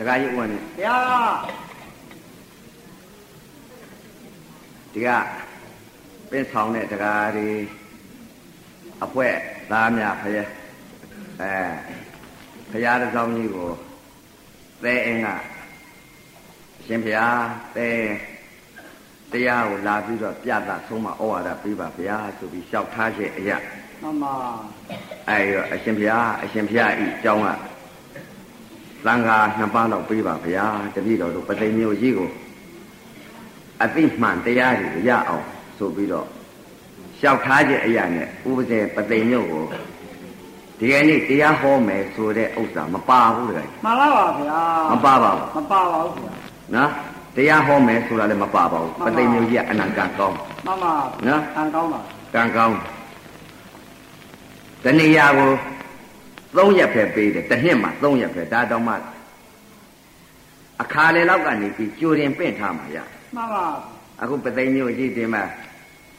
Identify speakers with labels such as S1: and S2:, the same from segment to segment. S1: ဒကာကြီးဦးဝနဲ့
S2: ဘုရားလား
S1: ဒီကပင်းဆောင်တဲ့ဒကာတွေအဖွဲသားများဖရဲအဲဖရဲတစ်ဆောင်ကြီးကိုသဲအင်းကအရှင်ဘုရားသဲတရားကိုလာပြီးတော့ပြတာဆုံးမဩဝါဒပေးပါဗျာဆိုပြီးလျှောက်ထားခြင်းအရာ
S2: မမ
S1: အဲ့တော့အရှင်ဘုရားအရှင်ဘုရားဤအကြောင်းကသံဃာနှစ်ပါးလောက်ပေးပါဗျာတပည့်တော်တို့ပသိမ်မျိုးကြီးကိုအတိမှန်တရားတွေရအောင်ဆိုပြီးတော့လျှောက်ထားခြင်းအရာနဲ့ဥပဒေပသိမ်မျိုးကိုဒီကနေ့တရားဟောမယ်ဆိုတဲ့ဥစ္စာမပါဘူးတကယ်
S2: မလားပါဘုရား
S1: မပါပါဘူး
S2: မပါပါဘူးဘုရား
S1: နော်တရားဟောမယ်ဆိုတာလည်းမပါပါဘူးပသိမ်မျိုးကြီးကအနန္တကောင်း
S2: မမ
S1: နော်
S2: တန်ကောင်းပါ
S1: ကံကောင်းတဏှာကို3ရက်ပဲပေးတယ်တစ်နှစ်မှာ3ရက်ပဲဒါတောင်မှအခါလေလောက်ကနေပြီးကြိုတင်ပင့်ထားမှာရ
S2: မမ
S1: အခုပသိမ်မျိုးကြီးတင်မှာ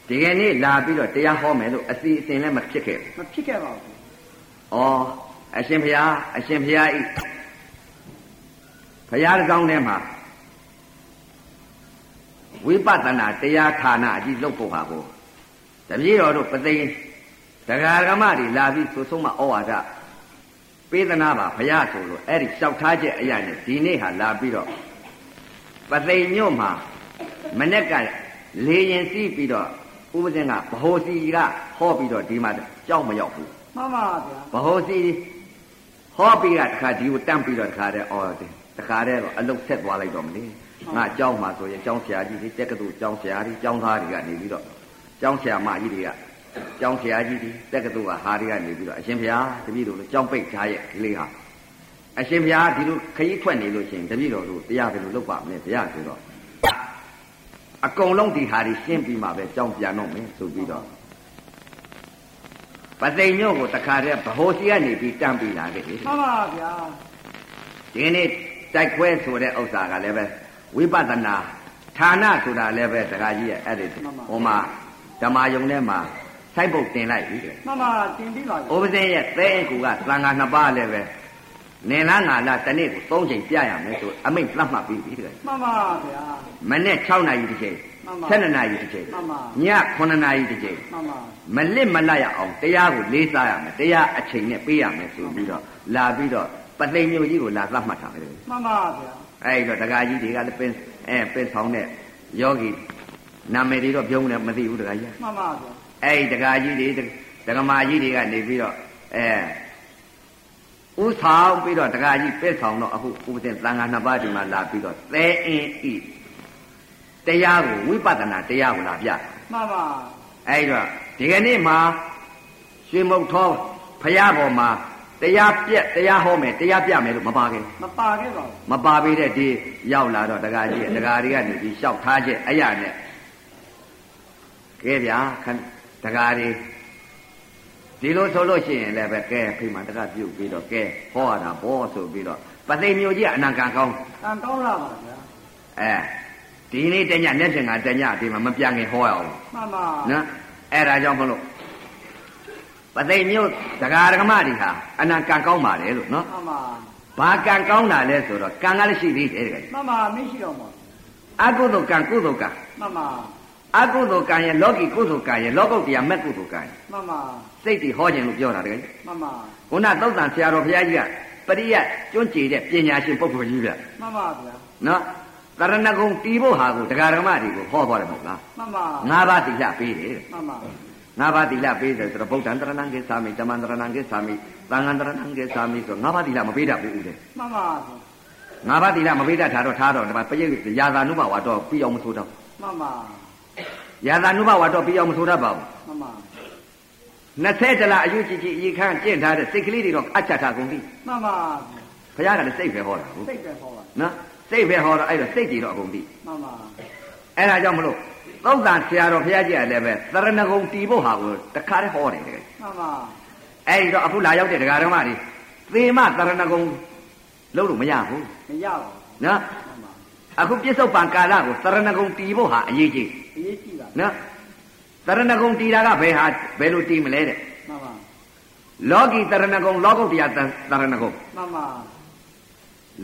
S1: ဒီကနေ့လာပြီးတော့တရားဟောမယ်လို့အစီအစဉ်လည်းမဖြစ်ခဲ့ဘူး
S2: မဖြစ်ခဲ့ပါဘူး
S1: ဩအရှင်ဘုရားအရှင်ဘုရားဤဘုရားကောင်းထဲမှာဝိပဿနာတရားဌာနအကြီးလုပ်ဖို့ပါကို တပည့်တော်တို့ပသိမ်တရားဓမ္မတွေလာပြီးဆိုဆုံးမဩဝါဒပေးသနာပါဘုရားဆိုလို့အဲ့ဒီလျှောက်ထားချက်အရာနဲ့ဒီနေ့ဟာလာပြီးတော့ပသိမ်မြို့မှာမနေ့ကလေရင်စီးပြီးတော့ဥပဇင်းကဗဟိုစီကဟောပြီးတော့ဒီမှာကြောက်မရောက်ဘူး
S2: မမပါဘုရား
S1: ဗဟိုစီဟောပြီးကတခါဒီကိုတန့်ပြီးတော့တခါတည်းအော်တယ်တခါတည်းတော့အလုတ်ဆက်သွားလိုက်တော့မလေငါကြောက်မှာဆိုရင်ကြောင်းဆရာကြီးတွေတက်ကတူကြောင်းဆရာကြီးကြောင်းသားတွေကနေပြီးတော့ ကျောင်းဆရာမကြီးတွေကကျောင်းဆရာကြီးတွေတက္ကသိုလ်ကဟာတွေကနေပြီးတော့အရှင်ဘုရားတပည့်တော်တို့ကျောင်းပိတ်ထားရဲ့ကလေးဟာအရှင်ဘုရားဒီလိုခရီးထွက်နေလို့ရှိရင်တပည့်တော်တို့တရားဘယ်လိုလုပ်ပါမလဲဘုရားဆိုတော့အကုန်လုံးဒီဟာတွေရှင်းပြီးမှပဲကျောင်းပြန်တော့မယ်ဆိုပြီးတော့ပသိမ်မြို့ကိုတခါတည်းဗဟိုစီကနေပြီးတန်းပြီးလာခဲ့တယ်
S2: မမပါဘုရား
S1: ဒီနေ့တိုက်ခွဲဆိုတဲ့ဥစ္စာကလည်းပဲဝိပဿနာဌာနဆိုတာလည်းပဲတရားကြီးရဲ့အဲ့ဒီဟိုမှာဓမ္မယုံထဲမှာစိုက်ပုတ်တင်လိုက်ပြီတဲ့
S2: မမတင်ပြီးပါ
S1: ။ဩ
S2: ပြီ
S1: ပဇင်းရဲ့သဲအင်ကူကသံဃာနှစ်ပါးလည်းပဲနေလားငါလားတစ်နေ့ကိုသုံးချိန်ပြရမယ်ဆိုအမိန့်သတ်မှတ်ပြီးပြီတဲ့
S2: မမပါဘုရား
S1: ။မနေ့6နာရီတစ်ချိန်
S2: မှန်ပါ
S1: 7နာရီတစ်ချိန်
S2: မှန်ပါ
S1: ည9နာရီတစ်ချိန်
S2: မမ
S1: မလစ်မလတ်ရအောင်တရားကိုလေးစားရမယ်တရားအချိန်နဲ့ပေးရမယ်ဆိုပြီးတော့လာပြီးတော့ပသိမ်မျိုးကြီးကိုလာသတ်မှတ်ထားတယ်
S2: မမပါဘုရား
S1: အဲ့ဒီတော့ဒကာကြီးတွေကလည်းပင်းအဲပင်းဆောင်တဲ့ယောဂီနာမည်တွေတော့ပြုံးတယ်မသိဘူးဒကာကြီးက
S2: မမပါဘုရား
S1: အဲ့ဒီဒကာကြီးတွေဒကမာကြီးတွေကနေပြီးတော့အဲဥဆောင်ပြီးတော့ဒကာကြီးပင်းဆောင်တော့အခုဥပဒေသံဃာနှစ်ပါးဒီမှာလာပြီးတော့သဲအင်းဤတရားကိုဝိပဿနာတရားကိုလာပြ
S2: မမပါ
S1: အဲ့ဒီတော့ဒီကနေ့မှာရွှေမုတ်သောဖရာပေါ်မှာတရားပြက်တရားဟောမယ်တရားပြမယ်လို့မပါခင်
S2: မပါခဲ့ပါဘူး
S1: မပါပေတဲ့ဒီရောက်လာတော့ဒကာကြီးဒကာတွေကနေပြီးလျှောက်ထားချက်အရာနဲ့ကဲဗျာခဏဒကာတွေဒီလိုဆိုလို့ရှိရင်လည်းပဲကဲဖိမတကပြုတ်ပြီးတော့ကဲဟောရတာဘောဆိုပြီးတော့ပသိမ်မျိုးကြီးကအနံကံကောင်း
S2: တန်ကောင်းလာပါဘုရား
S1: အဲဒီနေ့တညနေ့ဖြင့်ကတညဒီမှာမပြန်ခင်ဟောရအောင်
S2: မမပါ
S1: နော်အဲ့ဒါကြောင့်မလို့ပသိမ်မျိုးဒကာဒကမတွေဟာအနံကံကောင်းပါလေလို့နော်
S2: မမပါ
S1: ဘာကံကောင်းတာလဲဆိုတော့ကံကလည်းရှိသေးတယ်တကယ်
S2: မမပါမရှိတော့ပါဘူး
S1: အကုသိုလ်ကံကုသိုလ်ကံ
S2: မမပါ
S1: အကုသိုလ်ကံရဲ့လောကီကုသိုလ်ကံရဲ့လောကုတ္တရာမဲ့ကုသိုလ်ကံရဲ့
S2: မမပါ
S1: စိတ်တည်ဟောခြင်းလို့ပြောတာတကယ်
S2: မမပါ
S1: ခုနသုတ်တန်ဆရာတော်ဘုရားကြီးကပရိယတ်ကျွန့်ကြည်တဲ့ပညာရှင်ပုဂ္ဂိုလ်ကြီးဗျ
S2: မမပါဘုရား
S1: နော်တရဏဂုံတီးဖို့ဟာကိုတရားဓမ္မတွေကိုဟောပါတယ်မဟုတ်လား
S2: မမပါ
S1: ငါးပါးသီလပေးတယ်
S2: မမပါ
S1: ငါးပါးသီလပေးတယ်ဆိုတော့ဗုဒ္ဓံတရဏံကိသာမိဓမ္မံတရဏံကိသာမိသံဃံတရဏံကိသာမိဆိုငါးပါးသီလမပေးတတ်ဘူးဦးတယ်
S2: မမပါ
S1: ငါးပါးသီလမပေးတတ်တာတော့ထားတော့ဒီမှာပရိယတ်ရာသာနုဘဝတော့ပြီးအောင်မဆိုတော့
S2: မမ
S1: ရာသာနုဘဝတော့ပြီးအောင်မဆိုတတ်ပါဘူး
S2: မမ
S1: 20တလားအယူကြည်ကြည်အေခန့်ကျင့်ထားတဲ့စိတ်ကလေးတွေတော့အချတာကုန်ပြီ
S2: မမ
S1: ဘုရားကလည်းစိတ်ပဲဟောတာဟုတ်
S2: စိတ်ပဲဟောပါ
S1: နော်စိတ်ပဲဟောတော့အဲ့တော့စိတ်တွေတော့အကုန်ပြီ
S2: မမ
S1: အဲ့ဒါကြောင့်မလို့သုတ်တန်ဆရာတော်ဘုရားကြီးကလည်းပဲသရဏဂုံတီဖို့ဟာကိုတခါတည်းဟောတယ်တကယ်
S2: မမ
S1: အဲ့ဒီတော့အခုလာရောက်တဲ့ဒကာဓမ္မတွေသေမသရဏဂုံလုပ်လို့မရဘူး
S2: မရပါ
S1: နော်
S2: ဘူးမမ
S1: အခုပြစ္ဆုတ်ပံကာလကိုသရဏဂုံတီဖို့ဟာအရေးကြီး
S2: အရေးကြီးပါ
S1: နော်သရဏဂုံတီတာကဘယ်ဟာဘယ်လိုတီမလဲတဲ့
S2: မမ
S1: လောကီသရဏဂုံလောကုတ္တရာသရဏဂုံ
S2: မမ
S1: သ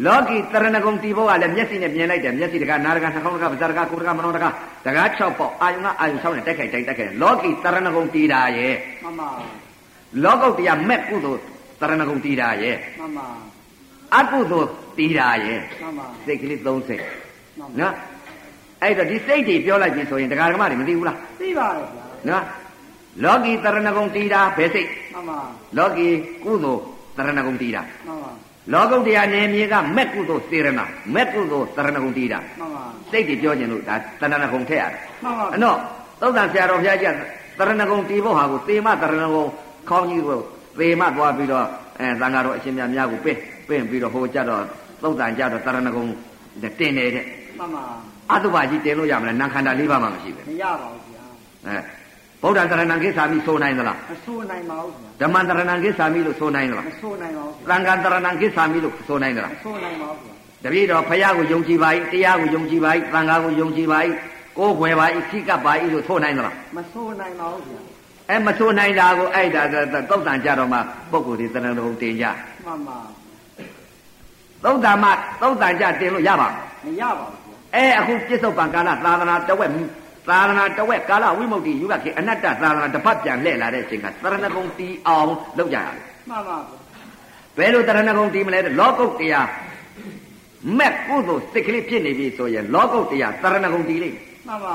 S1: လောကီတရဏဂုံတီဘောကလည်းမျက်စိနဲ့မြင်လိုက်တယ်မျက်စိတကနားတကနှာခေါင်းတကပါးစပ်တကကိုယ်တကမနောတကတကား6ပေါက်အာယုံကအာယုံ6နဲ့တက်ခိုက်တိုင်းတက်ခိုက်လောကီတရဏဂုံတီတာရဲ့
S2: မမ
S1: လောကုတ္တရာမက်ကုသိုလ်တရဏဂုံတီတာရဲ့
S2: မမ
S1: အကုသိုလ်တီတာရဲ့
S2: မမ
S1: စိတ်ကလေး3စိတ်
S2: မမ
S1: နော်အဲ့တော့ဒီစိတ်တွေပြောလိုက်ပြီဆိုရင်တရားဓမ္မတွေမသိဘူးလား
S2: သိပါရဲ့ဗျာ
S1: နော်လောကီတရဏဂုံတီတာဘယ်စိတ်
S2: မမ
S1: လောကီကုသိုလ်တရဏဂုံတီတာ
S2: မမ
S1: လောကုတ္တရာနေမြေကမက်ကုသိုလ်စေရဏမက်ကုသိုလ်တရဏဂုံတီတာ
S2: မမ
S1: စိတ်တွေပြောကျင်လို့ဒါတဏှာကုံထည့်ရတယ်
S2: မမ
S1: အနော်သုတ်တန်ဆရာတော်ဘုရားကြီးကတဏှာကုံတီးဖို့ဟာကိုသေမတဏှာကုံခေါင်းကြီးကိုသေမသွားပြီးတော့အဲသံဃာတော်အရှင်မြတ်များကိုပင့်ပင့်ပြီးတော့ဟိုကြတော့သုတ်တန်ကြတော့တဏှာကုံတင်တယ်တဲ့
S2: မမ
S1: အတုပါကြီးတင်လို့ရမလားနာခန္ဓာ၄ပါးမှမရှိပဲ
S2: မရပါဘူးဗျာ
S1: အဲဗုဒ္ဓတဏှာကိစ္ဆာမိဆိုနိုင်သလား
S2: မဆိုးနိုင်ပါဘူး
S1: ဓ
S2: ဗျာ
S1: မ္မတဏှာကိစ္ဆာမိလို့ဆိုနိုင်သလား
S2: မဆိုးနိုင်ပါဘူး
S1: သံဃာတဏှာကိစ္ဆာမိလို့ဆိုနိုင်သလား
S2: မဆိုးနိုင်ပါဘူးဗျာ
S1: တပည့်တော်ဖယားကိုယုံကြည်ပါ၏တရားကိုယုံကြည်ပါ၏သံဃာကိုယုံကြည်ပါ၏ကိုယ်ွယ်ပါ၏ခိကပ်ပါ၏လို့ထိုးနိုင်သလား
S2: မဆိုးနိုင်ပါဘူးဗျာ
S1: အဲမထိုးနိုင်တာကိုအဲ့ဒါဒါဒါသုတ်တန်ကြတော့မှပုဂ္ဂိုလ်ဒီတဏ္ဍာရုံတင်ကြ
S2: မမ
S1: သုတ်တန်မှသုတ်တန်ကြတင်လို့ရပါ့မလား
S2: မရပါဘူးဗျာ
S1: အဲအခုပြစ္ဆုတ်ပံကာလသာသနာတဝက်သာသနာတဝက်ကာလဝိမု ക്തി ယူကခေအနတ္တသာသနာတစ်ပတ်ပြန်လှည့်လာတဲ့အချိန်ကတဏ္ဍာရုံတီအောင်လုပ်ကြရတယ်
S2: မမဗျာ
S1: ဘယ်လိုတဏ္ဍာရုံတီမလဲတဲ့လောကုတ်တရားမက်ကုသိုလ်စိတ်ကလေးဖြစ်နေပြီဆိုရင်လောကုတ်တရားတဏ္ဍာရုံတီလိမ့်မယ်
S2: မ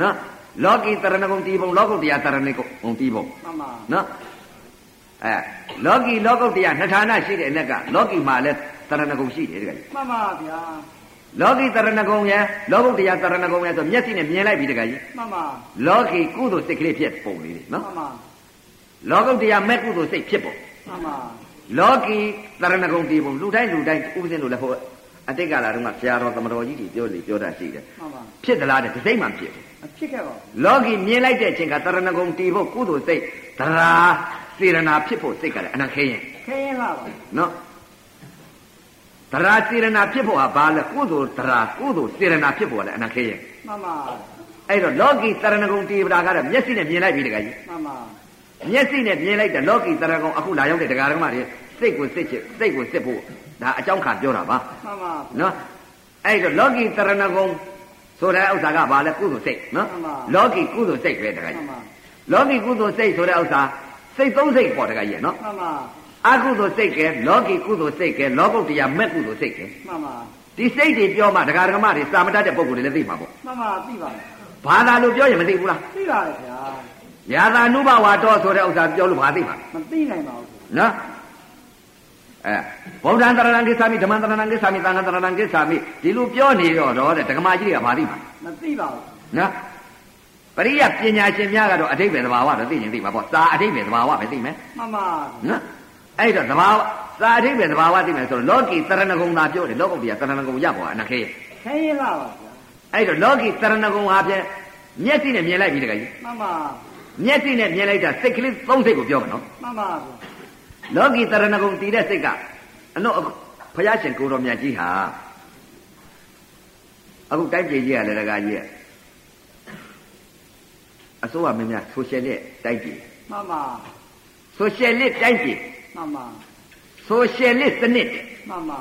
S2: မ
S1: နော်လောကီတရဏဂုံတီးပုံလောကုတ္တရာတရဏဂုံဂုံတီးပုံ
S2: မမ
S1: နော်အဲလောကီလောကုတ္တရာနှစ်ဌာနရှိတဲ့အ ਨੇ ကလောကီမှာလည်းတရဏဂုံရှိတယ်တကယ်ကြီး
S2: မမဗျာ
S1: လောကီတရဏဂုံရယ်လောကုတ္တရာတရဏဂုံရယ်ဆိုမျက်စိနဲ့မြင်လိုက်ပြီတကယ်ကြီး
S2: မမ
S1: လောကီကုသိုလ်စိတ်ကလေးဖြစ်ပုံလေးလေ
S2: မ
S1: နော်
S2: မ
S1: လောကုတ္တရာမဲ့ကုသိုလ်စိတ်ဖြစ်ပုံ
S2: မမ
S1: လောကီတရဏဂုံတီးပုံလူတိုင်းလူတိုင်းဥပဇင်းတို့လည်းဟိုအတိတ်ကလာတော့မှဆရာတော်သမတော်ကြီးတွေပြောလေပြောတာရှိတယ်
S2: မမ
S1: ဖြစ်သလားတဲ့ဒီစိတ်မှဖြစ်တယ်
S2: အဖြစ်ခဲ့ပါဘူး
S1: လောကီမြင်လိုက်တဲ့အချိန်ကတရဏဂုံတီဖို့ကုသိုလ်စိတ်သရာစေရနာဖြစ်ဖို့စိတ်ကလည်းအနခဲရင်
S2: ခဲရင်လားပါ
S1: နော်သရာစေရနာဖြစ်ဖို့ဟာဘာလဲကုသိုလ်သရာကုသိုလ်စေရနာဖြစ်ဖို့ကလည်းအနခဲရင်
S2: မမ
S1: အဲ့တော့လောကီတရဏဂုံတီပဒါကတော့မျက်စိနဲ့မြင်လိုက်ပြီတခါကြီး
S2: မမ
S1: မျက်စိနဲ့မြင်လိုက်တဲ့လောကီတရဏဂုံအခုလာရောက်တဲ့ဒကာဒကမတွေစိတ်ကိုစစ်ချစ်စိတ်ကိုစစ်ဖို့ဒါအကြောင်းခံပြောတာပါ
S2: မမ
S1: နော်အဲ့တော့လောကီတရဏဂုံဆိုတဲ့ဥစ္စာကဘာလဲကုသိုလ်စိတ်နော်လောကီကုသိုလ်စိတ်ပဲတခါ
S2: မ
S1: ကြီး
S2: မ
S1: လောကီကုသိုလ်စိတ်ဆိုတဲ့ဥစ္စာစိတ်သုံးစိတ်ပေါ်တကကြီးရနော်
S2: မမ
S1: အကုသိုလ်စိတ်ကဲလောကီကုသိုလ်စိတ်ကဲလောကုတ္တရာမဲ့ကုသိုလ်စိတ်ကဲ
S2: မမ
S1: ဒီစိတ်တွေပြောမှဒကာဒကမတွေစာမတတ်တဲ့ပုံကိုယ်တွေလည်းသိမှာပေါ့
S2: မမသိပါလား
S1: ဘာသာလို့ပြောရင်မသိဘူးလား
S2: သိပါရဲ့ဗျာ
S1: ယာသာနုဘဝါတော်ဆိုတဲ့ဥစ္စာပြောလို့ဘာသိမှာလဲ
S2: မသိနိုင်ပါဘူးဗျာ
S1: နော်အဲဗုဒ္ဓံတရဏံကိစ္ဆာမိဓမ္မံတရဏံကိစ္ဆာမိသံဃံတရဏံကိစ္ဆာမိဒီလိုပြောနေတော့တော့တဲ့ဒကမကြီးတွေကဘာသိမှာလဲ
S2: မသိပါဘူး
S1: နော်ပရိယပညာရှင်များကတော့အတိတ်ပဲသဘာဝတော့သိရင်သိမှာပေါ့သာအတိတ်ပဲသဘာဝပဲသိမယ်
S2: မမ
S1: နော်အဲ့တော့သဘာဝသာအတိတ်ပဲသဘာဝသိမယ်ဆိုတော့လောကီတရဏဂုံသာပြောတယ်လောကုတ္တရာတရဏဂုံရပေါ်အနခေ
S2: ခဲရင်လားပါဗျာ
S1: အဲ့တော့လောကီတရဏဂုံဟာဖြင့်မျက်စိနဲ့မြင်လိုက်ပြီတခါကြီး
S2: မမ
S1: မျက်စိနဲ့မြင်လိုက်တာစိတ်ကလေးသုံးစိတ်ကိုပြောမှာနော်
S2: မမဗျာ
S1: လောကီတရဏဂုံတည်တဲ့စိတ်ကအလို့အခုဘုရားရှင်ကိုတော်မြတ်ကြီးဟာအခုတိုက်ပြည်ကြီးကလည်းတခါကြီးကအစိုးရမင်းများဆိုရှယ်လက်တိုက်ပြည်
S2: မမ
S1: ဆိုရှယ်လစ်တိုင်းပြည်
S2: မမ
S1: ဆိုရှယ်လစ်စနစ်တဲ့
S2: မမ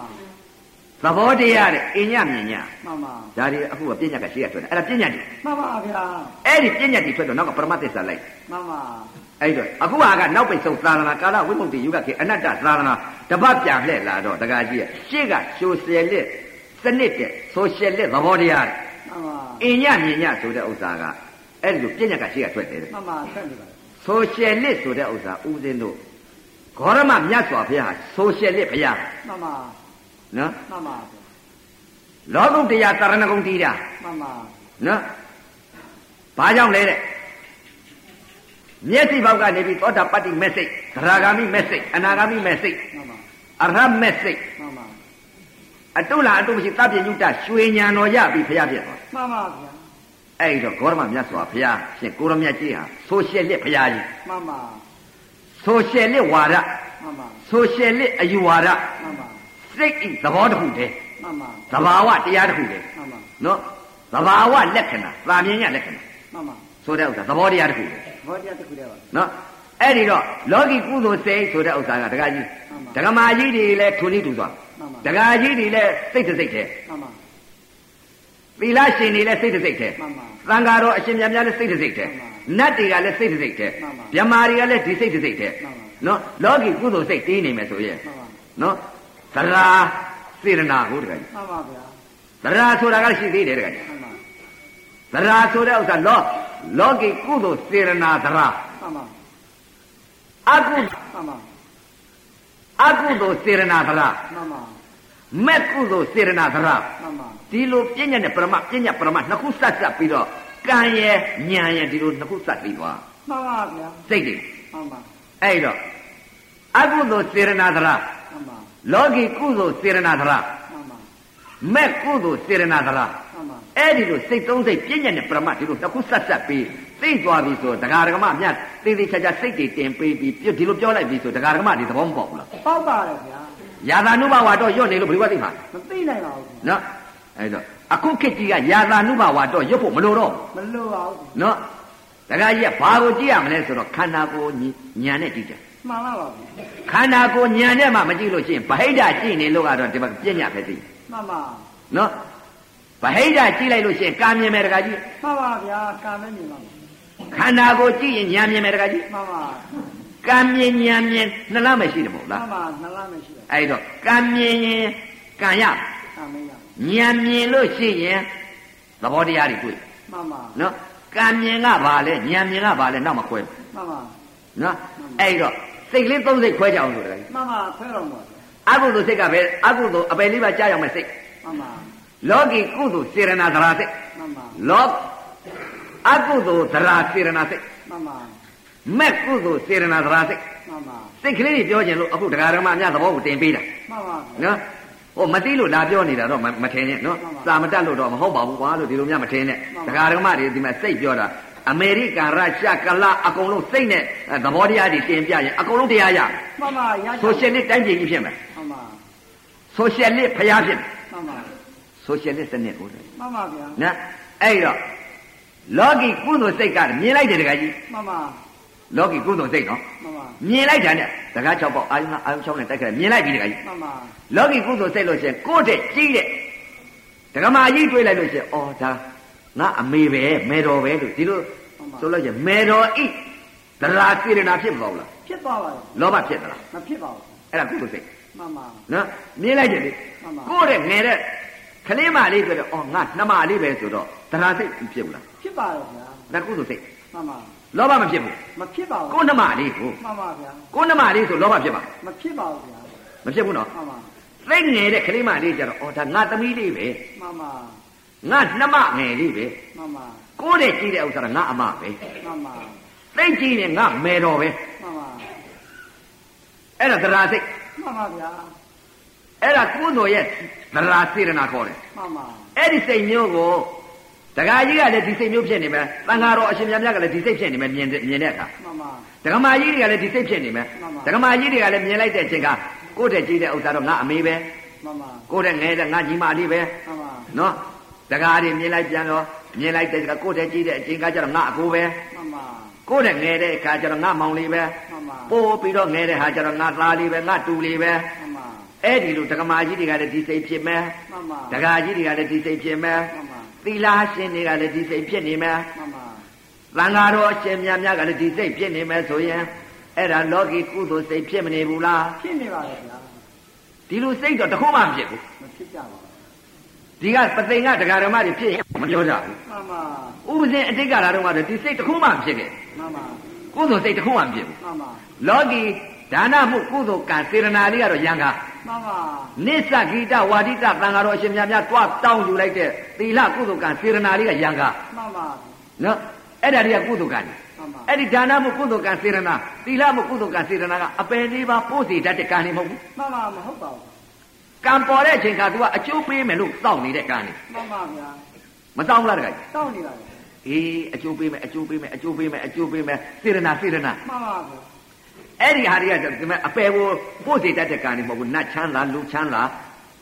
S1: သဘောတရားတဲ့အင်ညမြင်ည
S2: မမ
S1: ဒါတွေအခုကပြညတ်ကရှိရထွက်တယ်အဲ့ဒါပြညတ်တွေ
S2: မမဗျာ
S1: အဲ့ဒီပြညတ်တွေထွက်တော့နောက်ကပရမသစ္စာလိုက်
S2: မမ
S1: အဲ့တော့အခုဟာကနောက်ပိတ်ဆုံးသာသနာကာလဝိမု ക്തി ယုဂခေအနတ္တသာသနာတပတ်ပြန်လှည့်လာတော့တကကြီးကရှေ့ကဆိုရှယ်လစ်စနစ်တဲ့ဆိုရှယ်လစ်သဘောတရားတဲ့
S2: မမ
S1: အင်ညမြင်ညဆိုတဲ့ဥစ္စာကအဲ့ဒီလိုပြညတ်ကရှိရထွက်တယ်တဲ့
S2: မမဆက်နေပါလား
S1: ဆိုရှယ်လစ်ဆိုတဲ့ဥစ္စာဥစဉ်တို့ဂေါရမမြတ်စွာဘုရားဟာဆိုရှယ်လစ်ဘုရား
S2: မမ
S1: နော်
S2: မမဗျာ
S1: လောကုတ္တရာတရဏဂုံတီးတာ
S2: မမ
S1: နော်ဘာကြောင့်လဲတဲ့မျက်စိဘောက်ကနေပြီးသောတာပတ္တိမက်စိတ်သရဂါမိမက်စိတ်အနာဂါမိမက်စိတ်
S2: မမ
S1: အရဟတ်မက်စိတ်
S2: မမ
S1: အတုလာအတုမရှိသဗ္ဗညုတရွှေညာတော်ရပြီဘုရားဖြစ်သွား
S2: မမဗျာ
S1: အဲ့ဒီတော့ဂေါရမမြတ်စွာဘုရားရှင်ကိုရမြတ်ကြီးဟာဆိုရှယ်လစ်ဘုရားကြီး
S2: မမ
S1: ဆိုရှယ်လစ်ဝါဒ
S2: မမ
S1: ဆိုရှယ်လစ်အယူဝါဒ
S2: မမ
S1: စိတ်ဤသဘောတစ်ခုတည်း
S2: မမ
S1: သဘာဝတရားတစ်ခုတည်း
S2: မမ
S1: နော်သဘာဝလက္ခဏာသာမြင်ရလက္ခဏာ
S2: မမ
S1: ဆိုတဲ့ဥစ္စာသဘောတရားတစ်ခုတည်း
S2: ဘောတရားတစ်ခုတည်းပါလား
S1: နော်အဲ့ဒီတော့လောကီကုသိုလ်စိတ်ဆိုတဲ့ဥစ္စာကဒကာကြီး
S2: မှန်ပါ
S1: ဒကမာကြီးတွေလည်းထုံနည်းတူသွား
S2: မ မှန်
S1: ဒကာကြီးတွေလည်းစိတ်တစ်စိတ်တည်း
S2: မှန်မှန်
S1: သီလရှင်တွေလည်းစိတ်တစ်စိတ်တည်း
S2: မှန်မှန်
S1: သံဃာတော်အရှင်မြတ်များလည်းစိတ်တစ်စိတ်တည်းနတ်တွေကလည်းစိတ်တစ်စိတ်တည်းမြမာတွေကလည်းဒီစိတ်တစ်စိတ်တည်း
S2: မှန်ပါ
S1: နော်လောကီကုသိုလ်စိတ်တင်းနေမယ်ဆိုရင်
S2: မှန်မှန်
S1: နော်သရာစေရနာကိုတကကြီး
S2: မှန်ပါဗျာ
S1: သရာဆိုတာကရှိသေးတယ်တကကြီး
S2: မှန်မှန်
S1: သရာဆိုတဲ့ဥစ္စာလောလောကီကုသိုလ်စေရနာသရာ
S2: မှန်မှန်
S1: အကု
S2: မှန်မှန်
S1: အကုသိုလ်စေရနာသရာ
S2: မှန်မှန်
S1: မက်ကုသိုလ်စေရနာသရာ
S2: မှန်မှန်
S1: ဒီလိုပြည့်ညတ်နဲ့ပရမပြည့်ညတ်ပရမနှစ်ခုဆက်ဆက်ပြီးတော့ကံရယ်ညာရယ်ဒီလိုနှစ်ခုဆက်ပြီးသွား
S2: မှန်ပါဗျာ
S1: စိတ်တွေ
S2: မှန်မှန်
S1: အဲ့တော့အကုသိုလ်စေရနာသရ
S2: မှန်မှန်
S1: လောကီကုသိုလ်စေရနာသရ
S2: မှန်မှန်
S1: မက်ကုသိုလ်စေရနာသရ
S2: မှန်မှန်
S1: အဲ့ဒီလိုစိတ်သုံးစိတ်ပြည့်ညတ်နဲ့ပရမဒီလိုနှစ်ခုဆက်ဆက်ပြီးသိသွားပြီဆိုတော့ဒကာဒကမအမြတ်သေသေးချာချာစိတ်တွေတင်ပေးပြီးပြဒီလိုပြောလိုက်ပြီဆိုဒကာဒကမဒီသဘောမပေါက်ဘူးလား
S2: ပေါက်ပါတယ်ဗျာ
S1: ယာသာနုဘဝတော့ရွတ်နေလို့ဘယ်လိုမှသိမှာလဲ
S2: မသိနိုင်ပါဘူးဗျာ
S1: နော်အဲ့တော့အခုခေတ်ကြီးကယာသာနုဘဝတော့ရွတ်ဖို့မလိုတော့ဘူး
S2: မလို့ပါဘူး
S1: နော်တခါကြီးကဘာကိုကြည့်ရမလဲဆိုတော့ခန္ဓာကိုယ်ညီညာနဲ့ကြည့်တယ်
S2: မှန်ပါပါဗျာ
S1: ခန္ဓာကိုယ်ညာနဲ့မှမကြည့်လို့ရှိရင်ဗဟိတကြည့်နေလို့ကတော့ဒီဘက်ပြည့်ညတ်ပဲသိတယ်
S2: မှန်မှန်
S1: နော်ဗဟိတကြည့်လိုက်လို့ရှိရင်ကာမြင်မယ်တခါကြီး
S2: မှန်ပါဗျာကံနဲ့မြင်ပါဘူး
S1: ခန္ဓာကိုယ်ကြည့်ရင်ညာမြင်မယ်တခါကြီး
S2: မှန်မှန်
S1: ကာမြင်ညာမြင်နှစ်လားမရှိတယ်မဟုတ်
S2: မှ
S1: လား
S2: န်မှန်နှလားမရှိ
S1: အဲ့တော့ကာမြင်ရင်ကံရ
S2: ဘူးကံမရဘူး
S1: ညာမြင်လို့ရှိရင်သဘောတရားတွေတွေ့
S2: မှန်မှန်
S1: နော်ကံမြင်ကဘာလဲညာမြင်ကဘာလဲနောက်မှခွဲမယ်
S2: မှန်မှန်
S1: နော်အဲ့တော့စိတ်လေးသုံးစိတ်ခွဲကြအောင်လို့တခါကြီး
S2: မှန်မှန်ဖဲတော်မှာ
S1: အကုသိုလ်စိတ်ကပဲအကုသိုလ်အပယ်လေးပါးကြားရောက်မဲ့စိတ်
S2: မှန်မှန်
S1: လောကီကုသိုလ်စေရနာသရာစိတ်
S2: မှန်မှန်
S1: လောအကုသိုလ်သရာစေရနာစိတ်
S2: မှန်မှန်
S1: မက်ကုသိုလ်စေရနာသရာစိတ်
S2: မှန်မှန်
S1: စိတ်ကလေးတွေပြောခြင်းလို့အခုတရားဓမ္မများသဘောကိုတင်ပေးတာ
S2: မှန်ပါ
S1: န
S2: ဗျာ
S1: ော်ဟိုမသိလို့လာပြောနေတာတော့မမထင်နဲ့နော်
S2: မှန်ပါ
S1: စာမတက်လို့တော့မဟုတ်ပါဘူးကွာလို့ဒီလိုများမထင်နဲ့
S2: မှန်ပါ
S1: တရားဓမ္မတွေဒီမှာစိတ်ပြောတာအမေရိကန်ရုရှားကလာအကုန်လုံးစိတ်နဲ့အဲသဘောတရားတွေတင်ပြရင်အကုန်လုံးတရားရ
S2: မှန်ပါရရှိ
S1: ဆိုရှယ်လစ်တိုင်းပြည်ကြီးဖြစ်မယ်
S2: မှန်ပါ
S1: ဆိုရှယ်လစ်ဖျားဖြစ်မယ်
S2: မှန်ပါ
S1: ဆိုရှယ်လစ်စနစ်ဟုတ်တယ်
S2: မှန်ပါဗျာ
S1: နော်အဲ့တော့လောကီကုသိုလ်စိတ်ကမြင်လိုက်တယ်တခါကြီး
S2: မှန်ပါ
S1: လောကီကုသိုလ်စိတ်နော်
S2: မှန်ပါ
S1: မြင်လိုက်တာနဲ့တခါ၆ပေါက်အာယုံအာယုံ၆နဲ့တိုက်ခဲ့တယ်မြင်လိုက်ပြီတခါကြီး
S2: မှန်ပါ
S1: လောကီကုသိုလ်စိတ်လို့ရှိရင်ကိုယ့်တဲ့ကြီးတဲ့ဓမ္မကြီးတွေးလိုက်လို့ရှိရင်အော်ဒါငါအမေပဲမေတော်ပဲလို့ဒီလိုဆိုလို့ရှိရင်မေတော်ဤသရာစေရနာဖြစ်မပေါ့လား
S2: ဖြစ်သွားပါတယ်
S1: လောဘဖြစ်သလား
S2: မဖြစ်ပါဘူး
S1: အဲ့ဒါကုသိုလ်စိတ်
S2: မှန်ပါ
S1: နော်မြင်လိုက်တယ်လေ
S2: မှန်ပါ
S1: ကိုယ့်တဲ့ငယ်တဲ့ကလေးမလေးဆိုတော့အော်ငါနှမလေးပဲဆိုတော့သရာစိတ်ဖြစ်ဘူးလား
S2: ဖြစ်ပါတယ်ဗျာ
S1: ဒါကုသိုလ်စိတ်
S2: မှန်ပါ
S1: လောဘမဖြစ်ဘူး
S2: မဖြစ်ပါ
S1: ကို
S2: ဘူး
S1: ယ်နှမလေးကို
S2: မှန်ပါဗျာ
S1: ကိုယ်နှမလေးဆိုလောဘဖြစ်ပါလား
S2: မဖြစ်ပါဘူးဗျာ
S1: မဖြစ်ဘူးနော်
S2: မှန်ပါ
S1: သိငယ်တဲ့ခလေးမလေးကြတော့အော်ဒါငါသမီးလေးပဲ
S2: မှန်ပါ
S1: ငါနှမငယ်လေးပဲ
S2: မှန်ပါ
S1: ကိုယ်တဲ့ကြီးတဲ့ဥစ္စာကငါအမပဲ
S2: မှန်ပါ
S1: သိကြီးတဲ့ငါမယ်တော်ပဲ
S2: မှန်ပါ
S1: အဲ့ဒါသရာစိတ်
S2: မှန်ပါဗျာ
S1: အဲ့ဒါကိုယ်တော်ရဲ့သရာစေရနာခေါ်တယ်
S2: မှန်ပါ
S1: အဲ့ဒီစိတ်မျိုးကိုဒကာကြီးကလည်းဒီစိတ်မျိုးဖြစ်နေမယ်တန်ဃာတော်အရှင်မြတ်မြတ်ကလည်းဒီစိတ်ဖြစ်နေမယ်မြင်တဲ့မြင်တဲ့အခါ
S2: မှန်ပါ
S1: ဒကမာကြီးတွေကလည်းဒီစိတ်ဖြစ်နေမယ်
S2: မှန်ပါ
S1: ဒကမာကြီးတွေကလည်းမြင်လိုက်တဲ့အချိန်ကကိုယ်တဲ့ကြီးတဲ့ဥစ္စာတော့ငါအမေပဲ
S2: မှန်ပါ
S1: ကိုယ်တဲ့ငယ်တဲ့ငါညီမလေးပဲ
S2: မှန်ပါ
S1: နော်တကားတွေမြင်လိုက်ပြန်တော့မြင်လိုက်တဲ့ကကိုယ့်တည်းကြည့်တဲ့အချိန်ကကျတော့ငါအကိုပဲ
S2: မှန်ပါ
S1: ကိုယ့်တည်းငယ်တဲ့အခါကျတော့ငါမောင်လေးပဲ
S2: မှန်ပါ
S1: ပို့ပြီးတော့ငယ်တဲ့ဟာကျတော့ငါသားလေးပဲငါတူလေးပဲ
S2: မှန်ပါ
S1: အဲ့ဒီလိုတက္ကမကြီးတွေကလည်းဒီစိတ်ဖြစ်မယ်
S2: မှန်ပါ
S1: တကားကြီးတွေကလည်းဒီစိတ်ဖြစ်မယ်
S2: မှန်ပါ
S1: သီလရှင်တွေကလည်းဒီစိတ်ဖြစ်နေမယ်
S2: မှန်ပါ
S1: သံဃာတော်အရှင်မြတ်များကလည်းဒီစိတ်ဖြစ်နေမယ်ဆိုရင်အဲ့ဒါလောကီကုသိုလ်စိတ်ဖြစ်မနေဘူးလား
S2: ဖြစ်နေပါတယ်ဗျာ
S1: ဒီလိုစိတ်တော့တစ်ခုမှမဖြစ်ဘူး
S2: မဖြစ်ကြပါဘူး
S1: ဒီကပသိမ်ကဒကာဓမ္မတွေဖြစ်ရင်မပြောကြဘူး
S2: မှန်ပါ
S1: ဥပဇင်အတိတ်ကလာတော့ကတော့ဒီစိတ်တစ်ခုမှမဖြစ်ခဲ့
S2: မှန်ပါ
S1: ကုသိုလ်စိတ်တစ်ခုမှမဖြစ်ဘူး
S2: မှန်ပါ
S1: လောကီဒါနမှုကုသိုလ်ကံစေရနာလေးကတော့ရံကား
S2: မှန်ပါ
S1: နစ္စဂိတဝါဒိတသံဃာတော်အရှင်မြတ်များတွားတောင်းယူလိုက်တဲ့သီလကုသိုလ်ကံစေရနာလေးကရံကား
S2: မှန်ပါ
S1: နော်အဲ့ဒါတွေကကုသိုလ်ကံတွေ
S2: မှန်ပါ
S1: အဲ့ဒီဒါနမှုကုသိုလ်ကံစေရနာသီလမှုကုသိုလ်ကံစေရနာကအပယ်လေးပါပို့စီတတ်တဲ့ကံတွေမဟုတ်ဘူး
S2: မှန်ပါမဟုတ်ပါဘူး
S1: ကံပေါ်တဲ့အချိန်ကသူကအကျိုးပေးမယ်လို့တောင်းနေတဲ့ကံတွေ
S2: မှန်ပါဗျာ
S1: မတောင်းဘူးလားတခါကြီး
S2: တောင်းနေပါလေ
S1: အေးအကျိုးပေးမယ်အကျိုးပေးမယ်အကျိုးပေးမယ်အကျိုးပေးမယ်စေရနာစေရနာ
S2: မှန်ပါဗျာ
S1: အဲ့ဒီဟာတွေကဒီမဲ့အပယ်ကိုပို့စေတတ်တဲ့ကံတွေမဟုတ်ဘူးနတ်ချမ်းလားလူချမ်းလား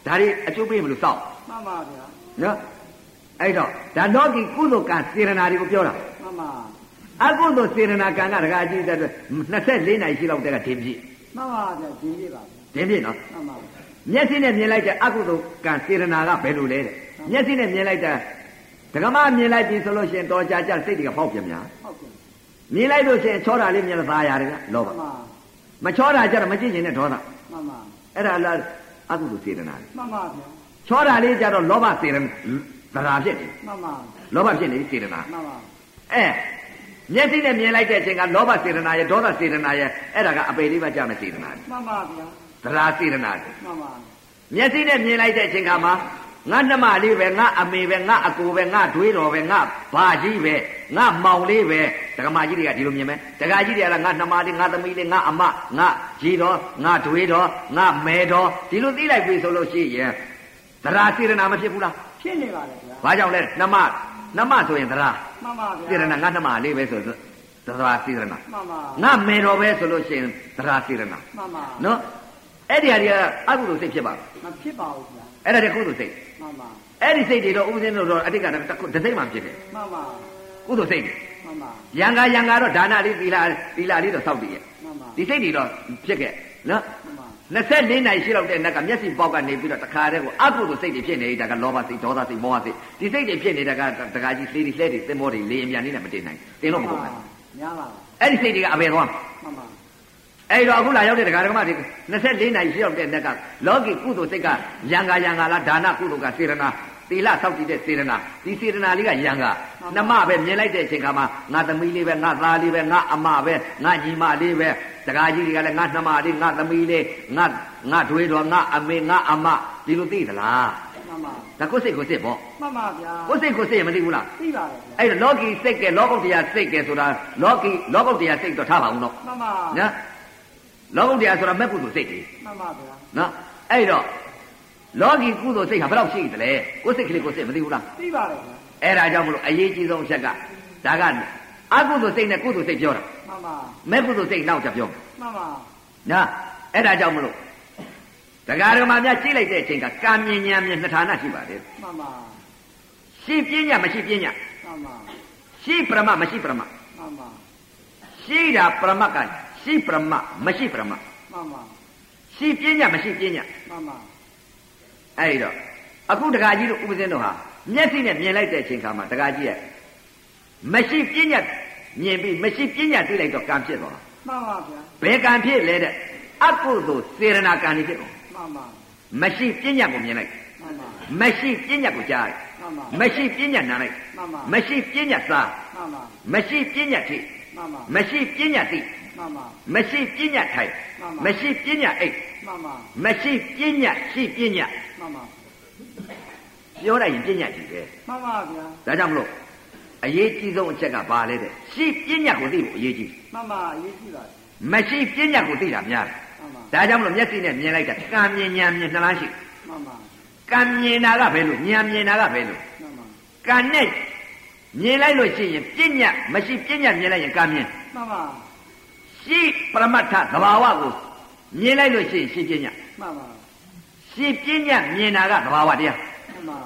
S1: ဒါတွေအကျိုးပေးမလို့စောင့်
S2: မှန်ပါဗျာ
S1: နော်အဲ့တော့ဒါလောကီကုသိုလ်ကံစေရနာတွေကိုပြောတာ
S2: မှန်ပါ
S1: အကုသိုလ်စေရနာကံကတကအကြည့်တဲ့24နိုင်ရှိလောက်တဲ့ကဒင်းပြည့်
S2: မှန်ပါဗျာဒီနေ့ပါ
S1: ဒင်းပြည့်နော်
S2: မှန်ပါ
S1: မျက်စိနဲ့မြင်လိုက်တဲ့အကုသိုလ်ကံစေရနာကဘယ်လိုလဲတဲ့မျက်စိနဲ့မြင်လိုက်တာဓကမမြင်လိုက်ပြီဆိုလို့ရှိရင်တော်ကြကြစိတ်တွေကဖောက်ပြန်များ
S2: ဟုတ်ကဲ့
S1: မြင်လိုက်လို့ရှိရင်ချောတာလေးမြင်လာသားရတယ်ကလောဘ
S2: မှန်ပါ
S1: မချောတာကြတော့မကြည့်ရင်နဲ့ဒေါသ
S2: မှန်ပါ
S1: အဲ့ဒါလားအကုသိုလ်စေရနာလေ
S2: မှန်ပါဗျာ
S1: ချောတာလေးကြတော့လောဘစေရနာသရာဖြစ်တယ်
S2: မှန်ပါ
S1: လောဘဖြစ်နေပြီစေရနာ
S2: မှန်ပါ
S1: အဲမျက်စိနဲ့မြင်လိုက်တဲ့အချိန်ကလောဘစေတနာရဲ့ဒေါသစေတနာရဲ့အဲ့ဒါကအပေလေးပါကြမဲ့စေတနာတွေ
S2: မှန်ပါဗျာ
S1: သရာစေတနာတွေ
S2: မှန်ပါ
S1: မျက်စိနဲ့မြင်လိုက်တဲ့အချိန်ကမှငါနှမလေးပဲငါအမေပဲငါအကိုပဲငါဒွေးတော်ပဲငါဘာကြီးပဲငါမောင်လေးပဲဒကမာကြီးတွေကဒီလိုမြင်မယ်ဒကာကြီးတွေကလည်းငါနှမလေးငါသမီးလေးငါအမငါကြီးတော်ငါဒွေးတော်ငါမဲတော်ဒီလိုသိလိုက်ပြီဆိုလို့ရှိရင်သရာစေတနာမဖြစ်ဘူးလား
S2: ဖြစ်နေပါလေဗျာ
S1: ဘာကြောင့်လဲနှမနှမဆိုရင်သရာ
S2: မှန်ပါဗျာ
S1: စေတနာငါနှမလေးပဲဆိုတော့သရာစေတနာ
S2: မှန်ပါ
S1: ငါမယ်တော်ပဲဆိုလို့ရှိရင်သရာစေရနာ
S2: မှန်ပါ
S1: နော်အဲ့ဒီဟာတွေကအကုသိုလ်စိတ်ဖြစ်ပါဘူး
S2: မဖြစ်ပါဘူးဗျာ
S1: အဲ့ဒါတွေကုသိုလ်စိတ်
S2: မှန်ပါ
S1: အဲ့ဒီစိတ်တွေတော့ဥပဇင်းတို့တော့အတိတ်ကတည်းကတစ်ခုတစ်စိတ်မှဖြစ်တယ်
S2: မှန်ပါ
S1: ကုသိုလ်စိတ်တွေ
S2: မှန်ပါ
S1: ရံကာရံကာတော့ဒါနလေးသီလသီလလေးတော့စောက်တည်ရဲ့
S2: မှန်ပါ
S1: ဒီစိတ်တွေတော့ဖြစ်ခဲ့နော်
S2: မှန်ပါ
S1: 24နိုင်ရှိလောက်တဲ့နက်ကမျက်စိပေါက်ကနေပြီးတော့တခါတည်းကိုအကုသိုလ်စိတ်တွေဖြစ်နေတာကလောဘစိတ်ဒေါသစိတ်မောဟစိတ်ဒီစိတ်တွေဖြစ်နေတာကတခါကြီးလှေတွေလှဲတွေသင်္ဘောတွေလေအမြန်လေးနဲ့မတင်နိုင်တင်လို့မကုန်ဘူး
S2: ညာပါ
S1: အဲ့ဒီစိတ်တွေကအဘယ်သွားမလဲ
S2: မှန်ပါ
S1: အဲ့တော့အခုလာရောက်တဲ့ဒကာဒကမတွေ24နိုင်ရှိရောက်တဲ့နက်ကလောကီကုသိုလ်စိတ်ကယံကာယံကာလားဒါနကုသိုလ်ကစေရနာသီလစောင့်တည်တဲ့စေရနာဒီစေရနာလေးကယံကာနှမပဲမြင်လိုက်တဲ့အချိန်ခါမှာငါသမီးလေးပဲငါသားလေးပဲငါအမပဲငါညီမလေးပဲဒကာကြီးတွေကလည်းငါနှမလေးငါသမီးလေးငါငါတွေးတော်ငါအမေငါအမဒီလိုသိသလား
S2: မှန်ပါ
S1: ဒါကိုယ်စိတ်ကိုယ်စိတ်ပေါ့
S2: မှန်ပါဗျာ
S1: ကိုယ်စိတ်ကိုယ်စိတ်ရင်မသိဘူးလား
S2: သိပါတယ်ဗျာ
S1: အဲ့တော့လောကီစိတ်ကလောကုတ္တရာစိတ်ကဆိုတာလောကီလောကုတ္တရာစိတ်တော့ထားပါဦးတော့
S2: မှန်ပါ
S1: နော်လောကုတ္တရာဆိုတာမဲ့ကုသိုလ်စိတ်ကြီး
S2: မှန်ပါဗျာ
S1: နော်အဲ့တော့လောကီကုသိုလ်စိတ်ဟာဘယ်တော့ရှိသလဲကိုယ်စိတ်ကလေးကိုယ်စိတ်မသိဘူးလား
S2: သိပါတယ်ဗျာ
S1: အဲ့ဒါကြောင့်မလို့အရေးကြီးဆုံးအချက်ကဒါကအကုသိုလ်စိတ်နဲ့ကုသိုလ်စိတ်ပြောတာ
S2: မှန်ပါ
S1: မဲ့ကုသိုလ်စိတ်နောက်ကြပြော
S2: မှန်ပါ
S1: နော်အဲ့ဒါကြောင့်မလို့ဒကာဒကမာများကြည့်လိုက်တဲ့အချိန်ကကာမြင်ညာမြင်နှစ်ဌာနရှိပါတယ်
S2: မှန်ပါ
S1: ရှိပညာမရှိပညာ
S2: မှန်ပါ
S1: ရှိပရမမရှိပရမ
S2: မှန်ပါ
S1: ရှိတာပရမကရှိပရမမရှိပရမ
S2: မှန်ပါ
S1: ရှိပညာမရှိပညာ
S2: မှန်ပါ
S1: အဲ့တော့အခုတကကြီးတို့ဥပဇင်းတို့ဟာမျက်စိနဲ့မြင်လိုက်တဲ့အချိန်ခါမှာတကကြီးရဲ့မရှိပညာမြင်ပြီးမရှိပညာသိလိုက်တော့ကံဖြစ်သွားတာ
S2: မှန်ပါဗျာ
S1: ဘယ်ကံဖြစ်လဲတဲ့အကုသိုလ်စေရနာကံတွေဖြစ်ကုန်
S2: မှန်ပါ
S1: မရှိပညာကိုမြင်လိုက်
S2: မှန်ပါ
S1: မရှိပညာကိုကြားလိုက်
S2: မှန်ပါမှန်
S1: မရှိပညာနားလိုက်
S2: ပါမှန်ပါမှန်
S1: မရှိပညာသား
S2: ပါမှန်
S1: မရှိပညာထိ
S2: ပါမှန်ပါ
S1: မရှိပညာသိ
S2: မှန်ပါ
S1: မရှိပညာထိုင်
S2: မှန်ပါ
S1: မရှိပညာအိတ်
S2: မှန်ပါ
S1: မရှိပညာရှိပညာ
S2: မှန်ပါ
S1: ပြောလိုက်ရင်ပညာကြီးပဲ
S2: မှန်ပါဗျာ
S1: ဒါကြောင့်မလို့အရေးကြီးဆုံးအချက်ကဘာလဲတဲ့ရှိပညာကိုသိဖို့အရေးကြီး
S2: မှန်ပါအရေးကြီးပါတယ်
S1: မရှိပညာကိုသိတာများ
S2: မှန်ပါ
S1: တယ်ဒါကြောင့်မလို့မျက်စိနဲ့မြင်လိုက်တာကံမြင်ဉာဏ်မြင်နှလားရှိ
S2: မှန်ပါ
S1: ကံမြင်တာကဘယ်လိုဉာဏ်မြင်တာကဘယ်လို
S2: မှန်ပါ
S1: ကံနဲ့မြင်လိုက်လို့ရှိရင်ပညာမရှိပညာမြင်လိုက်ရင်ကံမြင်
S2: မှန်ပါ
S1: ရှိပရမတ္ထသဘာဝကိုမြင်လိုက်လို့ရှိရင်ရှိပညာ
S2: မှန်ပါ
S1: ရှိပညာမြင်တာကသဘာဝတရား
S2: မှန်ပါ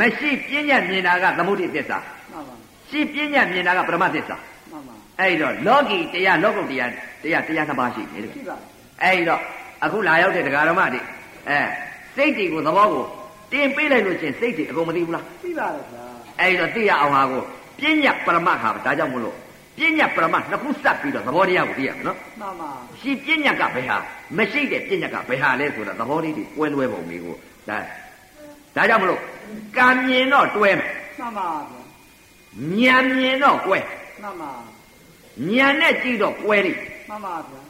S1: မရှိပညာမြင်တာကသမုဒိသစ္စာ
S2: မှန်ပါ
S1: ရှိပညာမြင်တာကပရမသစ္စာ
S2: မှန်ပါ
S1: အဲ့တော့လောကီတရားလောကုတ်တရားတရားတရားနှစ်ပါးရှိတယ်
S2: ရှိ
S1: တဲ့
S2: ပါတယ်
S1: အဲ့တော့အခုလာရောက်တဲ့ဒကာရမတွေအဲစိတ်တွေကိုသဘောကိုတင်ပေးလိုက်လို့ချင်းစိတ်တွေအကုန်မသိဘူးလား
S2: ရှိပါတယ်ဗျာ
S1: အဲ့တော့သိရအောင်ဟာကိုပညာပရမတ်ဟာဒါကြောင့်မလို့ပညာပရမတ်နှစ်ခုစပ်ပြီးတော့သဘောတရားကိုသိရမယ်နော်
S2: မှန်ပါ
S1: ရှိပညာကဘယ်ဟာမရှိတဲ့ပညာကဘယ်ဟာလဲဆိုတာသဘောလေးတွေကွဲလွဲပုံလေးကိုဒါဒါကြောင့်မလို့ကံမြင်တော့တွဲမယ်
S2: မှန်ပါ
S1: ဉာ
S2: ဗျာ
S1: ဏ်မြင်တော့ကွဲ
S2: မှန်ပါ
S1: ဉာဏ်နဲ့ကြည့်တော့ကွဲလိမ့်
S2: မှန်ပါဗျာ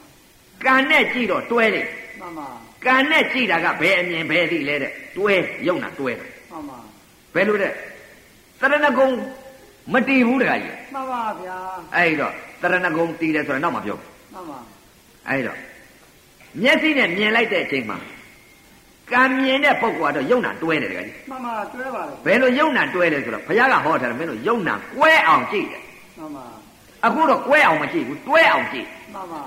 S1: ကံနဲ့ကြည့်တော့တွဲလိမ့်
S2: မှန်ပါ
S1: ကံနဲ့ကြည့်တာကဘယ်အမြင်ဘယ်သိလဲတဲ့တွဲယုံတာတွဲတာ
S2: မှန်ပါ
S1: ဘယ်လိုတဲ့သရဏဂုံမတည်ဘူးတခါကြီး
S2: မှန်ပါဗျာ
S1: အဲ့တော့သရဏဂုံတည်တယ်ဆိုတော့နောက်မှပြောမယ်
S2: မှန်ပါ
S1: အဲ့တော့မျက်စိနဲ့မြင်လိုက်တဲ့အချိန်မှာကံမြင်တဲ့ပုဂ္ဂိုလ်ကတော့ယုံတာတွဲတယ်တခါကြီး
S2: မှန်ပါကျွဲပါတယ်
S1: ဘယ်လိုယုံတာတွဲလဲဆိုတော့ဘုရားကဟောထားတယ်မင်းတို့ယုံတာကွဲအောင်ကြည့်တယ်
S2: မှန်ပါ
S1: အခုတော့ကွဲအောင်မကြည့်ဘူးတွဲအောင်ကြည့်
S2: မှန်ပါ
S1: ဒါ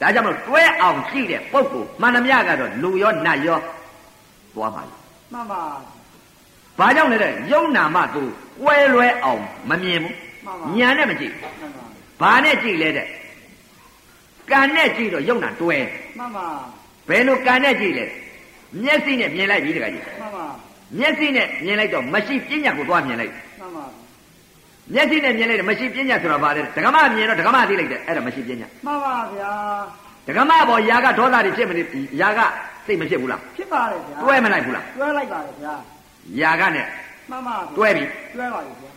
S1: ကြောင့်မလို့တွဲအောင်ကြည့်တဲ့ပုဂ္ဂိုလ်မှန်သမျှကတော့လူရောနတ်ရောသွားပါလိမ့်
S2: မှန်ပါ
S1: ။ဘာကြောင့်လဲတဲ့ယုံနာမသူကွဲလွဲအောင်မမြင်ဘူး
S2: မှန်ပါ
S1: ။ညာနဲ့မကြည့်ဘူး
S2: မှန်ပါ
S1: ။ဘာနဲ့ကြည့်လဲတဲ့။ကံနဲ့ကြည့်တော့ယုံနာတွဲ
S2: မှန်ပါ
S1: ။ဘယ်လိုကံနဲ့ကြည့်လဲ မျက်စိနဲ့မြင်လိုက်ပြီတခါကြီး
S2: မှန်ပါ
S1: မျက်စိနဲ့မြင်လိုက်တော့မရှိပညာကိုသွားမြင်လိုက်
S2: မှန်ပါ
S1: မျက်စိနဲ့မြင်လိုက်တယ်မရှိပညာဆိုတာဘာလဲဓကမမြင်တော့ဓကမသိလိုက်တယ်အဲ့ဒါမရှိပညာ
S2: မှန်ပါဗျာ
S1: ဓကမပေါ်ຢာကဒေါသတွေဖြစ်မနေຢာကစိတ်မဖြစ်ဘူးလား
S2: ဖြစ်ပါလေဗျာ
S1: တွဲမလိုက်ဘူးလား
S2: တွဲလိုက်ပါလေဗျာ
S1: ຢာကနဲ့
S2: မှန်ပါဗျာ
S1: တွဲပြီ
S2: တွဲပါလေဗျာ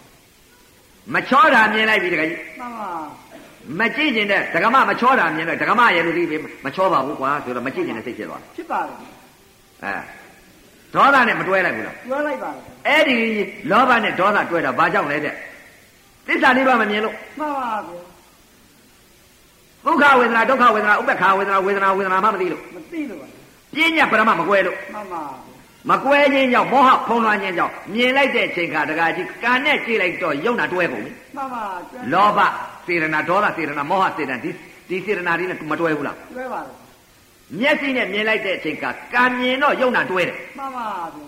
S1: မချောတာမြင်လိုက်ပြီတခါကြီး
S2: မှန်ပါ
S1: မကြည့်ကျင်တဲ့ဓကမမချောတာမြင်တော့ဓကမရဲ့လူကြီးပဲမချောပါဘူးကွာဆိုတော့မကြည့်ကျင်တဲ့စိတ်ဖြစ်သွား
S2: ဖြစ်ပါလေဗျာ
S1: အဲဒေါသနဲ့မတွဲလိုက်ဘူးလား
S2: တွဲလိုက်ပါလေဗျာ
S1: အဲ့ဒီလောဘနဲ့ဒေါသတွေ့တာဘာကြောင့်လဲတဲ့သစ္စာလေးပါမမြင်လို့
S2: မှန်ပါဗျာ
S1: ဒုက္ခဝေဒနာဒုက္ခဝေဒနာဥပ္ပခာဝေဒနာဝေဒနာဝေဒနာမှမသိလို့
S2: မသိလို့ပါလေ
S1: ပြင်းညပရမမကွဲလို့
S2: မှန်ပါ
S1: မကွဲခြင်းကြောင့်မောဟဖုံးလွှမ်းခြင်းကြောင့်မြင်လိုက်တဲ့အချိန်ခါတကကြီးကံနဲ့ကြည့်လိုက်တော့ယုံနာတွဲကုန်ပြီ
S2: ဗျာမှန်ပါတွဲ
S1: လောဘစေရနာဒေါသစေရနာမောဟစေရနာဒီဒီစေရနာတွေနဲ့မတွဲဘူးလား
S2: တွဲပါလေ
S1: မျက်စိနဲ့မြင်လိုက်တဲ့အချိန်ခါကံမြင်တော့ယုံနာတွဲတယ်
S2: မှန်ပါဗျာ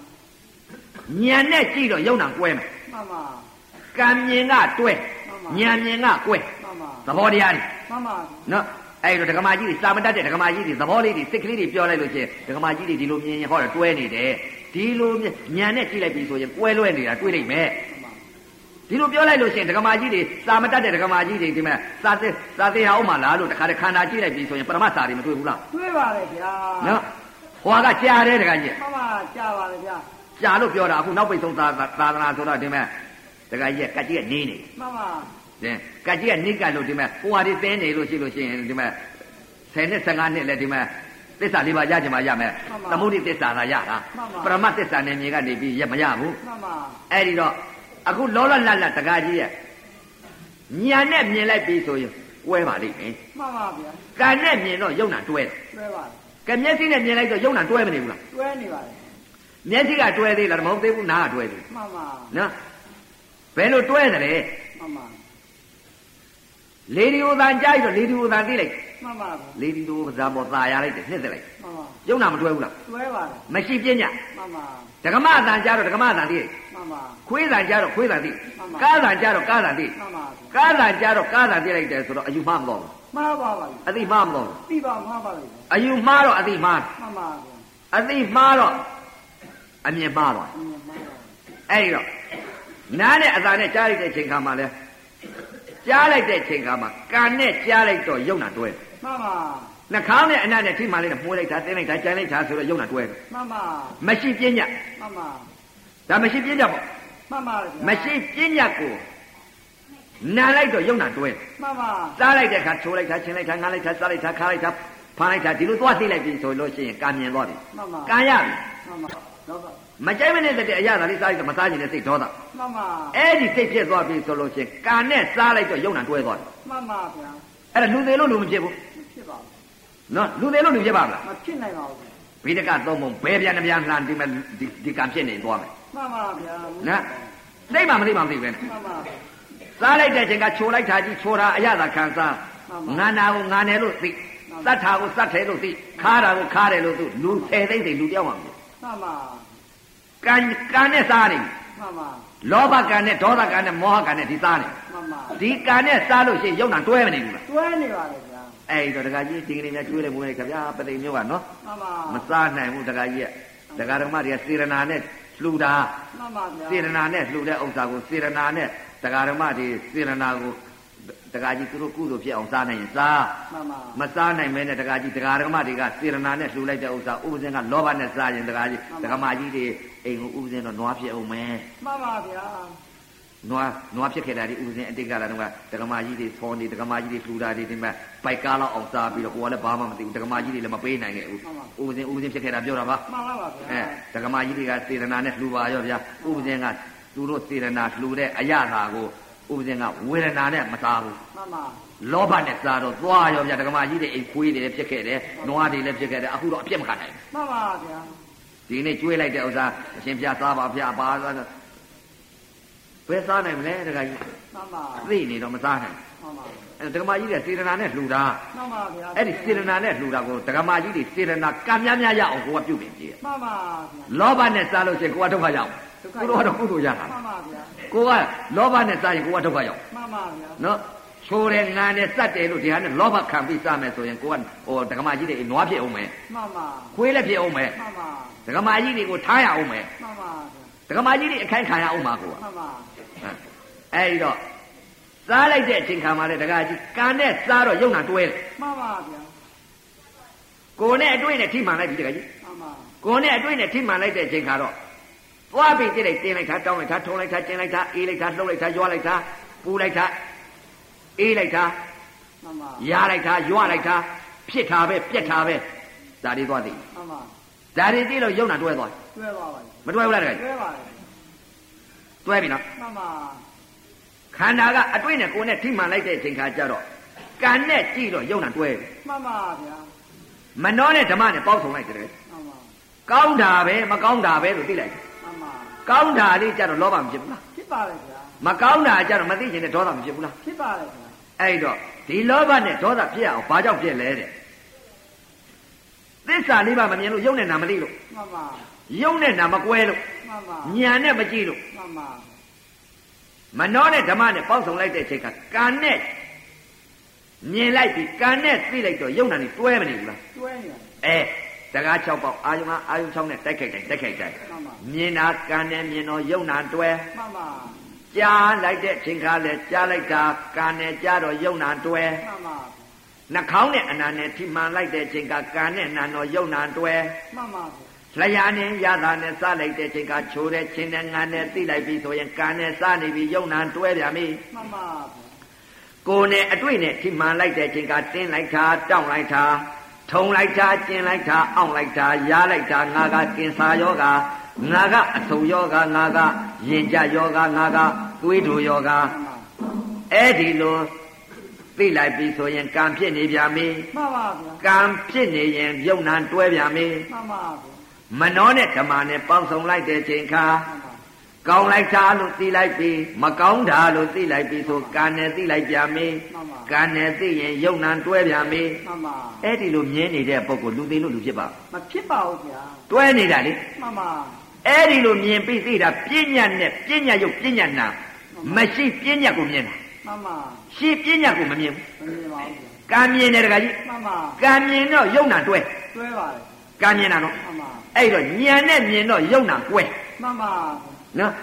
S1: ဉာဏ်နဲ့ကြည့်တော့ယုံနာကွဲမယ်
S2: မှန်ပါ
S1: ကံမြင်ကတွဲ
S2: မှန်ပါ
S1: ဉာဏ်မြင်ကကွဲ
S2: မှန်ပါ
S1: သဘောတရားတွေ
S2: မှန်ပါ
S1: နော်အဲ့တော့ဒကမာကြီးတွေစာမတတ်တဲ့ဒကမာကြီးတွေသဘောလေးတွေစိတ်ကလေးတွေပြောလိုက်လို့ချင်းဒကမာကြီးတွေဒီလိုမြင်ရင်ဟောတာတွဲနေတယ်ဒီလိုမြင်ညံနဲ့ကြည့်လိုက်ပြီဆိုရင်ကွဲလွဲနေတာတွေ့နိုင်မယ်
S2: မှန်
S1: ဒီလိုပြောလိုက်လို့ချင်းဒကမာကြီးတွေစာမတတ်တဲ့ဒကမာကြီးတွေဒီမှာစာသစ်စာသင်ဟာဥမလားလို့တခါတည်းခန္ဓာကြည့်လိုက်ပြီဆိုရင်ပရမတ်စာတွေမတွေ့ဘူးလား
S2: ပါတွဲပါလေဗျာ
S1: နော်ဟွာကကြားတယ်တခါကြီး
S2: မှန်ပါကြာပါလေဗျာ
S1: ကြားလို့ပြောတာအခုနောက်ပိတ်ဆုံးသာသာသနာဆိုတော့ဒီမှာတခါကြီးကကတ်ကြီးကနေနေတယ်
S2: မှန်ပါ
S1: ။ဒါကကြီးကနိကလို့ဒီမှာဟိုဟာတွေသင်းနေလို့ရှိလို့ရှိရင်ဒီမှာ10နဲ့15နဲ့လည်းဒီမှာသစ္စာလေးပါးရကြမှာရမယ်။သမုဒိသစ္စာသာရတာပရမတ်သစ္စာနဲ့မြေကနေပြီးရမရဘူး
S2: မှန်ပါ
S1: ။အဲ့ဒီတော့အခုလောလောလတ်လတ်တကားကြီးရဲ့ညာနဲ့မြင်လိုက်ပြီးဆိုရင်ကွဲပါလိမ့်မယ်
S2: မှန်ပါဗျာ
S1: ။ကံနဲ့မြင်တော့ယုံနာတွဲတယ်
S2: တွဲပါလေ
S1: ။ကံမျက်စိနဲ့မြင်လိုက်တော့ယုံနာတွဲမနေဘူးလား
S2: တွဲနေပါလေ
S1: ။မျက်စိကတွဲသေးလားမဟုတ်သေးဘူးနားကတွဲသေးတယ်
S2: မှန်ပါ
S1: ။နော်။ဘယ်လိုတွဲတယ်လဲ
S2: မှန်ပါ
S1: ။လေဒီယိုသံကြားပြီးတော့လေဒီယိုသံသိလိုက်
S2: မှန်ပါဗျာ
S1: လေဒီတို့ဇာပေါ်ตาရလိုက်တယ်နှစ်သက်လိုက်
S2: မှန်ပါ
S1: ယုံနာမတွဲဘူးလား
S2: တွဲပါလေ
S1: မရှိပညာ
S2: မှန်ပါ
S1: ဓကမအတန်ကြားတော့ဓကမအတန်သိတယ်
S2: မှန်ပါ
S1: ခွေးတန်ကြားတော့ခွေးတန်သိ
S2: မှန်ပါ
S1: ကားတန်ကြားတော့ကားတန်သိ
S2: မှန်ပါဗျာ
S1: ကားတန်ကြားတော့ကားတန်သိလိုက်တယ်ဆိုတော့အယူမှားမတော်ဘူး
S2: မှားပါပါလေ
S1: အသိမှားမတော်ဘူး
S2: ပြီးပါမှားပါလေဗျာ
S1: အယူမှားတော့အသိမှား
S2: မှန်ပါဗျာ
S1: အသိမှားတော့အမြင်မှားတော့
S2: အင်းမှားပါ
S1: အဲ့ဒီတော့နားနဲ့အသာနဲ့ကြားလိုက်တဲ့အချိန်ခါမှာလဲကြားလိုက်တဲ့အချိန်ခါမှာကံနဲ့ကြားလိုက်တော့ယုံနာတွဲတယ်
S2: မှန်ပါ
S1: နှာခေါင်းနဲ့အနံ့နဲ့ထိမှန်လိုက်တာမှုလိုက်တာတင်းလိုက်တာကြမ်းလိုက်တာဆိုတော့ယုံနာတွဲတယ်
S2: မှန်ပါ
S1: မရှိပညာ
S2: မှန်ပါ
S1: ဒါမရှိပညာပေါ့
S2: မှန်ပါလေဗျာ
S1: မရှိပညာကိုနာလိုက်တော့ယုံနာတွဲတယ်
S2: မှန်ပါ
S1: စားလိုက်တဲ့အခါထိုးလိုက်တာချင်းလိုက်တာငားလိုက်တာစားလိုက်တာခါလိုက်တာဖမ်းလိုက်တာဒီလိုသွားသိလိုက်ပြီဆိုလို့ရှိရင်ကံမြင်သွားပြီ
S2: မှန်ပါ
S1: ကံရပြီ
S2: မှန်ပါတော့ပါ
S1: မကြိုက်မနဲ့တဲ့အရာသာလေးစားလိုက်တော့မစားချင်တဲ့စိတ်ဒေါသ
S2: မှန်ပါ
S1: အဲ့ဒီစိတ်ဖြစ်သွားပြီဆိုလို့ရှိရင်ကံနဲ့စားလိုက်တော့ယုံနာတွဲသွားတယ်
S2: မှန်ပါဗျာ
S1: အဲ့ဒါလူသေးလို့လူမဖြစ်ဘူး
S2: မဖြစ်ပါဘူး
S1: နော်လူသေးလို့လူဖြစ်ပါမလား
S2: မဖြစ်နိုင်ပါဘူးဗျာ
S1: ဘိဒကသုံးပုံဘယ်ပြန်တစ်ပြန်လှန်ဒီမဲ့ဒီဒီကံဖြစ်နေသွားမယ်
S2: မှန်ပါဗျာ
S1: နော်သိမှမသိမှမသိပဲနဲ့
S2: မှန်ပါ
S1: စားလိုက်တဲ့အချိန်ကချိုလိုက်တာကြီးချိုတာအရသာခံစား
S2: မှန်ပါ
S1: ငါနာကိုငါနယ်လို့သိ
S2: မှန်ပါ
S1: သတ်တာကိုသတ်တယ်လို့သိခါတာကိုခါတယ်လို့သိလူ၁၀သိန်းသိလူတယောက်မှမဖြစ်
S2: မှန်ပါ
S1: ကံကံနဲ့စားနေပြီ
S2: မှန်ပါ
S1: လောဘကံနဲ့ဒေါသကံနဲ့မောဟကံနဲ့ဒီစားနေ
S2: မှန်ပါ
S1: ဒီကံနဲ့စားလို့ရှိရင်ယုံနာတွဲမနေဘူးလား
S2: တွဲနေပါလေဗျာ
S1: အဲ့ဒီတော့ဒကာကြီးဒီကနေ့များကျွေးလိုက်ပုံလိုက်ခင်ဗျာပသိမ်မျိုးကနော်
S2: မှန်ပါ
S1: မစားနိုင်ဘူးဒကာကြီးကဒကာဓမ္မတွေကစေရနာနဲ့လှူတာ
S2: မှန်ပါဗျာ
S1: စေရနာနဲ့လှူတဲ့ဥစ္စာကိုစေရနာနဲ့ဒကာဓမ္မတွေစေရနာကိုဒကာကြီးသူတို့ကုသိုလ်ဖြစ်အောင်စားနိုင်ရင်စား
S2: မှန်ပါ
S1: မစားနိုင်မဲနဲ့တကာကြီးတကာဓမ္မတွေကစေရနာနဲ့လှူလိုက်တဲ့ဥစ္စာဥပဇင်းကလောဘနဲ့စားရင်တကာကြီးတကာမကြီးတွေအိမ်ကိုဥပဇင်းတော့နွားဖြစ်အောင်မဲ
S2: မှန်ပါဗျာ
S1: နွားနွားဖြစ်ခဲ့တာဒီဥပဇင်းအတိတ်ကလာတော့ကတကာမကြီးတွေဖော်နေတကာမကြီးတွေလှူတာတွေဒီမှာဘိုက်ကားလောက်အောင်စားပြီးတော့ကိုယ်ကလည်းဘာမှမသိဘူးတကာမကြီးတွေလည်းမပေးနိုင်ခဲ့ဘူးဥပဇင်းဥပဇင်းဖြစ်ခဲ့တာပြောတာပါ
S2: မှန်လားပါဗျာ
S1: အဲတကာမကြီးတွေကစေရနာနဲ့လှူပါရောဗျာဥပဇင်းကသူတို့စေရနာလှူတဲ့အရာသာကိုဥပဇင်းကဝေဒနာနဲ့မစားဘူး
S2: မှန်ပါ
S1: လောဘနဲ့စားတော့သွားရောဗျာဒကမာကြီးတွေအိမ်ခွေးတွေလည်းဖြစ်ခဲ့တယ်နွားတွေလည်းဖြစ်ခဲ့တယ်အခုတော့အပြစ်မခံနိုင်
S2: မှန်ပါဗျာ
S1: ဘူးဒီနေ့ကျွေးလိုက်တဲ့ဥစ္စာအရှင်ပြစားပါဖျားပါသွားတော့ဘယ်စားနိုင်မလဲဒကကြီး
S2: မှန်ပါ
S1: သိနေတော့မစားနိုင်
S2: မှန်ပါ
S1: အဲဒကမာကြီးတွေစေတနာနဲ့လှူတာ
S2: မှန်ပါဗျာ
S1: အဲ့ဒီစေတနာနဲ့လှူတာကိုဒကမာကြီးတွေစေတနာကံများများရအောင်ကိုကပြုပြင်ကြည့်
S2: မှန်ပါဗျာ
S1: လောဘနဲ့စားလို့ရှိရင်ကိုကဒုက္ခရောက်
S2: ဒုက္ခ
S1: ကို
S2: ရောက်
S1: တော့ကုသိုလ်ရတာ
S2: မှန်ပါဗျာ
S1: ကိုကလောဘနဲ့စားရင်ကိုကဒုက္ခရောက်
S2: မှန်ပါဗျာ
S1: နော် ချိုးတယ်နာတယ်စက်တယ်လို့ဒီဟာနဲ့လောဘခံပြီးစမယ်ဆိုရင်ကိုကဟိုဒကမာကြီးတွေအိမ်နွားဖြစ်အောင်မယ်
S2: မှန်ပါ
S1: ခွေးလည်းဖြစ်အောင်မယ်
S2: မှန်ပါ
S1: ဒကမာကြီးတွေကိုထားရအောင်မယ်
S2: မှန်ပါ
S1: ဒကမာကြီးတွေအခိုင်ခံရအောင်ပါကိုက
S2: မှန်ပါ
S1: ဟမ်အဲဒီတော့စားလိုက်တဲ့အချိန်ခါမှာလေတကားကြီးကံနဲ့စားတော့ယုံနာတွဲတယ်
S2: မှန်ပါဗျာ
S1: ကိုယ်နဲ့အတွေ့နဲ့ထိမှန်လိုက်ပြီတကားကြီး
S2: မှန်ပါ
S1: ကိုယ်နဲ့အတွေ့နဲ့ထိမှန်လိုက်တဲ့အချိန်ခါတော့သွားပြီးတိလိုက်တင်းလိုက်တာတောင်းလိုက်တာထုံလိုက်တာကျင်းလိုက်တာအေးလိုက်တာလှုပ်လိုက်တာရွာလိုက်တာပူလိုက်တာအေးလိုက်တာ
S2: မှန်ပါ
S1: ရာလိုက်တာရွာလိုက်တာဖြစ်တာပဲပြက်တာပဲဒါတွေသွားသိ
S2: မှန်ပါ
S1: ဒါတွေသိလို့ယုံနာတွဲသွားတယ်
S2: တွဲပါပါ
S1: မတွဲဘူးလားတကားကြီး
S2: တွဲပါလေ
S1: တွဲပြီနော်
S2: မှန်ပါ
S1: ခန္ဓာကအတွေ့နဲ့ကိုယ်နဲ့ထိမှန်လိုက်တဲ့အချိန်ခါကျတော့ကံနဲ့ကြည့်တော့ယုံနာတွဲတယ်
S2: မှန်ပါဗျာ
S1: မနှောနဲ့ဓမ္မနဲ့ပေါင်းစုံလိုက်တယ်
S2: မှန်ပါ
S1: ကောင်းတာပဲမကောင်းတာပဲလို့သိလိုက်တယ်
S2: မှန်ပါ
S1: ကောင်းတာလေးကြတော့လောဘမဖြစ်ဘူးလား
S2: ဖြစ်ပါလေဗျာ
S1: မကောင်းတာကြတော့မသိရင်လည်းဒေါသမဖြစ်ဘူးလား
S2: ဖြစ်ပါလေဗျာ
S1: အဲ့တော့ဒီလောဘနဲ့ဒေါသဖြစ်အောင်ဘာကြောင့်ဖြစ်လဲတဲ့သစ္စာလေးပါမမြင်လို့ယုံနဲ့နာမသိလို့
S2: မှန်ပါ
S1: ယုံနဲ့နာမကွဲလို့
S2: မှန်ပါ
S1: ဉာဏ်နဲ့မကြည့်လို့
S2: မှန်ပါ
S1: မနှောနဲ့ဓမ္မနဲ့ပေါင်းစုံလိုက်တဲ့အချိန်ကကံနဲ့မြင်လိုက်ပြီးကံနဲ့သိလိုက်တော့ယုံနာနဲ့တွဲမနေဘူးလား
S2: တွဲနေတယ်
S1: အဲတကား6ပေါက်အာယုံကအာယုံ6နဲ့တိုက်ခိုက်တိုက်တိုက်ခိုက်တိုက်
S2: မှန်ပါ
S1: မြင်တာကံနဲ့မြင်တော့ယုံနာတွဲ
S2: မှန်ပါ
S1: ကြားလိုက်တဲ့အချိန်ခါလဲကြားလိုက်တာကံနဲ့ကြားတော့ယုံနာတွဲ
S2: မှန်ပါ
S1: နှာခေါင်းနဲ့အနာနဲ့ထိမှန်လိုက်တဲ့အချိန်ခါကံနဲ့နာတော့ယုံနာတွဲ
S2: မှန်ပါ
S1: လျာနဲ့ရတာနဲ့စလိုက်တဲ့အချိန်ခါချိုးတဲ့ခြင်းနဲ့ငါနဲ့သိလိုက်ပြီဆိုရင်ကံနဲ့စနေပြီယုံနာတွဲပြန်ပြီ
S2: မှန်ပါ
S1: ကိုယ်နဲ့အတွေ့နဲ့ထိမှန်လိုက်တဲ့အချိန်ခါတင်းလိုက်တာတောင့်လိုက်တာထုံလိုက်တာကျင်လိုက်တာအောင့်လိုက်တာရားလိုက်တာငါကကင်စာယောဂါငါကအဆုံယောဂါငါကယင်ကြယောဂါငါကသွေးတူယောဂါ
S2: မှန်ပါ
S1: အဲ့ဒီလိုသိလိုက်ပြီဆိုရင်ကံဖြစ်နေပြန်ပြီ
S2: မှန်ပါဗျာ
S1: ကံဖြစ်နေရင်ယုံနာတွဲပြန်ပြီ
S2: မှန်ပါဗျာ
S1: မနှောနဲ့ဓမ္မနဲ့ပေါင်းစုံလိုက်တဲ့ချိန်ခါ
S2: မှန်ပါ
S1: ကောင်းလိုက်တာလို့သိလိုက်ပြီမကောင်းတာလို့သိလိုက်ပြီဆိုကံနဲ့သိလိုက်ပြန်ပြီ
S2: မှန်ပါ
S1: ကံနဲ့သိရင်ယုံနာတွဲပြန်ပြီ
S2: မှန်ပါ
S1: အဲ့ဒီလိုမြင်နေတဲ့ပုဂ္ဂိုလ်လူသိလို့လူဖြစ်ပါ
S2: မဖြစ်ပါဘူးဗျာ
S1: တွဲနေတာလေ
S2: မှန်ပါ
S1: အဲ့ဒီလိုမြင်ပြီးသိတာပြဉ္ညာနဲ့ပြဉ္ညာယုတ်ပြဉ္ညာနာမရှိပြဉ္ညာကိုမြင်တာ
S2: မှန်ပါ
S1: ရှိပြဉ္ညာကိုမမြင်ဘူး
S2: မမြင်ပါဘူးဗျာ
S1: ကံမြင်တယ်တခါကြီး
S2: မှန်ပါ
S1: ကံမြင်တော့ယုံနာတွဲ
S2: တွဲပါလေ
S1: ကံမြင်တာနော်
S2: မှန်ပါ
S1: အဲ့တော့ဉာဏ်နဲ့မြင်တော့ယုံနာကွဲ
S2: မှန်ပါ
S1: နော်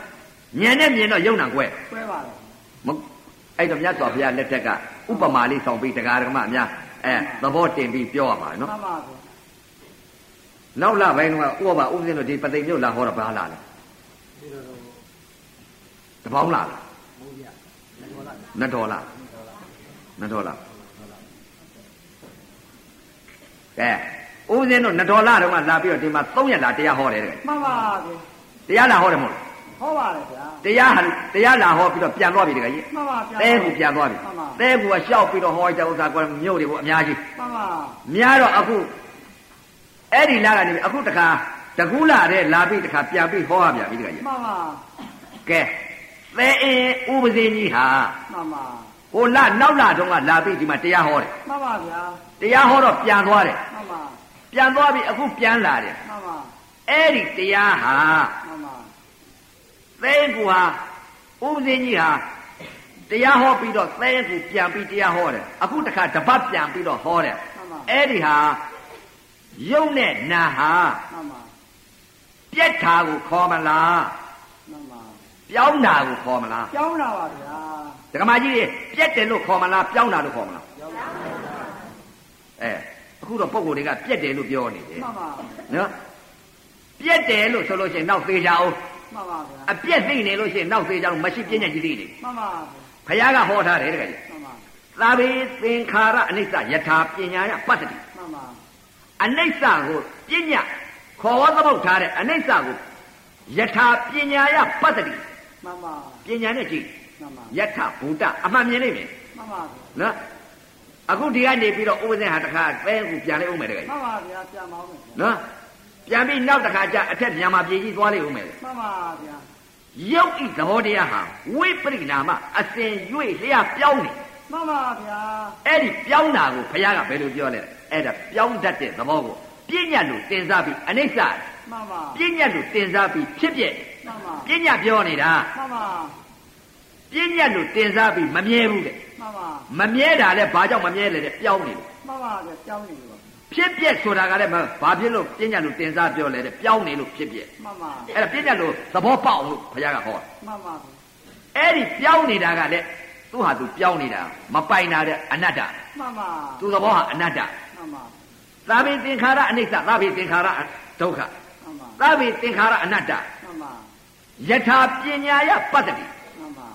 S1: ဉာဏ်နဲ့မြင်တော့ယုံနာကွဲ
S2: တွဲပါလေ
S1: မဟုတ်အဲ့တော့မြတ်စွာဘုရားလက်ထက်ကဥပမာလေးဆောင်ပြီးတရားဓမ္မအများအဲသဘောတင်ပြီးပြောရမှာနော်
S2: မှန်ပါဗျာ
S1: နောက်လာပိုင်းကဥပမာဥပဒေလို့ဒီပသိမ်မြို့လာဟောတော့ဘာလာလဲ
S2: ဒီလိုတော့
S1: တပေါင်းလာလား
S2: မိုးရဘောလာ
S1: နတ်တော်လားနတ်တော်လားကဲဥပဒေတို့နတ်တော်လားတော့ကလာပြီးတော့ဒီမှာ၃ရက်လာတရားဟောတယ်တဲ့
S2: မှန်ပါ
S1: တ
S2: ဗျာ
S1: ရားလာဟောတယ်မဟုတ်လား
S2: ဟောပါလေဗျာ
S1: တရားဟာတရားလာဟောပြီးတော့ပြန်သွားပြီတခါကြီး
S2: မှန်ပါဗျာ
S1: တဲဘူးပြန်သွားပြီ
S2: မှန်ပါ
S1: တဲဘူးကရှောက်ပြီးတော့ဟောကြဥစ္စာကမြို့တွေကိုအများကြီး
S2: မှန်ပါ
S1: များတော့အခုအဲ့ဒီလာကနေပြီးအခုတခါတကူးလာတဲ့လာပြီးတခါပြန်ပြီးဟောရပြန်ပြီတခါကြီး
S2: မှန်ပါ
S1: ကဲသဲအင်းဥပဇင်းကြီးဟာ
S2: မှန်ပါ
S1: ဟိုလာနောက်လာတုန်းကလာပြီးဒီမှာတရားဟောတယ်
S2: မှန်ပါဗျာ
S1: တရားဟောတော့ပြန်သွားတယ်
S2: မှန်ပါ
S1: ပြန်သွားပြီးအခုပြန်လာတယ်
S2: မှန်ပါ
S1: အဲ့ဒီတရားဟာ
S2: မှန်ပါ
S1: သဲကူဟာဥပဇင်းကြီးဟာတရားဟောပြီးတော့သဲကူပြန်ပြီးတရားဟောတယ်အခုတခါတပတ်ပြန်ပြီးတော့ဟောတယ်
S2: မှန်ပါ
S1: အဲ့ဒီဟာယုံနဲ့နာဟာ
S2: မှန်ပါ
S1: ပြက်တာကိုခေါ်မလား
S2: မှန်ပါ
S1: ပြောင်းတာကိုခေါ်မလား
S2: ကြောင်းလာပါဗျာ
S1: ဒကမကြီးတွေပြက်တယ်လို့ခေါ်မလားပြောင်းတာလို့ခေါ်မလားအဲအခုတော့ပုံကိုယ်တွေကပြက်တယ်လို့ပြောနေတယ်
S2: မှန်ပါ
S1: နော်ပြက်တယ်လို့ဆိုလို့ရှိရင်နောက်သေးကြအောင်
S2: မှန်ပါဗျာ
S1: အပြက်သိနေလို့ရှိရင်နောက်သေးကြအောင်မရှိပြည့်ညက်ကြီးသေးတယ်
S2: မှန်ပါ
S1: ဘုရားကဟောထားတယ်တကယ်ကြီး
S2: မှန်ပါ
S1: သာဘေသင်္ခါရအနိစ္စယထာပညာယပတ္တိ
S2: မှန်ပါ
S1: အနိစ္စကိုပညာခေါ်ဝသမုတ်ထားတဲ့အနိစ္စကိုယထာပညာယပတ္တိ
S2: မှန်ပါ
S1: ပညာနဲ့ကြည့်
S2: မှန်ပါ
S1: ယထဘူတအမှန်မြင်နိုင်မယ်
S2: မှန်ပါ
S1: နော်အခုဒီကနေပြီးတော့ဥပဇင်ဟာတစ်ခါပဲအခုပြန်လိုက်အောင်မယ်တကယ်
S2: မှန်ပါဗျာပြန်ပါဦးမယ်
S1: နော်ပြန်ပြီးနောက်တစ်ခါကျအထက်မြန်မာပြည်ကြီးသွားလိုက်အောင်မယ်
S2: မှန်ပါဗျာ
S1: ရုပ်ဤသဘောတရားဟာဝိပရိနာမအစဉ်၍လျှပြောင်းနေ
S2: မှန်ပါဗျာ
S1: အဲ့ဒီပြောင်းတာကိုဘုရားကဘယ်လိုပြောလဲအဲ့ဒါပြောင်းတတ်တဲ့သဘောကိုပညာလို့တင်စားပြီးအနိစ္စ
S2: မှန်ပါ
S1: ပညာလို့တင်စားပြီးဖြစ်ပြက်
S2: မှန်ပါ
S1: ပညာပြောနေတာ
S2: မှန်ပါ
S1: ပညာလို့တင်စားပြီးမမြဲဘူးတဲ့
S2: မ မှန်ပါ
S1: မမြဲတာလဲဘာကြောင့်မမြဲလဲတဲ့ပျောက်နေတယ်
S2: မှန်ပါဗျာကြောင်းနေပြီပေါ့
S1: ဖြစ်ပြက်ဆိုတာကလည်းမဘာဖြစ်လို့ပြဉ္ညာလို့တင်စားပြောလဲတဲ့ပျောက်နေလို့ဖြစ်ပြက်
S2: မှန်ပါ
S1: အဲ့ဒါပြဉ္ညာလို့သဘောပေါက်လို့ဘုရားကဟောတာ
S2: မှန်ပါဗျာ
S1: အဲ့ဒီပျောက်နေတာကလည်းသူ့ဟာသူပျောက်နေတာမပိုင်တာတဲ့အနတ္တ
S2: မှန်ပါ
S1: သူသဘောဟာအနတ္တ
S2: မှန်ပါ
S1: သာဘိသင်္ခါရအနိစ္စသာဘိသင်္ခါရဒုက္ခ
S2: မှန်ပါ
S1: သာဘိသင်္ခါရအနတ္တ
S2: မှန်ပါ
S1: ယထာပညာယပတ္တိ
S2: မှန်ပါ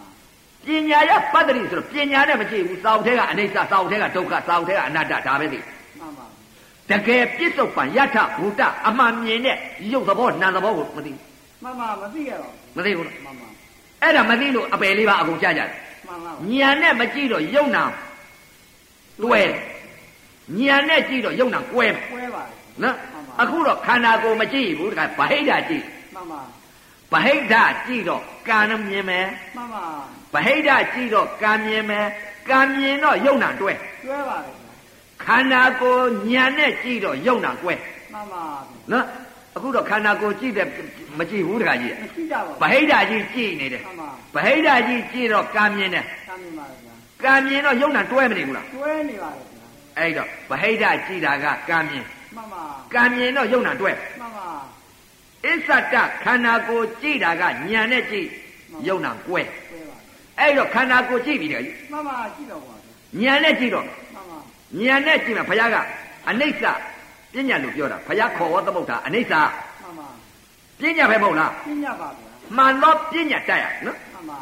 S1: ပညာရပတ္တိဆိုတော့ပညာနဲ့မကြည့်ဘူးစောင့်ထဲကအနိစ္စစောင့်ထဲကဒုက္ခစောင့်ထဲကအနတ္တဒါပဲသိ
S2: မှန်ပါ
S1: တကယ်ပြစ္ဆုတ်ပံယထဘူတအမှန်မြင်တဲ့ရုပ်သဘောနာမ်သဘောကိုမသိ
S2: မှန်ပါမသိရတော့
S1: မသိဘူးလား
S2: မှန်ပါ
S1: အဲ့ဒါမသိလို့အပယ်လေးပါအကုန်ကြကြတယ်
S2: မှန်ပါ
S1: ဉာဏ်နဲ့မကြည့်တော့ယုံနာတွဲဉာဏ်နဲ့ကြည့်တော့ယုံနာကွဲတယ်
S2: ကွဲပါ
S1: နော်အခုတော့ခန္ဓာကိုယ်မကြည့်ဘူးတခါဗဟိတကြည့်
S2: မှန်ပါ
S1: ဗဟိတကြည့်တော့ကာဏမြင်မယ်
S2: မှန်ပါ
S1: ဗဟိတကြည့်တော့ကာမြင်မယ်ကာမြင်တော့ယုံနာတွဲ
S2: ကျွဲပါတယ်
S1: ခန္ဓာကိုယ်ညံနဲ့ကြည့်တော့ယုံတာကွဲ
S2: မှန်ပါ
S1: နော်အခုတော့ခန္ဓာကိုယ်ကြည့်တယ်မကြည့်ဘူးတခါကြီး
S2: မရှိကြပါ
S1: ဗဟိတကြီးကြည့်နေတယ်
S2: ဘူးမှန်
S1: ဗဟိတကြီးကြည့်တော့ကာမြင်တယ်
S2: ပါသမင်ပါတယ်ဗျာ
S1: ကာမြင်တော့ယုံတာတွဲမနေဘူးလား
S2: ကျွဲနေပါတယ်ဗျာ
S1: အဲ့တော့ဗဟိတကြည့်တာကကာမြင်
S2: မှန်ပါ
S1: ကာမြင်တော့ယုံတာတွဲ
S2: မှန်ပါ
S1: အစ္ဆတခန္ဓာကိုယ်ကြည့်တာကညံနဲ့ကြည့်ယုံတာကွဲ
S2: ကျွဲပါတယ်
S1: အဲ့တော့ခန္ဓာကိုယ်ကြည့်ပြီတခါကြီး
S2: မှန်ပါရှိတော့ပါဗျာ
S1: ညံနဲ့ကြည့်တော့
S2: မှန်ပါ
S1: ညံနဲ့ကြည့်မှဘုရားကအနိစ္စပညာလို့ပြောတာဘုရားခေါ်ဝသမုဒ္ဒအနိစ္စ
S2: မှန်ပါ
S1: ပညာပဲမဟုတ်လား
S2: ပြညတ်ပါဗျာ
S1: မှန်တော့ပညာတတ်ရနော်
S2: မှန်ပါ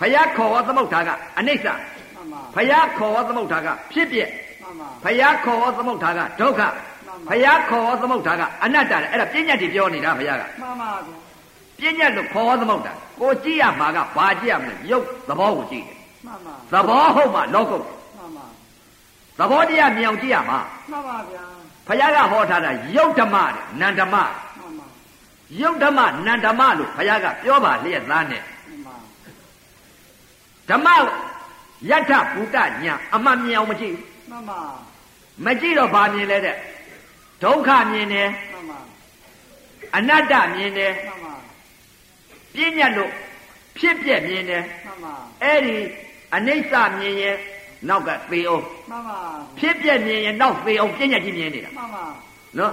S1: ဘုရားခေါ်ဝသမုဋ္ဌာကအနိစ္စ
S2: မှန်ပါ
S1: ဘုရားခေါ်ဝသမုဋ္ဌာကဖြစ်ပြက်
S2: မှန်ပါ
S1: ဘုရားခေါ်ဝသမုဋ္ဌာကဒုက္ခ
S2: မှ
S1: ဘု
S2: န်ပါ
S1: ရားခေါ်ဝသမုဋ္ဌာကအနတ္တလေအဲ့ဒါပညာတိပြောနေတာဘုရားက
S2: မှန်ပါဗျာ
S1: ပညာလို့ခေါ်ဝသမုဋ္ဌာကိုကြည့်ရမှာကဘာကြည့်ရမလဲရုပ်သဘောကိုကြည့်တယ်
S2: မှန်ပါ
S1: သဘောဟုတ်မှလောကုတ်
S2: မှန်ပါ
S1: သဘောတရားမြင်အောင်ကြည့်ရမှာ
S2: မှန်ပါဗျာ
S1: ဘုရားကဟောထားတာရုပ်ဓမ္မတဲ့နန္ဓမ္မ
S2: မှန်ပါ
S1: ရုပ်ဓမ္မနန္ဓမ္မလို့ဘုရားကပြောပါလျက်သားနဲ့
S2: မှန်ပါ
S1: ဓမ္မယတ္ထဘူတညာအမှန်မြင်အောင်မကြည့်ဘူး
S2: မှန်ပါ
S1: မကြည့်တော့ဘာမြင်လဲတဲ့ဒုက္ခမြင်တယ်
S2: မှန်ပါ
S1: အနတ္တမြင်တယ်
S2: မှန်ပါ
S1: ပြဉ္ညာလို့ဖြစ်ပြက်မြင်တယ်
S2: မှန်ပါ
S1: အဲ့ဒီအနိစ္စမြင်ရင်နောက်ကသေအောင်
S2: မှန်ပါ
S1: ဖြစ်ပြက်မြင်ရင်နောက်သေအောင်ပြဉ္ညာကြီးမြင်နေတာ
S2: မှန်ပါ
S1: နော်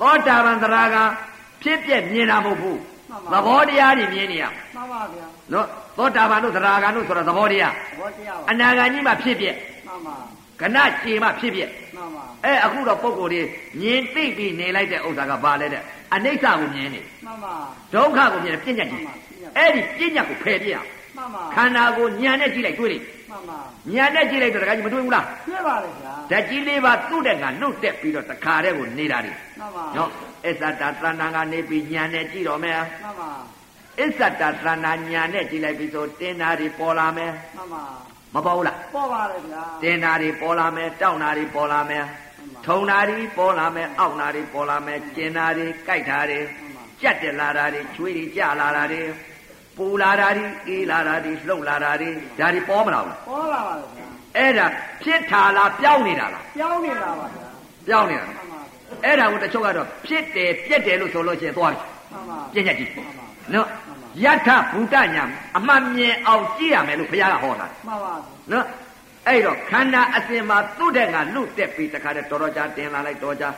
S1: သောတာပန်သရကဖြစ်ပြက်မြင်တာမဟုတ်ဘူး
S2: မှန်ပါ
S1: သဘောတရားတွေမြင်နေရ
S2: မှန်ပါဗျာ
S1: နော်သောတာပန်တို့သရကတို့ဆိုတာသဘောတရား
S2: ဘောတရား
S1: အနာဂါကြီးမှဖြစ်ပြက်
S2: ပါမှန်ပါ
S1: ကဏခြေမှဖြစ်ပြက်
S2: မှန်ပါ
S1: အဲအခုတော့ပုံကိုယ်ကြီးမြင်သိပြီးနေလိုက်တဲ့ဥစ္စာကဘာလဲတဲ့အနိစ္စကိုမြင်နေတယ်
S2: မှန်ပါ
S1: ဒုက္ခကိုမြင်တယ်ပြဉ္ညာကြီးအဲ့ဒီပြဉ္ညာကိုဖယ်ပြရအောင်
S2: မှန်ပါ
S1: ခန္ဓာကိုညံနဲ့ကြည့်လိုက်တွေ့လိမ့်
S2: မှန်ပါ
S1: ညံနဲ့ကြည့်လိုက်တော့တခါကြီးမတွေ့ဘူးလား
S2: ကျွဲပါလေဗျာ
S1: ဓာတ်ကြီးလေးပါသူ့တဲ့ကလွတ်တက်ပြီးတော့တခါတည်းကိုနေတာတွေ
S2: မှန်ပါ
S1: နော်အစ္ဆတသဏ္ဍာန်ကနေပြီးညံနဲ့ကြည့်တော့မယ်
S2: မှန်ပါ
S1: အစ္ဆတသဏ္ဍာန်ညံနဲ့ကြည့်လိုက်ပြီးဆိုတင်တာတွေပေါ်လာမယ်
S2: မှန်ပါ
S1: မပေါ်ဘူးလား
S2: ပေါ်ပါလေဗျာ
S1: တင်တာတွေပေါ်လာမယ်တောက်တာတွေပေါ်လာမယ်ထုံတာတွေပေါ်လာမယ်အောက်တာတွေပေါ်လာမယ်ကျင်တာတွေကြိုက်တာတွေ
S2: မှန်ပါ
S1: ကြက်တက်လာတာတွေချွေးတွေကြလာတာတွေပူလာတာတွေအေးလာတာတွေလှုပ်လာတာတွေဒါတွေပေါ်မလာဘူး
S2: ပေါ်လာပါလေဗျာ
S1: အဲ့ဒါဖြစ်တာလားပြောင်းနေတာလား
S2: ကြောင်းနေတာပါဗျာ
S1: ပြောင်းနေတာ
S2: မှ
S1: လား
S2: န်ပါ
S1: အဲ့ဒါကိုတချို့ကတော့ဖြစ်တယ်ပြက်တယ်လို့ဆိုလို့ရှိရင်သွား
S2: မှန်ပါ
S1: ပြီပြက်ညက်ကြီး
S2: မှန်ပါ
S1: နော်ယထဘူတညာအမှန်မြင်အောင်ကြည့်ရမယ်လို့ဘုရားကဟောတာ
S2: မှန်ပါ
S1: နော်အဲ့တော့ခန္ဓာအစဉ်မှာသူ့တဲ့ကလွတ်တက်ပြီးတခါတည်းတော်တော်ကြာတင်လာလိုက်တော်ကြာ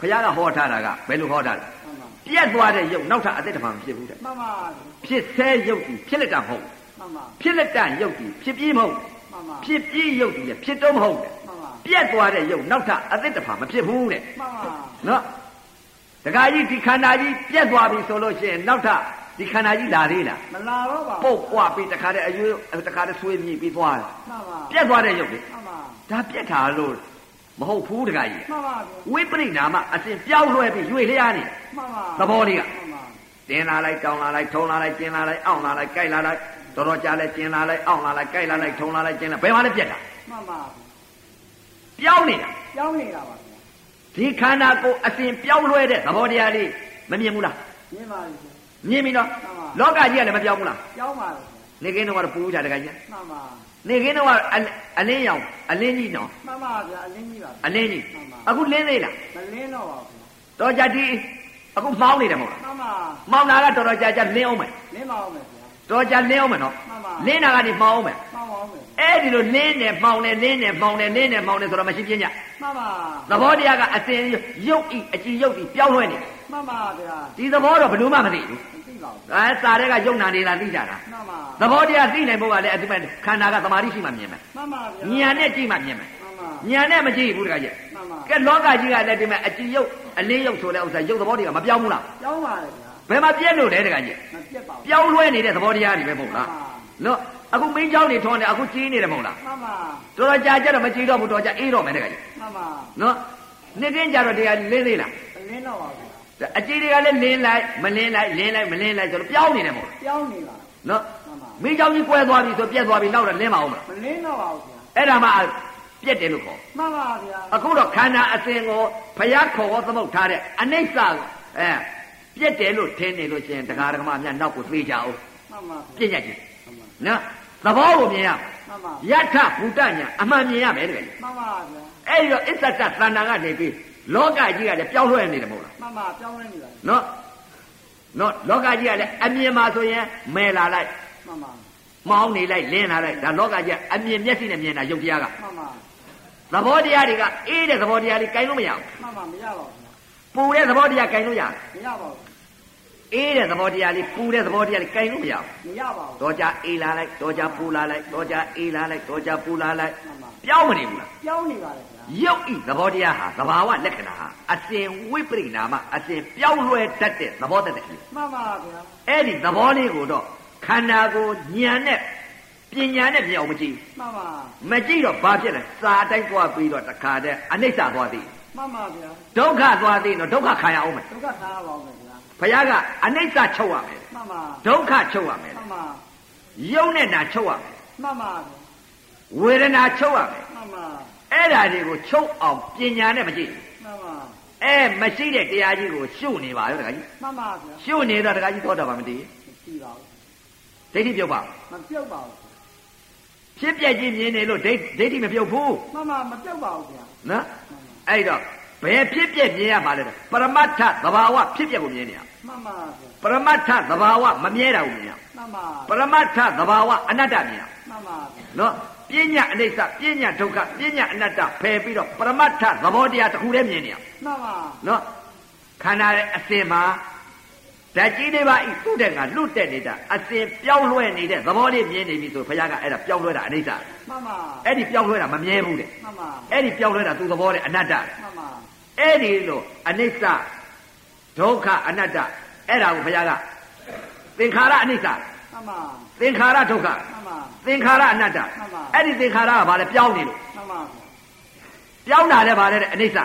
S1: ဘုရားကဟောထားတာကဘယ်လိုဟောတာလဲ
S2: မှန်ပါ
S1: ပြက်သွားတဲ့ရုပ်နောက်ထပ်အသက်တစ်ပါးမဖြစ်ဘူးတဲ့
S2: မှန်ပါ
S1: ဖြစ်ဆဲရုပ်ကြီးဖြစ်လက်တာမဟုတ်ဘူး
S2: မှန်ပါ
S1: ဖြစ်လက်တန်ရုပ်ကြီးဖြစ်ပြီးမဟုတ်
S2: မှန်ပါ
S1: ဘူးဖြစ်ပြီးရုပ်ကြီးလည်းဖြစ်တော့မဟုတ်တဲ့
S2: မှန်ပါ
S1: ပြက်သွားတဲ့ရုပ်နောက်ထပ်အသစ်တစ်ဖာမဖြစ်ဘူးတဲ့
S2: မှန်ပါ
S1: နော်တခါကြီးဒီခန္ဓာကြီးပြက်သွားပြီဆိုလို့ရှိရင်နောက်ထပ်ဒီခန္ဓာကြီးလာသေးလား
S2: မလာတော့ပါ
S1: ပုတ်ပွားပြီးတခါတည်းအယွေးတခါတည်းဆွေးမြည်ပြီးသွားတယ်
S2: မှန်ပါ
S1: ပြက်သွားတဲ့ရုပ်လေ
S2: မှန်ပါ
S1: ဒါပြက်တာလို့မဟုတ်ဘူးတခါကြီး
S2: မှန်ပါ
S1: ဝိပရိနာမအစဉ်ပြောင်းလွှဲပြီးရွေလျားနေတယ်
S2: မှန်ပါ
S1: သဘောလေးက
S2: မှန်ပါ
S1: တင်လာလိုက်တောင်းလာလိုက်ထုံလာလိုက်ကျင်လာလိုက်အောင့်လာလိုက်ကြိုက်လာလိုက်တော်တော်ကြာလဲကျင်လာလိုက်အောင့်လာလိုက်ကြိုက်လာလိုက်ထုံလာလိုက်ကျင်လာဘယ်မှာလဲပြက်တာ
S2: မှန်ပါ
S1: ပြောင်းနေတာ
S2: ကြောင်းနေတာပါဗျာ
S1: ဒီခန္ဓာကိုယ်အစဉ်ပြောင်းလဲတဲ့သဘောတရားလေးမမြင်ဘူးလား
S2: မြင်ပါလေဗျာ
S1: မြင်ပြီနော်
S2: မှန်ပါ
S1: လောကကြီးကလည်းမပြောင်းဘူးလား
S2: ကြောင်းပါလေ
S1: နေကင်းတော့ကတော့ပူကြတကကြီး
S2: ဗျာမှန်ပါ
S1: နေကင်းတော့ကအလအလင်းရောင်အလင်းကြီးနော်
S2: မှန်ပါဗျာအလင်းကြီးပါဗျာ
S1: အလင်းကြီး
S2: မှန်ပါ
S1: အခုလင်းသေးလား
S2: မလင်းတော့ပါဘူး
S1: တော်ကြဒီအခုမောင်းနေတယ်မဟုတ်လား
S2: မှန်ပါ
S1: မောင်းလာတာတော်တော်ကြာကြာလင်းအောင်မယ်
S2: လင်းပါအောင်မယ်ဗျာ
S1: တော်ကြလင်းအောင်မယ်နော်
S2: မှန်ပါ
S1: လင်းတာကနေပေါင်အောင်မယ်
S2: မှန်ပါဦးမယ်
S1: အဲ့ဒီလိုလင်းတယ်ပေါင်တယ်လင်းတယ်ပေါင်တယ်လင်းတယ်ပေါင်တယ်ဆိုတော့မရှိပြင်းည
S2: မှန်ပါ
S1: သဘောတရားကအစဉ်ရုပ်ဤအကြည်ရုပ်ဤပြောင်းလဲနေတယ်
S2: မှန်ပါဗျာ
S1: ဒီသဘောတော့ဘယ်လို့မှမသိဘူး
S2: မသိပါဘူး
S1: အဲစာတွေကယုံနာနေတာသိကြတာ
S2: မှန်ပါ
S1: သဘောတရားသိနိုင်ဖို့ကလည်းအတိပတ်ခန္ဓာကသမာဓိရှိမှမြင်မယ်
S2: မှန်ပါဗျာ
S1: ဉာဏ်နဲ့ကြည့်မှမြင်မယ်
S2: မှန်ပါ
S1: ဉာဏ်နဲ့မကြည့်ဘူးတခါကြီး
S2: မှန်ပါ
S1: ကဲလောကကြီးကလည်းဒီမှာအကြည်ရုပ်အလင်းရုပ်ဆိုတဲ့ဥစ္စာရုပ်သဘောတွေကမပြောင်းဘူးလား
S2: ကြောင်းပါလေဗျာ
S1: ဘယ်မှာပြည့်လို့လဲတခါကြီး
S2: မပြတ်ပါဘူး
S1: ပြောင်းလဲနေတဲ့သဘောတရားတွေပဲမဟုတ်လားနော်အခုမင်းเจ้าနေထွန်းတယ်အခုကြီးနေတယ်မဟုတ်လား
S2: မှန်ပါ
S1: တော်တော်ကြာကြတော့မကြည်တော့ဘူးတော်ကြာအေးတော့မယ်တဲ့ကကြီး
S2: မှန်ပါ
S1: နော်နှစ်တင်းကြာတော့တရားလင်းသေးလား
S2: အလင်းတော့ပါဗျာ
S1: အကြည်တွေကလည်းလင်းလိုက်မလင်းလိုက်လင်းလိုက်မလင်းလိုက်ဆိုတော့ပြောင်းနေတယ်မို့လား
S2: ပြောင်းနေပါ
S1: နော်
S2: မှန်ပါ
S1: မိเจ้าကြီးကွဲသွားပြီဆိုပြက်သွားပြီနောက်တော့လင်းမအောင်မလား
S2: မလင်းတော့ပါဘူးဗျာ
S1: အဲ့ဒါမှပြက်တယ်လို့ခေါ်
S2: မှန်ပါဗျာ
S1: အခုတော့ခန္ဓာအစဉ်ကိုဘုရားခေါ်ဟောသမုတ်ထားတဲ့အနိစ္စကိုအဲပြက်တယ်လို့ထင်နေလို့ရှိရင်တရားဓမ္မများနောက်ကိုသိကြအောင်
S2: မှန်ပါ
S1: ပြ
S2: ဗျာ
S1: က်ရချင်းနော်သဘောကိုမြင်ရမယ်
S2: မှန်ပါ
S1: ယထဘူတညာအမှန်မြင်ရမယ်တဲ့ကကြီး
S2: မှန်ပါဗျာ
S1: အဲ့ဒီတော့အစ္ဆတသဏ္ဍာန်ကနေပြီးလောကကြီးကလည်းပြောင်းလဲနေတယ်မဟုတ်လား
S2: မှန်ပါပြောင်းနေနေပါ
S1: နော်နော်လောကကြီးကလည်းအမြင်မှာဆိုရင်မယ်လာလိုက်
S2: မှန်ပါ
S1: မောင်းနေလိုက်လင်းလာလိုက်ဒါလောကကြီးကအမြင်မျက်စိနဲ့မြင်တာယုတ်တရားက
S2: မှန်ပါ
S1: သဘောတရားတွေကအေးတဲ့သဘောတရားတွေကြိုင်လို့မရဘူး
S2: မှန်ပါမရပါဘူး
S1: ပူ
S2: ဗျာ
S1: တဲ့သဘောတရားကြိုင်လို့ရတယ်
S2: မရပါဘူး
S1: အေးတဲ့သဘောတရားလေးပူတဲ့သဘောတရားလေးကြိုင်လို့မရဘူး
S2: မရပါဘူး
S1: တော့ကြအေးလာလိုက်တော့ကြပူလာလိုက်တော့ကြအေးလာလိုက်တော့ကြပူလာလိုက်
S2: မှန်ပါ
S1: ပြောင်းမနေဘူးလား
S2: ပြောင်းနေပါလေဗျာ
S1: ရုပ်ဤသဘောတရားဟာသဘာဝလက္ခဏာဟာအစဉ်ဝိပရိနာမအစဉ်ပြောင်းလဲတတ်တဲ့သဘောတတ်တဲ့
S2: မှန်ပါဗျာ
S1: အဲ့ဒီသဘောလေးကိုတော့ခန္ဓာကိုယ်ဉာဏ်နဲ့ပညာနဲ့မြောင်မကြည့်
S2: မှန်ပါ
S1: မကြည့်တော့ဘာဖြစ်လဲစာတိုက်သွားပြီးတော့တခါတည်းအနိစ္စသွားသည်
S2: မှန်ပါဗျာ
S1: ဒုက္ခသွားသည်တော့ဒုက္ခခံရအောင်မယ်
S2: ဒုက္ခထားရပါဦးမယ်ဗျာ
S1: ဘုရားကအနိစ္စချုပ်ရမယ်
S2: မှန်ပါ
S1: ဒုက္ခချုပ်ရမယ်
S2: မှန်ပါ
S1: ယုံနဲ့နာချုပ်ရမယ်
S2: မှန်ပါ
S1: ဝေဒနာချုပ်ရမယ်
S2: မှန်ပါ
S1: အဲ့ဒါတွေကိုချုပ်အောင်ပညာနဲ့မကြည့်
S2: မှန်ပါ
S1: အဲမရှိတဲ့တရားကြီးကိုရှုနေပါရောတခါကြီး
S2: မှန်ပါဗျာ
S1: ရှုနေတော့တခါကြီးသောတာပန်မတည်
S2: မကြည့်ပါဘူး
S1: ဒိဋ္ဌိပြုတ်ပါဘူး
S2: မပြုတ်ပါဘူး
S1: ဖြစ်ပြက်ကြီးမြင်နေလို့ဒိဋ္ဌိဒိဋ္ဌိမပြုတ်ဘူး
S2: မှန်ပါမပြုတ်ပါဘူးဗျာ
S1: နော် အဲ့တော့ဘယ်ဖြစ်ပြက်မြင်ရမှာလဲပရမတ္ထသဘာဝဖြစ်ပြက်ကိုမြင်နေရ
S2: မှန်ပါဗျာ
S1: ပရမတ္ထသဘာဝမမြဲတာကိုမြင်ရ
S2: မှန်ပါ
S1: ပရမတ္ထသဘာဝအနတ္တမြင်ရ
S2: မှန်ပါဗျာ
S1: နော်ပညာအနိစ္စပညာဒုက္ခပညာအနတ္တဖယ်ပြီးတော့ပရမတ္ထသဘောတရားတစ်ခုတည်းမြင်နေရ
S2: မှန်ပါ
S1: နော်ခန္ဓာရဲ့အစင်မှာဓာတ်ကြီးတွေပါဤသူ့တဲ့ကလွတ်တဲ့နေတာအစင်ပြောင်းလဲနေတဲ့သဘောလေးမြင်နေပြီဆိုဘုရားကအဲ့ဒါပြောင်းလဲတာအနိစ္စ
S2: မှန်ပါ
S1: အဲ့ဒီပြောင်းလဲတာမမြဲဘူးတဲ့
S2: မှန်ပါ
S1: အဲ့ဒီပြောင်းလဲတာသူ့သဘောတဲ့အနတ္တတဲ့
S2: မှန်ပါ
S1: အဲ့ဒီလိုအနိစ္စဒုက္ခအနတ္တအဲ့ဒါကိုဘုရားကသင်္ခါရအနိစ္စ
S2: မှန်ပါ
S1: သင်္ခါရဒုက္ခ
S2: မှန်ပါ
S1: သင်္ခါရအနတ္တ
S2: မှန်ပါ
S1: အဲ့ဒီသင်္ခါရကဘာလဲပြောင်းနေလို့
S2: မှန်ပါဗျာ
S1: ပြောင်းတာလည်းဘာလဲတဲ့အနိစ္စ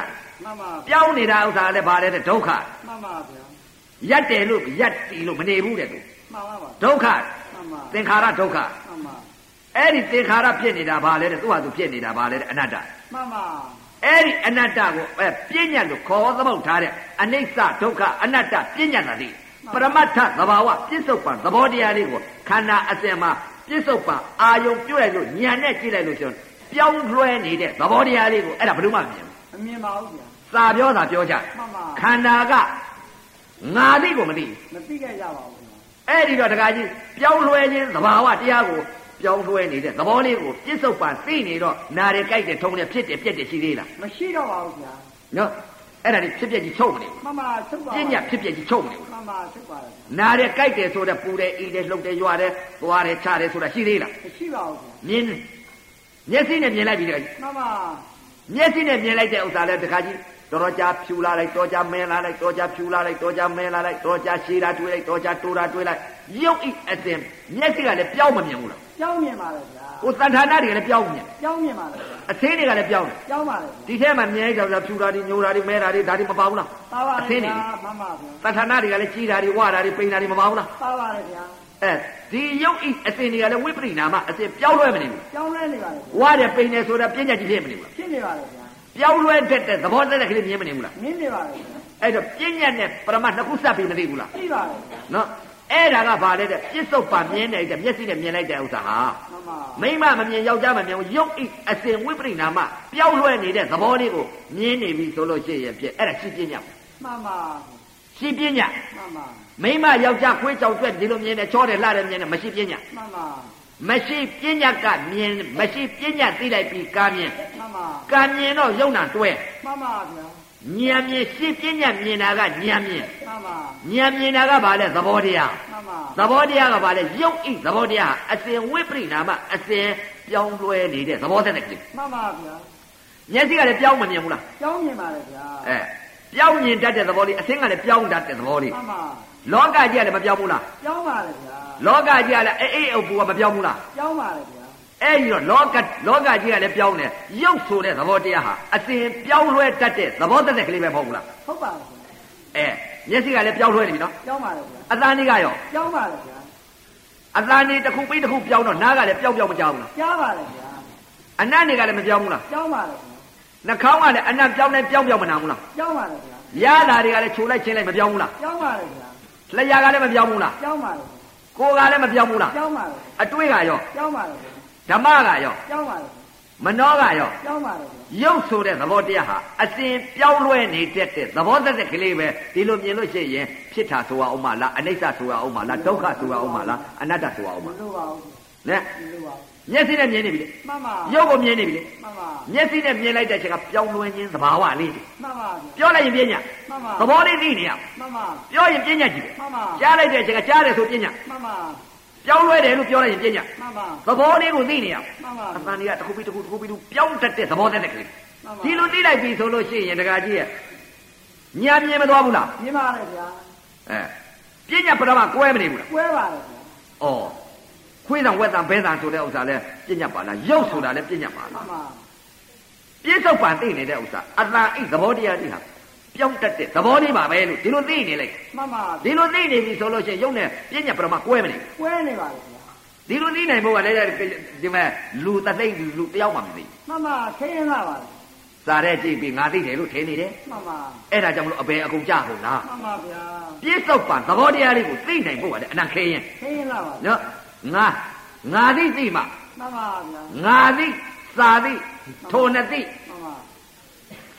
S2: မှန်ပါ
S1: ပြောင်းနေတာဥစ္စာလည်းဘာလဲတဲ့ဒုက္ခ
S2: မှန်ပါဗျာ
S1: ရက်တယ်လို့ရက်တီလို့မနေဘူးတဲ့သူ
S2: မှန်ပါပါ
S1: ဒုက္ခ
S2: မှန်ပါ
S1: သင်္ခါရဒုက္ခ
S2: မှန်ပါ
S1: အဲ့ဒီသင်္ခါရဖြစ်နေတာဘာလဲတဲ့သူ့ဟာသူဖြစ်နေတာဘာလဲတဲ့အနတ္တ
S2: မှန်ပါ
S1: အဲ့ဒီအနတ္တကိုအဲပြဉ္ညာလို့ခေါ်သမုတ်ထားတဲ့အနိစ္စဒုက္ခအနတ္တပြဉ္ညာသာတိပရမတ္ထသဘာဝပြစ္ဆုတ်ပံသဘောတရားလေးကိုခန္ဓာအစဉ်မှာပြစ္ဆုတ်ပံအာယုံပြုတ်လိုက်လို့ညံနဲ့ကြည့်လိုက်လို့ဆိုရင်ပြောင်းလွှဲနေတဲ့သဘောတရားလေးကိုအဲ့ဒါဘယ်လို့မှမမြင်ဘူး
S2: မမြင်ပါဘူးဗျာ
S1: ။စာပြောတာပြောကြတယ်
S2: မှန်ပါ
S1: ခန္ဓာကငါသိကိုမသိဘူး
S2: မသိခဲ့ကြပါဘူးဗျာ
S1: ။အဲ့ဒီတော့တခါကြီးပြောင်းလွှဲခြင်းသဘာဝတရားကိုပြောင်းလွှဲနေတဲ့သဘောလေးကိုပြစ္ဆုတ်ပံသိနေတော့နာရီကြိုက်တယ်ထုံတယ်ဖြစ်တယ်ပြက်တယ်ရှိသေးလား
S2: မရှိတော့ပါဘူးဗျာ
S1: ။နော်အဲ့ဒါလေးဖြစ်ပြက်ကြီးချုပ်မနေဘူး
S2: မှန်ပါချုပ်ပါ
S1: ပြ
S2: ပါ
S1: င်းညဖြစ်ဖြစ်ကြီးချုပ်မနေဘူး
S2: မှန်ပါချုပ်ပါလား
S1: နားတယ်ကြိုက်တယ်ဆိုတော့ပူတယ်အီတယ်လှုပ်တယ်ရွာတယ်သွားတယ်ချတယ်ဆိုတာရှိသေးလား
S2: မရှိပါဘူးဗျာ
S1: မြင်တယ်မျက်စိနဲ့မြင်လိုက်ပြီတခါကြီး
S2: မှန်ပါ
S1: မျက်စိနဲ့မြင်လိုက်တဲ့ဥစ္စာလဲတခါကြီးတော်တော်ကြာဖြူလာလိုက်တော်ကြာမဲလာလိုက်တော်ကြာဖြူလာလိုက်တော်ကြာမဲလာလိုက်တော်ကြာရှည်တာတွေးလိုက်တော်ကြာတိုးတာတွေးလိုက်ရုပ်ဤအစဉ်မျက်စိကလည်းပြောင်းမမြင်ဘူးလား
S2: ကြောင်းမြင်ပါလေဗျာ
S1: ကိုယ်သဏ္ဌာနတွေကလည်းပြောင်းမမြင်
S2: ကြောင်းမြင်ပါလေဗျာ
S1: အသေးတွေကလည်းပြောင်းတယ်
S2: ကြောင်းပါလေဗျာ
S1: ဒီထဲမှာမြင်လိုက်တော့ဖြူတာတွေညိုတာတွေမဲတာတွေဒါတွေမပါဘူးလား
S2: ပါပါ
S1: အ
S2: လေ
S1: သေးတွေ
S2: ဗျာမှန်ပါဗျာ
S1: သဏ္ဌာနတွေကလည်းကြီးတာတွေဝတာတွေပိန်တာတွေမပါဘူးလား
S2: ပါပါလေဗျာ
S1: အဲဒီရုပ်ဤအစဉ်တွေကလည်းဝိပရိနာမအစဉ်ပြောင်းလဲမနေဘူး
S2: ကြောင်းလဲနေပါလေဗျာ
S1: ဝါတယ်ပိန်တယ်ဆိုတာပြဉ္ညာကြီးဖြစ်မနေဘူးလား
S2: ဖြစ်နေပါလေဗျာ
S1: ပြောင်းလဲတတ်တဲ့သဘောတတ်တဲ့ကလေးမြင်မနေဘူးလား
S2: မြင်နေပါလေဗျာ
S1: အဲ့တော့ပြဉ္ညာနဲ့ပရမတ်နှစ်ခုစပ်ပြီးမသိဘူးလား
S2: သိပါလေဗျာ
S1: နော်အဲ့ဒါကဘာလဲတဲ့ပြစ္ဆုတ်ပါမြင်နေတဲ့မျက်စိနဲ့မြင်လိုက်တဲ့ဥစ္စာဟာ
S2: မှန်ပါ
S1: မိမမမြင်ယောက်ျားမမြင်ဘူးရုပ်ဤအစဉ်ဝိပရိနာမပြောင်းလဲနေတဲ့သဘောလေးကိုမြင်နေပြီဆိုလို့ရှိရင်ဖြစ်အဲ့ဒါရှိပြဉ္ညာ
S2: မှန်ပါ
S1: ရှိပြဉ္ညာ
S2: မှန်ပါ
S1: မိန်းမယောက်ျားခွေးကြောင်ကျွက်ဒီလိုမြင်တယ်ချောတယ်လှတယ်မြင်တယ်မရှိပညာ
S2: မမ
S1: မရှိပညာကမြင်မရှိပညာသိလိုက်ပြီးကာမြင်
S2: မမ
S1: ကာမြင်တော့ယုံနာတွဲ
S2: မမဗျာ
S1: ဉာဏ်မြင်ရှင်းပညာမြင်တာကဉာဏ်မြင်
S2: မမ
S1: ဉာဏ်မြင်တာကဘာလဲသဘောတရား
S2: မမ
S1: သဘောတရားကဘာလဲယုတ်ဤသဘောတရားအစဉ်ဝိပရိနာမအစဉ်ပြောင်းလဲနေတဲ့သဘောသက်တဲ့ကိစ္စ
S2: မမဗျာ
S1: မျက်စိကလည်းပြောင်းမမြင်ဘူးလား
S2: ကြောင်းမြင်ပါလေဗျာ
S1: အဲပြောင်းမြင်တတ်တဲ့သဘောလေးအစဉ်ကလည်းပြောင်းတတ်တဲ့သဘောလေး
S2: မမ
S1: လောကကြီးကလည်းမပြောင်းဘူးလား
S2: ကြောင်းပါလေဗျာ
S1: လောကကြီးကလည်းအေးအေးအုပ်ပူကမပြောင်းဘူးလား
S2: ကြောင်းပါလေဗျာ
S1: အဲ့ဒီတော့လောကလောကကြီးကလည်းပြောင်းတယ်ယုတ်ဆိုတဲ့သဘောတရားဟာအစဉ်ပြောင်းလဲတတ်တဲ့သဘောသက်တဲ့ကလေးပဲမဟုတ်ဘူးလား
S2: ဟုတ်ပါလေဗျာ
S1: အဲမျက်စိကလည်းပြောင်းလဲနေပြီနော်
S2: ကြောင်းပါလေဗျာ
S1: အသံတွေကရော
S2: ကြောင်းပါလေဗျာ
S1: အသံတွေတစ်ခုပြီးတစ်ခုပြောင်းတော့နားကလည်းပြောင်းပြောင်းမကြောက်ဘူးလား
S2: ကြားပါလေဗျာ
S1: အနံ့တွေကလည်းမပြောင်းဘူးလား
S2: ကြောင်းပါလေဗျာ
S1: နှာခေါင်းကလည်းအနံ့ပြောင်းလိုက်ပြောင်းပြောင်းမနာဘူးလား
S2: ကြောင်းပါလေ
S1: ရ
S2: ဗျာ
S1: တာတွေကလည်းခြုံလိုက်ချင်းလိုက်မပြောင်းဘူးလား
S2: ကြောင်းပါလေဗျာ
S1: လက်ရကလည်းမပြောင်းဘူးလား
S2: ကြောင်းပါလေဗျာ
S1: ကိုယ်ကလည်းမပြောင်းဘူးလား
S2: ကြောင်းပါလေ
S1: အတွေ့ကရော
S2: ကြောင်းပါလေဗျာ
S1: ဓမ္မကရော
S2: ကြောင်းပါလေ
S1: မနောကရော
S2: ကြောင်းပါလေဗျာ
S1: ရုပ်ဆိုတဲ့သဘောတရားဟာအစဉ်ပြောင်းလဲနေတတ်တဲ့သဘောသက်သက်ကလေးပဲဒီလိုမြင်လို့ရှိရင်ဖြစ်တာဆိုရအောင်မလားအနိစ္စဆိုရအောင်မလားဒုက္ခဆိုရအောင်မလားအနတ္တဆိုရအောင်မ
S2: မ
S1: လား
S2: လို့ပါဘူး
S1: နဲ
S2: မလို့ပါဘူး
S1: မျက်စိနဲ့မြင်နေပြီလေ
S2: မမ
S1: ရုပ်ကိုမြင်နေပြီလေ
S2: မမ
S1: မျက်စိနဲ့မြင်လိုက်တဲ့အချိန်ကပြောင်းလဲခြင်းသဘာဝလေးတွေ
S2: မမ
S1: ပြောလိုက်ရင်ပြညာ
S2: မမ
S1: သဘောလေးသိနေရအောင်
S2: မမ
S1: ပြောရင်ပြညာကြည့်
S2: မမ
S1: ပဲကြားလိုက်တဲ့အချိန်ကကြားတယ်ဆိုပြညာ
S2: မမ
S1: ပြောင်းလဲတယ်လို့ပြောလိုက်ရင်ပြင်းကြ
S2: မမ
S1: သဘောလေးကိုသိနေရအောင်
S2: မမ
S1: အမှန်တရားတစ်ခုပြီးတစ်ခုတစ်ခုပြီးတစ်ခုပြောင်းတတ်တဲ့သဘောတတ်တဲ့ကလေး
S2: မမ
S1: ဒီလိုသိလိုက်ပြီဆိုလို့ရှိရင်ဒကာကြီးရဲ့ညာမြင်မသွားဘူးလား
S2: မြင်ပါလေဗျာ
S1: အဲပြင်းညာပထမကွဲမနေဘူးလား
S2: ကွဲပါလေဗျာ
S1: ဩခွေးဆောင်ဝက်ဆောင်ဘဲဆောင်ဆိုတဲ့ဥစ္စာလဲပြင်းညာပါလားရုပ်ဆိုတာလဲပြင်းညာပါ
S2: မ
S1: လား
S2: မ
S1: ပြင်းစုံပန်သိနေတဲ့ဥစ္စာအတန်ဤသဘောတရားတွေဟာပြောင်းတတ်တဲ့သဘောလေးပါပဲလို့ဒီလိုသိနေလိုက်
S2: မမ
S1: ဒီလိုသိနေပြီဆိုလို့ရှိရင်ရုပ်နဲ့ပြင်းညာပထမကွဲမနေဘူး
S2: ကွဲနေပါလေဗျာ
S1: ဒီလိုသိနိုင်ဖို့ကလည်းဒီမဲ့လူတစ်သိမ့်လူတစ်ယောက်မှမသိဘူး
S2: မမထိရင်လာပါလေ
S1: စားတဲ့ကြည့်ပြီးငါသိတယ်လို့ထင်နေတယ်
S2: မမ
S1: အဲ့ဒါကြောင့်မလို့အဘယ်အကုန်ကြကုန်လား
S2: မမဗျာ
S1: ပြည့်စုံပါသဘောတရားလေးကိုသိနိုင်ဖို့ကလည်းအနံခဲရင်
S2: ထိရင်လာပါလေ
S1: နော်ငါငါသိသိမှ
S2: မမဗျာ
S1: ငါသိစာသိထိုနှစ်သိ
S2: မမ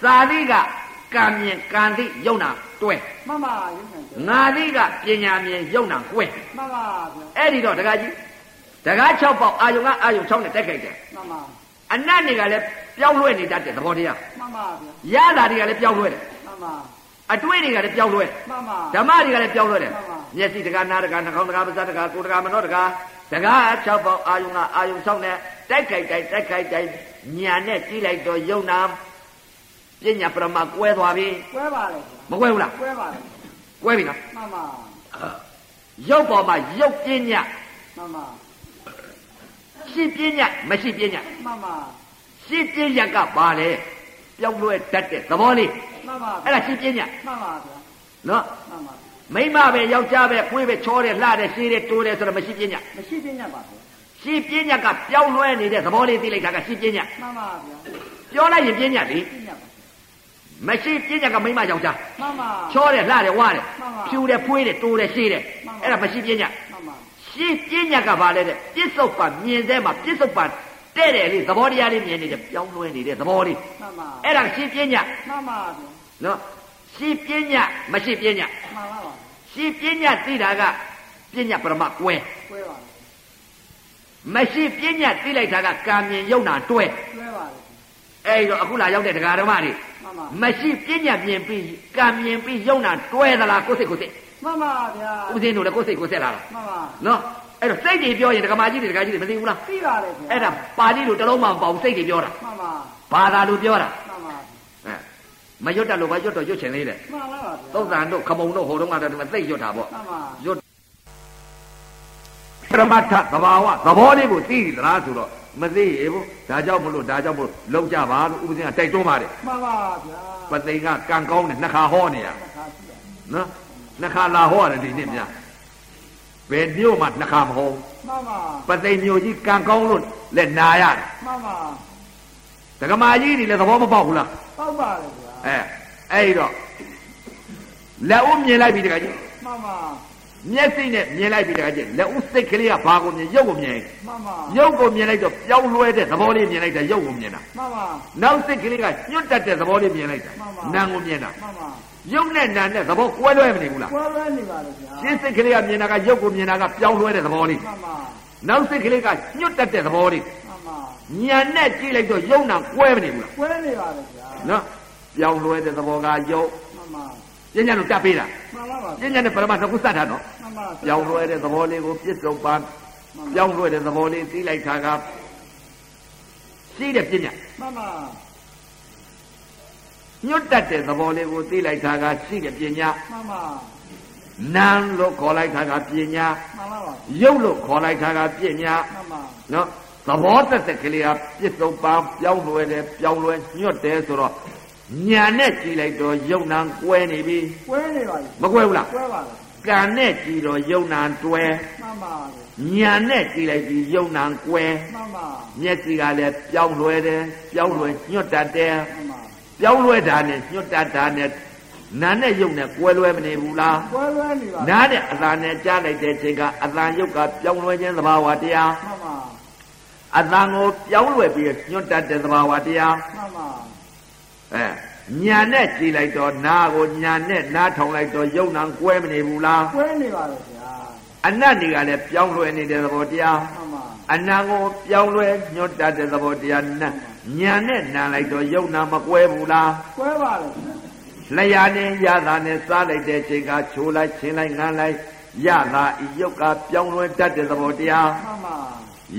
S1: စာသိကကံမြင်ကံသိယုံနာတွဲ
S2: မမရုပ်ရှင်
S1: ငါသိကပညာမြင်ယုံနာကွဲ
S2: မမဗျာ
S1: အဲ့ဒီတော့တကားကြီးတကား6ပေါက်အာယုံကအာယုံ6နဲ့တက်ခိုက်တယ်
S2: မမ
S1: အနတ်တွေကလည်းပြောင်းလဲနေတတ်တဲ့သဘောတရား
S2: မမဗျာ
S1: ရတာတွေကလည်းပြောင်းလဲတယ်
S2: မမ
S1: အတွေ့တွေကလည်းပြောင်းလဲတယ်
S2: မမ
S1: ဓမ္မတွေကလည်းပြောင်းလဲတယ်
S2: မှန်ပါ
S1: မျက်စိတကားနားတကားနှာခေါင်းတကားပါးစပ်တကားကိုယ်တကားမနှောတကားတကား၆ပေါက်အာယုံကအာယုံဆောင်နဲ့တိုက်ခိုက်တိုက်တိုက်ခိုက်တိုက်ညာနဲ့ကြီးလိုက်တော့ယုံနာပညာပရမကွဲသွားပြီ
S2: ကွဲပါလေ
S1: မ
S2: ဗျာ
S1: ကွဲဘူးလား
S2: ကွဲပါလေ
S1: ကွဲပြီနော်
S2: မမ
S1: ရုပ်ပေါ်မှာရုပ်ပညာ
S2: မမ
S1: ရှိပညာမရှိပညာ
S2: မမ
S1: ရှိပညာကဘာလဲပြောင်းလဲတတ်တဲ့သဘောလေး
S2: မမ
S1: အဲ့ဒါရှိပညာ
S2: မမဗျာ
S1: နော်
S2: မမ
S1: မိမပဲယောက်ျားပဲခွေးပဲချောတယ်လှတယ်ရှည်တယ်တိုးတယ်ဆိုတော့မရှိပညာ
S2: မရှိပြည့်ညတ်ပါဗျာ
S1: ရှိပညာကပြောင်းလဲနေတဲ့သဘောလေးသိလိုက်တာကရှိပညာ
S2: မမဗျာ
S1: ပြောလိုက်ရင်ပြင်းညတ်လေ
S2: ပြည့်ညတ်ပါ
S1: မရှိပြင်းညတ်ကမိမယောက်ျား
S2: မမ
S1: ချောတယ်လှတယ်ဝါတယ်
S2: မှန်ပါ
S1: ဖြူတယ်ဖွေးတယ်တိုးတယ်ရှည်တယ်
S2: မှန်ပါ
S1: အဲ့ဒါမရှိပြင်းညတ်
S2: မမ
S1: ရှင်းပြင်းညတ်ကဘာလဲတဲ့ပြစ္ဆုတ်ပါမြင်စဲမှာပြစ္ဆုတ်ပါတဲ့တယ်လေသဘောတရားလေးမြင်နေတယ်ပြောင်းလဲနေတဲ့သဘောလေး
S2: မမ
S1: အဲ့ဒါရှင်းပြင်းညတ်
S2: မမဗျာ
S1: နော်ရှင်းပြင်းညတ်မရှိပြင်းညတ်
S2: မမပါ
S1: ရှင်းပြင်းညတ်သိတာကပြင်းညတ်ပရမကွဲ
S2: ကွဲပါလ
S1: မ
S2: ေ
S1: ရှိပြင်းညတ်သိလိုက်တာကကာမြင်ယုံနာတွဲ
S2: ကွဲပါလေ
S1: အဲ့ဒီတော့အခုလာရောက်တဲ့ဒကာဓမ္မတွေ
S2: မမ
S1: မရှိပြင်းညတ်မြင်ပြီးကာမြင်ပြီးယုံနာတွဲသလားကိုယ်စိတ်ကိုယ်စိတ်
S2: မမဗျာ
S1: ဥစဉ်တို့လည်းကိုယ်စိတ်ကိုယ်ဆက်လာတာ
S2: မမ
S1: နော်အဲ့တော့စိတ်တွေပြောရင်ဒကမာကြီးတွေဒကာကြီးတွေမသိဘူးလား
S2: ပြီးပါလေဗျာ
S1: အဲ့ဒါပါဠိလိုတစ်လုံးမှမပေါ့ဘူးစိတ်တွေပြောတာ
S2: မမ
S1: ဘာသာလိုပြောတာ
S2: မမ
S1: ဟမ်မရွတ်တတ်လို့ဘာရွတ်တော့ရွတ်ချင်လေးလေ
S2: မမပါဗျာ
S1: သုံးသံတို့ခမုံတို့ဟိုတုန်းကတော့ဒီမှာသိရွတ်တာပေါ့
S2: မမ
S1: ရွတ်ပရမတ္ထသဘာဝသဘောလေးကိုသိသလားဆိုတော့မသိရေဘူးဒါကြောင့်မလို့ဒါကြောင့်မလို့လောက်ကြပါလို့ဥပဇင်းကတိုက်တွန်းပါတယ်
S2: မမဗျာ
S1: ပသိမ်ကကံကောင်းတယ်နှစ်ခါဟောနေရ
S2: တစ်ခါရှိတယ်
S1: နော်နှစ်ခါလာဟောရတယ်ဒီနေ့မြတ်ဘယ်မျိုးမှနှစ်ခါမဟောဘူး
S2: မမ
S1: ပသိမ်မျိုးကြီးကံကောင်းလို့လက်နာရတယ်
S2: မမ
S1: ဒကမာကြီးนี่လည်းသဘောမပေါက်ဘူးလား
S2: ပေါက်ပါလေဗျာ
S1: အဲအဲ့တော့လက်ဦးမြင်လိုက်ပြီတကကြီး
S2: မမ
S1: မျက်စိနဲ့မြင်လိုက်ပြီတကကြီးလက်ဦးစိတ်ကလေးကဘာကိုမြင်ရုပ်ကိုမြင်
S2: မမ
S1: ရုပ်ကိုမြင်လိုက်တော့ပြောင်းလဲတဲ့သဘောလေးမြင်လိုက်တာရုပ်ကိုမြင်တာ
S2: မမ
S1: နောက်စိတ်ကလေးကညွတ်တတ်တဲ့သဘောလေးမြင်လိုက်တာ
S2: မှန်ပါ
S1: နာမ်ကိုမြင်တာ
S2: မမ
S1: ရုပ်နဲ့နာနဲ့သဘောကွဲလွဲမနေဘူးလား
S2: ကွဲလွဲနေပါလေဗျာ
S1: ရှင်းစိတ်ကလေးကမြင်တာကရုပ်ကိုမြင်တာကပြောင်းလွဲတဲ့သဘောလေး
S2: မှန်ပါ
S1: နောက်စိတ်ကလေးကညွတ်တက်တဲ့သဘောလေး
S2: မှန်ပါ
S1: ညာနဲ့ကြည့်လိုက်တော့ရုပ်နာကွဲမနေဘူးလား
S2: ကွဲနေပါလေဗျာ
S1: နော်ပြောင်းလွဲတဲ့သဘောကရုပ်
S2: မှန်ပါ
S1: ပညာလို့တတ်ပေးတာ
S2: မှန်ပါပါ
S1: ပညာနဲ့ပရမတ်ကခုစတာနော်
S2: မှန်ပါ
S1: ပြောင်းလွဲတဲ့သဘောလေးကိုပြစ်စုံပါပြောင်းလွဲတဲ့သဘောလေးသိလိုက်တာကရှိတဲ့ပညာ
S2: မှန်ပါ
S1: ညွတ်တတ်တဲ့သဘောလေးကိုသိလိုက်တာကရှိတဲ့ပညာ
S2: မှန်ပါ
S1: နာမ်လို့ခေါ်လိုက်တာကပညာ
S2: မှန်ပါပါ
S1: ရုပ်လို့ခေါ်လိုက်တာကပညာ
S2: မှန်ပါ
S1: နော်သဘောသက်သက်ကလေးဟာပြစ်စုံပန်းပြောင်းလွယ်တယ်ပြောင်းလွယ်ညွတ်တယ်ဆိုတော့ညာနဲ့ကြည့်လိုက်တော့ယုံနာကွဲနေပြီ
S2: ကွဲနေပါလေ
S1: မကွဲဘူးလား
S2: ကွဲပါလေ
S1: ကံနဲ့ကြည့်တော့ယုံနာတွဲ
S2: မှန်ပါလေ
S1: ညာနဲ့ကြည့်လိုက်ပြီးယုံနာကွဲ
S2: မှန်ပါ
S1: မျက်စိကလည်းပြောင်းလွယ်တယ်ပြောင်းလွယ်ညွတ်တတ်တယ်
S2: မှန်ပါ
S1: ပြောင်းလွယ်တာနဲ့ညွတ်တတ်တာနဲ့နာနဲ့ယုံနဲ့ကွဲလွဲမနေဘူးလား
S2: ကွဲလွဲနေပါလေ
S1: နားတဲ့အတန်နဲ့ကြားလိုက်တဲ့အချိန်ကအတန်ရုပ်ကပြောင်းလဲခြင်းသဘာဝတရား
S2: မှန်ပါ
S1: အတန်ကိုပြောင်းလဲပြီးညွတ်တတ်တဲ့သဘာဝတရား
S2: မှန်ပါ
S1: အဲညာနဲ့ကြည်လိုက်တော့နားကိုညာနဲ့နားထောင်လိုက်တော့ယုံနံကွဲမနေဘူးလား
S2: ကွဲနေပါလေဗျာ
S1: အနတ်တွေကလည်းပြောင်းလဲနေတဲ့သဘောတရား
S2: မှန်ပါ
S1: အနံကိုပြောင်းလဲညွတ်တတ်တဲ့သဘောတရားနားညာနဲ့နားလိုက်တော့ယုံနံမကွဲဘူးလား
S2: ကွဲပါလေဗျာ
S1: လျာနဲ့ရတာနဲ့စားလိုက်တဲ့အချိန်ကချိုးလိုက်ချင်းလိုက်ငန်းလိုက်ရတာဤယုတ်ကပြောင်းလဲတတ်တဲ့သဘောတရား
S2: မှန်ပါ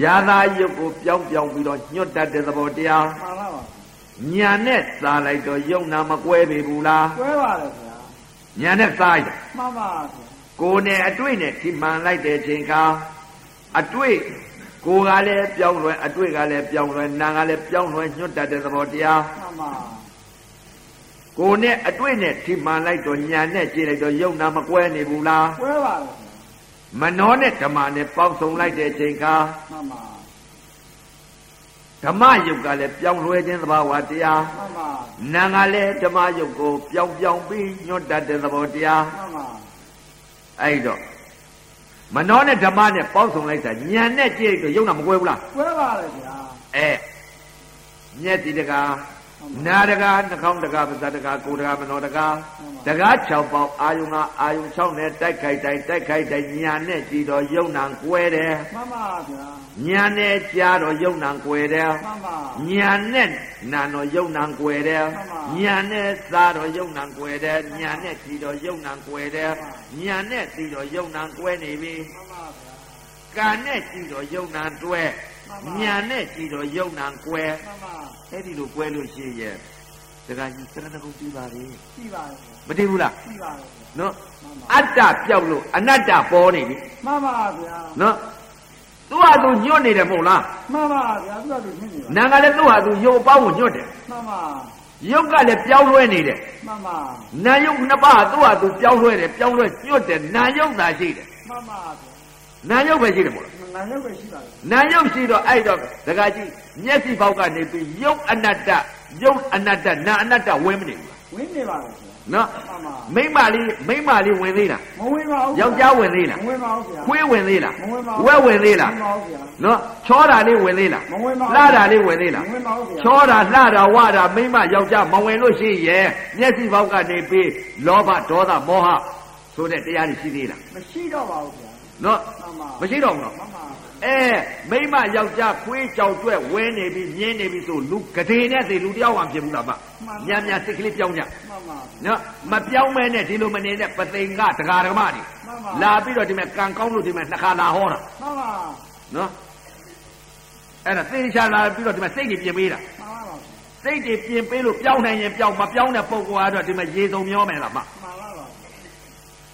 S1: ယာသာယုတ်ကိုပြောင်းပြောင်းပြီးတော့ညွတ်တတ်တဲ့သဘောတရား
S2: မှန်ပါပါ
S1: ညာနဲ့စားလိုက်တော့ယုံနာမကွဲပေဘူးလား
S2: ကွဲပါလေဗျာ
S1: ညာနဲ့စားရတယ်
S2: မှန်ပါဗျာ
S1: ကိုယ်နဲ့အတွေ့နဲ့ထိမှန်လိုက်တဲ့အချိန်ကအတွေ့ကိုယ်ကလည်းပြောင်းလွယ်အတွေ့ကလည်းပြောင်းလွယ်နာကလည်းပြောင်းလွယ်ညွတ်တတ်တဲ့သဘောတရား
S2: မှန်ပါ
S1: ကိုယ်နဲ့အတွေ့နဲ့ထိမှန်လိုက်တော့ညာနဲ့ကြည့်လိုက်တော့ယုံနာမကွဲနေဘူးလား
S2: ကွဲပါလေဗျာ
S1: မနှောနဲ့ဓမ္မနဲ့ပေါင်းစုံလိုက်တဲ့အချိန်က
S2: မှန်ပါ
S1: ဓမ္မယုတ်ကလည်းပြောင်းလွယ်ခြင်းသဘာဝတရား
S2: မှန်ပါ
S1: နာငါလည်းဓမ္မယုတ်ကိုပြောင်းပြောင်းပြီးညွတ်တတ်တဲ့သဘောတရား
S2: မှန်ပါ
S1: အဲ့တော့မနှောနဲ့ဓမ္မနဲ့ပေါင်းစုံလိုက်တာညာနဲ့ကြည့်လိုက်တော့ယုံတာမကွဲဘူးလား
S2: ကွဲပါလေဗျာ
S1: အဲမျက်တိတကာနာတကာနှာခေါင်းတကာပါးစပ်တကာကိုယ်တကာမနှောတကာတကာ6ပေါက်အာယုံကအာယုံ6နဲ့တိုက်ခိုက်တိုင်းတိုက်ခိုက်တိုင်းညာနဲ့ကြည့်တော့ယုံတာကွဲတယ်
S2: မှန်ပါဗျာ
S1: ညာနဲ့ကြားတော့ယုံတာကွဲတယ်
S2: မှန်ပါ
S1: ညာနဲ့နာတော့ယုံနံကွယ်တယ်
S2: မှန်ပါ
S1: ညာနဲ့စားတော့ယုံနံကွယ်တယ်ညာနဲ့ကြည်တော့ယုံနံကွယ်တယ်
S2: မှန်ပါ
S1: ညာနဲ့သိတော့ယုံနံကွယ်နေပြီ
S2: မှန်ပါဗျာ
S1: ကံနဲ့ကြည်တော့ယုံနံတွဲ
S2: မှန်ပါ
S1: ညာနဲ့ကြည်တော့ယုံနံကွယ်
S2: မှန်ပါ
S1: အဲ့ဒီလိုကွယ်လို့ရှိရဲ့ဒကာကြီးသရဏဂုံပြီးပါလေ
S2: ရှိပါလေဗျာ
S1: မတည်ဘူးလား
S2: ရှိပါလေဗျာ
S1: နော်
S2: မှန်ပါ
S1: အတ္တပြောက်လို့အနတ္တပေါ်နေပြီ
S2: မှန်ပါဗျာ
S1: နော်သူ့ဟာသူညွတ်နေတယ်မဟုတ်လား
S2: မှန်ပါဗျာသူကသူဖြစ်နေပါ
S1: နာကလည်းသူ့ဟာသူယုံပေါင်းကိုညွတ်တယ်
S2: မှန်ပါ
S1: ယုတ်ကလည်းပြောင်းလဲနေတယ်
S2: မှန်ပါ
S1: နာယုတ်နှစ်ပါးသူ့ဟာသူပြောင်းလဲတယ်ပြောင်းလဲညွတ်တယ်နာယုတ်သာရှိတယ်
S2: မှန်ပါဗျာ
S1: နာယုတ်ပဲရှိတယ်ပေါ့
S2: ငါရုပ်ပဲရှိပါလေ
S1: နာယုတ်ရှိတော့အဲ့တော့ဒကာကြီးမျက်စိပေါက်ကနေပြီးယုတ်အနတ္တယုတ်အနတ္တနာအနတ္တဝင်မနေဘူးလား
S2: ဝင်နေပါလေဗျာ
S1: နော်
S2: မှ
S1: မိ
S2: န်ပါ
S1: မ့်မလေးမိမ့်မလေးဝင်သေးလား
S2: မဝင်ပါဘူး
S1: ယောက်ျားဝင်သေးလား
S2: မဝင်ပါဘူးဗျာ
S1: ခွေးဝင်သေးလား
S2: မဝင်ပါဘူး
S1: ဝက်ဝင်သေးလား
S2: မဝင်ပါဘူးဗျာ
S1: နော်ချောတာလေးဝင်သေးလား
S2: မဝင်ပါဘူး
S1: လှတာလေးဝင်သေးလား
S2: မဝင်ပါဘူးဗျာ
S1: ချောတာလှတာဝတာမိမယောက်ျားမဝင်လို့ရှိရဲ့မျက်စိပေါက်ကနေပြီးလောဘဒေါသမောဟဆိုတဲ့တရားတွေရှိသေးလား
S2: မရှိတော့ပါဘူးဗျာ
S1: နော်
S2: မှန်ပါမ
S1: မရှိတော့ဘူးနော်
S2: ှန်ပါ
S1: အဲမိမယောက်ျားခွေးကြောက်တွက်ဝဲနေပြီးမြင်းနေပြီးဆိုလူကတိနဲ့သေလူတယောက်မှဖြစ်ဘူးလားဗျညံ့ညံ့စိတ်ကလေးပြောင်းကြ
S2: မှန်ပါ
S1: နော်မပြောင်းမဲနဲ့ဒီလိုမနေနဲ့ပသိင်္ဂဒကာဓမ္မတွေ
S2: မှန်ပါ
S1: လာပြီးတော့ဒီမဲ့ကံကောင်းလို့ဒီမဲ့နှခါလာဟောတာ
S2: မှန်ပါ
S1: နော်အဲ့ဒါသေချာလာပြီးတော့ဒီမဲ့စိတ်တွေပြင်ပေးတာ
S2: မှန်ပါပါ
S1: စိတ်တွေပြင်ပေးလို့ပြောင်းနိုင်ရင်ပြောင်းမပြောင်းတဲ့ပုံကွာတော့ဒီမှာရေစုံမျောမယ်လားမ
S2: မှန်ပါပါ